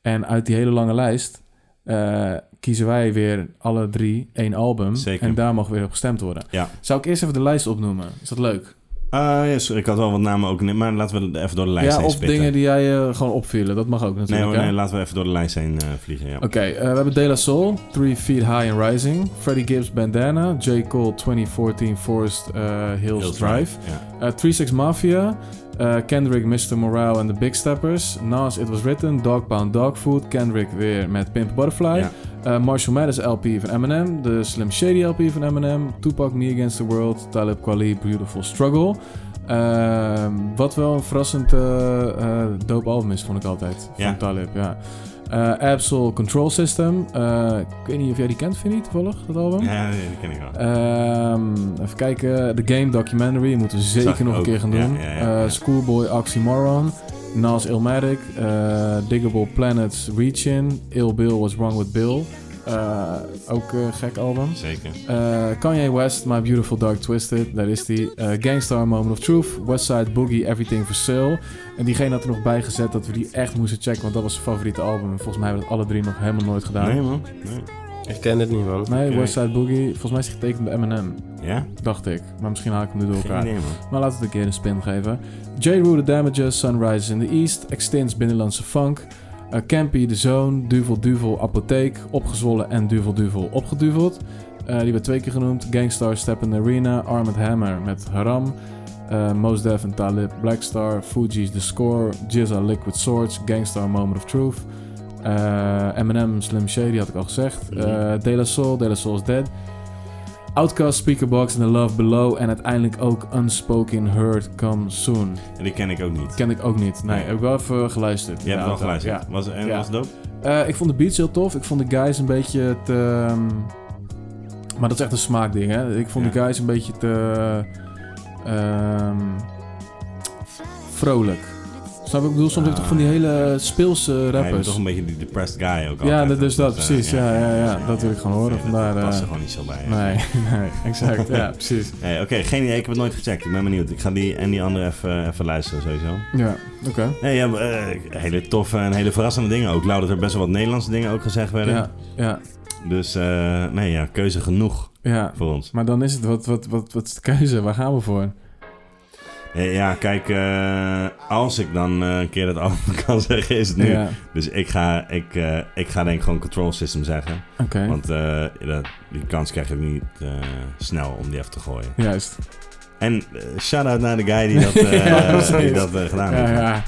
[SPEAKER 2] En uit die hele lange lijst eh, kiezen wij weer alle drie één album.
[SPEAKER 1] Zeker.
[SPEAKER 2] En daar mag weer op gestemd worden.
[SPEAKER 1] Ja.
[SPEAKER 2] Zou ik eerst even de lijst opnoemen? Is dat leuk?
[SPEAKER 1] Eh, yes, ik had wel wat namen ook, maar laten we even door de lijst
[SPEAKER 2] ja,
[SPEAKER 1] heen
[SPEAKER 2] of
[SPEAKER 1] spitten.
[SPEAKER 2] dingen die jij eh, gewoon opvielen. Dat mag ook
[SPEAKER 1] nee,
[SPEAKER 2] natuurlijk.
[SPEAKER 1] hoor,
[SPEAKER 2] hè?
[SPEAKER 1] nee, laten we even door de lijst heen eh, vliegen. Ja.
[SPEAKER 2] Oké, eh, we hebben De La Soul, 3 Feet High and Rising. Freddie Gibbs, Bandana. J. Cole, 2014 Forest eh, Hills,
[SPEAKER 1] Hills
[SPEAKER 2] Drive.
[SPEAKER 1] Drive,
[SPEAKER 2] Eh 36 Mafia. eh, Kendrick, Mr. Morale en The Big Steppers. Nas, It Was Written. Dog Pound Dog Food. Kendrick weer met Pimp a Butterfly.
[SPEAKER 1] Ja.
[SPEAKER 2] Eh, Marshall Mathers LP van Eminem. De Slim Shady LP van Eminem. Tupac, Me Against the World. Talib Kweli, Beautiful Struggle. Ehm, wat wel een verrassend eh, eh, dope album is, vond ik altijd. Van
[SPEAKER 1] Ja.
[SPEAKER 2] Talib, ja. Eh, Absol Control System. Eh, ik weet niet of jij die kent, Vinnie, toevallig, dat album?
[SPEAKER 1] Ja, nee, die ken ik wel.
[SPEAKER 2] Ehm, even kijken. The Game Documentary moeten we
[SPEAKER 1] Zag
[SPEAKER 2] zeker
[SPEAKER 1] ik
[SPEAKER 2] nog een
[SPEAKER 1] ook.
[SPEAKER 2] keer gaan
[SPEAKER 1] Ja,
[SPEAKER 2] doen.
[SPEAKER 1] ja, ja,
[SPEAKER 2] Eh, Schoolboy Oxymoron. Nas Ilmatic. eh, Diggable Planets Reachin. Ill Bill Was Wrong With Bill. Eh, ook een gek album.
[SPEAKER 1] Zeker.
[SPEAKER 2] Eh, Kanye West, My Beautiful Dark Twisted, daar is die. Eh, Gangstar Moment of Truth, Westside Boogie, Everything for Sale. En diegene had er nog bij gezet dat we die echt moesten checken, want dat was zijn favoriete album. En volgens mij hebben we dat alle drie nog helemaal nooit gedaan.
[SPEAKER 1] Nee, man. Nee.
[SPEAKER 3] Ik ken het niet, man.
[SPEAKER 2] Nee,
[SPEAKER 1] Oké.
[SPEAKER 2] Westside Boogie. Volgens mij is hij getekend bij Eminem.
[SPEAKER 1] Ja?
[SPEAKER 2] Dacht ik. Maar misschien haal ik hem nu door
[SPEAKER 1] Geen
[SPEAKER 2] elkaar.
[SPEAKER 1] idee, man.
[SPEAKER 2] maar laten we het een keer een spin geven. J. Rue The Damages, Sunrise in the East. Extins Binnenlandse Funk. eh, Campy The Zone. Duvel Duvel Apotheek. Opgezwollen en Duvel Duvel opgeduveld. Eh, die werd twee keer genoemd. Gangstar Step in the Arena. Armored Hammer met Haram. eh Mos Def en Talib. Blackstar. Fuji's The Score. Jizza Liquid Swords. Gangstar Moment of Truth. eh Eminem Slim Shady had ik al gezegd. eh De La Soul. De La Soul's Dead. Outcast, Speakerbox en The Love Below. En uiteindelijk ook Unspoken Heard Come Soon.
[SPEAKER 1] En die ken ik ook niet.
[SPEAKER 2] Ken ik ook niet. Nee,
[SPEAKER 1] Nee.
[SPEAKER 2] heb ik wel even geluisterd.
[SPEAKER 1] Je hebt
[SPEAKER 2] Ja,
[SPEAKER 1] wel
[SPEAKER 2] ook.
[SPEAKER 1] geluisterd.
[SPEAKER 2] Ja.
[SPEAKER 1] Was, en
[SPEAKER 2] Ja.
[SPEAKER 1] was het dope?
[SPEAKER 2] Eh, ik vond de beats heel tof. Ik vond de guys een beetje te... ehm, Maar dat is echt een smaakding, hè? Ik vond de guys een beetje te... ehm, Vrolijk. Snap je wat ik bedoel? Soms heb je toch van die hele speelse
[SPEAKER 1] Hij is
[SPEAKER 2] rappers.
[SPEAKER 1] Ah. toch een beetje die depressed guy ook
[SPEAKER 2] Ja,
[SPEAKER 1] altijd.
[SPEAKER 2] dat, dus dat,
[SPEAKER 1] eh,
[SPEAKER 2] precies. Ja, ja, ja, dat wil ik gewoon horen. Vandaar,
[SPEAKER 1] Dat past
[SPEAKER 2] eh,
[SPEAKER 1] er gewoon niet zo bij.
[SPEAKER 2] Nee, nee, exact. Ja, precies.
[SPEAKER 1] Nee, Oké, geen idee. Ik heb het nooit gecheckt. Ik ben benieuwd. Ik ga die en die andere even, eh, even luisteren sowieso.
[SPEAKER 2] Ja, oké.
[SPEAKER 1] Nee, ja, maar, eh, hele toffe en hele verrassende dingen ook. Ik wou dat er best wel wat Nederlandse dingen ook gezegd werden.
[SPEAKER 2] Ja, ja.
[SPEAKER 1] Dus eh, nee, ja, keuze genoeg
[SPEAKER 2] Ja.
[SPEAKER 1] voor ons.
[SPEAKER 2] Maar dan is het, wat, wat, wat, wat is de keuze? Waar gaan we voor?
[SPEAKER 1] Eh, ja, kijk, eh, als ik dan eh, een keer dat album kan zeggen, is het nu.
[SPEAKER 2] Ja.
[SPEAKER 1] Dus ik ga, ik, eh, ik ga denk ik gewoon Control System zeggen.
[SPEAKER 2] Oké.
[SPEAKER 1] Want eh, dat, die kans krijg je ook niet eh, snel om die even te gooien.
[SPEAKER 2] Juist.
[SPEAKER 1] En eh, shout-out naar de guy die dat, eh,
[SPEAKER 2] Ja,
[SPEAKER 1] die
[SPEAKER 2] precies.
[SPEAKER 1] dat eh, gedaan
[SPEAKER 2] ja,
[SPEAKER 1] heeft.
[SPEAKER 2] ja.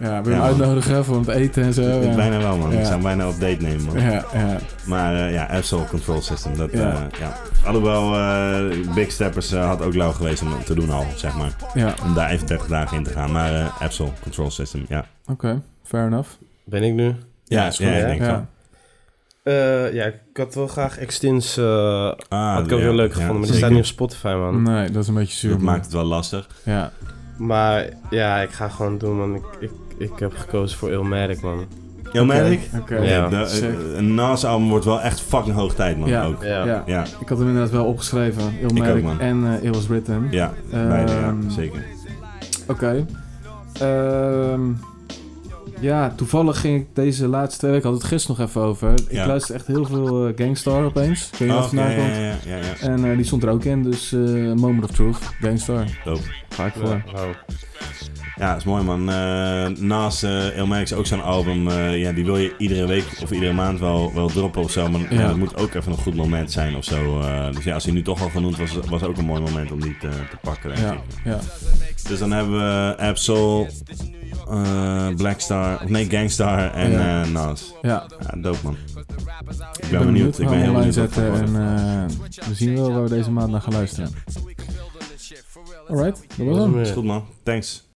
[SPEAKER 2] Ja, we
[SPEAKER 1] Ja,
[SPEAKER 2] hem
[SPEAKER 1] man.
[SPEAKER 2] uitnodigen voor het eten en zo.
[SPEAKER 1] Ik
[SPEAKER 2] ja.
[SPEAKER 1] bijna wel, man.
[SPEAKER 2] Ja.
[SPEAKER 1] Ik zou hem bijna op date nemen, man.
[SPEAKER 2] Ja, ja.
[SPEAKER 1] Maar eh, ja, Absol Control System. Dat,
[SPEAKER 2] Ja.
[SPEAKER 1] ja. ja. Alhoewel, eh, Big Steppers eh, had ook lauw geweest om dat te doen al, zeg maar.
[SPEAKER 2] Ja.
[SPEAKER 1] Om daar even 30 dagen in te gaan. Maar eh Absol Control System, ja.
[SPEAKER 2] Oké, fair enough.
[SPEAKER 3] Ben ik nu?
[SPEAKER 1] Ja, is goed. ja, ik denk
[SPEAKER 2] ja.
[SPEAKER 1] zo.
[SPEAKER 3] Eh, ja, ik had wel graag Extins. eh had ik ook
[SPEAKER 1] Ah, ja,
[SPEAKER 3] heel leuk
[SPEAKER 1] ja,
[SPEAKER 3] gevonden, maar die
[SPEAKER 1] zeker.
[SPEAKER 3] staat niet op Spotify, man.
[SPEAKER 2] Nee, dat is een beetje zuur.
[SPEAKER 1] Dat
[SPEAKER 2] man.
[SPEAKER 1] maakt het wel lastig.
[SPEAKER 2] Ja.
[SPEAKER 3] Maar ja, ik ga gewoon doen, man. Ik, ik, ik heb gekozen voor Ilmatic, man.
[SPEAKER 1] Ilmatic?
[SPEAKER 2] Oké.
[SPEAKER 1] Ja,
[SPEAKER 3] Ja.
[SPEAKER 1] de-
[SPEAKER 2] sick.
[SPEAKER 1] eh, Een NAS-album wordt wel echt fucking hoog tijd, man.
[SPEAKER 2] Ja,
[SPEAKER 1] Ook.
[SPEAKER 2] ja.
[SPEAKER 1] Ja. Ja.
[SPEAKER 2] ik had hem inderdaad wel opgeschreven.
[SPEAKER 1] Ik ook,
[SPEAKER 2] Ilmatic
[SPEAKER 1] man.
[SPEAKER 2] en eh It Was Written.
[SPEAKER 1] Ja, beide, ja,
[SPEAKER 2] Ehm,
[SPEAKER 1] zeker.
[SPEAKER 2] Oké. Ehm, ja, toevallig ging ik deze laatste twee weken, ik had het gisteren nog even over. Ik
[SPEAKER 1] Ja.
[SPEAKER 2] luister echt heel veel eh, Gangstar opeens. Ik weet niet
[SPEAKER 1] Oh,
[SPEAKER 2] wat vandaan
[SPEAKER 1] oké,
[SPEAKER 2] komt.
[SPEAKER 1] ja, ja, ja, ja.
[SPEAKER 2] En eh, die stond er ook in, dus eh, Moment of Truth, Gangstar.
[SPEAKER 1] Dope.
[SPEAKER 2] Ga ik voor.
[SPEAKER 1] Ja, dat is mooi man. Eh, naast eh Illmatic is ook zo'n album, eh, ja, die wil je iedere week of iedere maand wel, wel droppen of zo. Maar
[SPEAKER 2] Ja.
[SPEAKER 1] ja. dat moet ook even een goed moment zijn of zo. eh. dus ja, als hij nu toch al genoemd was, was ook een mooi moment om die te, te pakken. Denk
[SPEAKER 2] Ja,
[SPEAKER 1] ik.
[SPEAKER 2] ja.
[SPEAKER 1] Dus dan hebben we Absol, eh, Blackstar, of nee, Gangstar en
[SPEAKER 2] Ja.
[SPEAKER 1] eh Nas.
[SPEAKER 2] Ja.
[SPEAKER 1] dope man. Ik ben,
[SPEAKER 2] Ik ben benieuwd.
[SPEAKER 1] Ik ben heel
[SPEAKER 2] online
[SPEAKER 1] benieuwd. wat
[SPEAKER 2] zetten
[SPEAKER 1] het
[SPEAKER 2] en
[SPEAKER 1] wordt.
[SPEAKER 2] eh, we zien wel waar we deze maand naar gaan luisteren. Alright, dat was hem.
[SPEAKER 1] Is goed man. Thanks.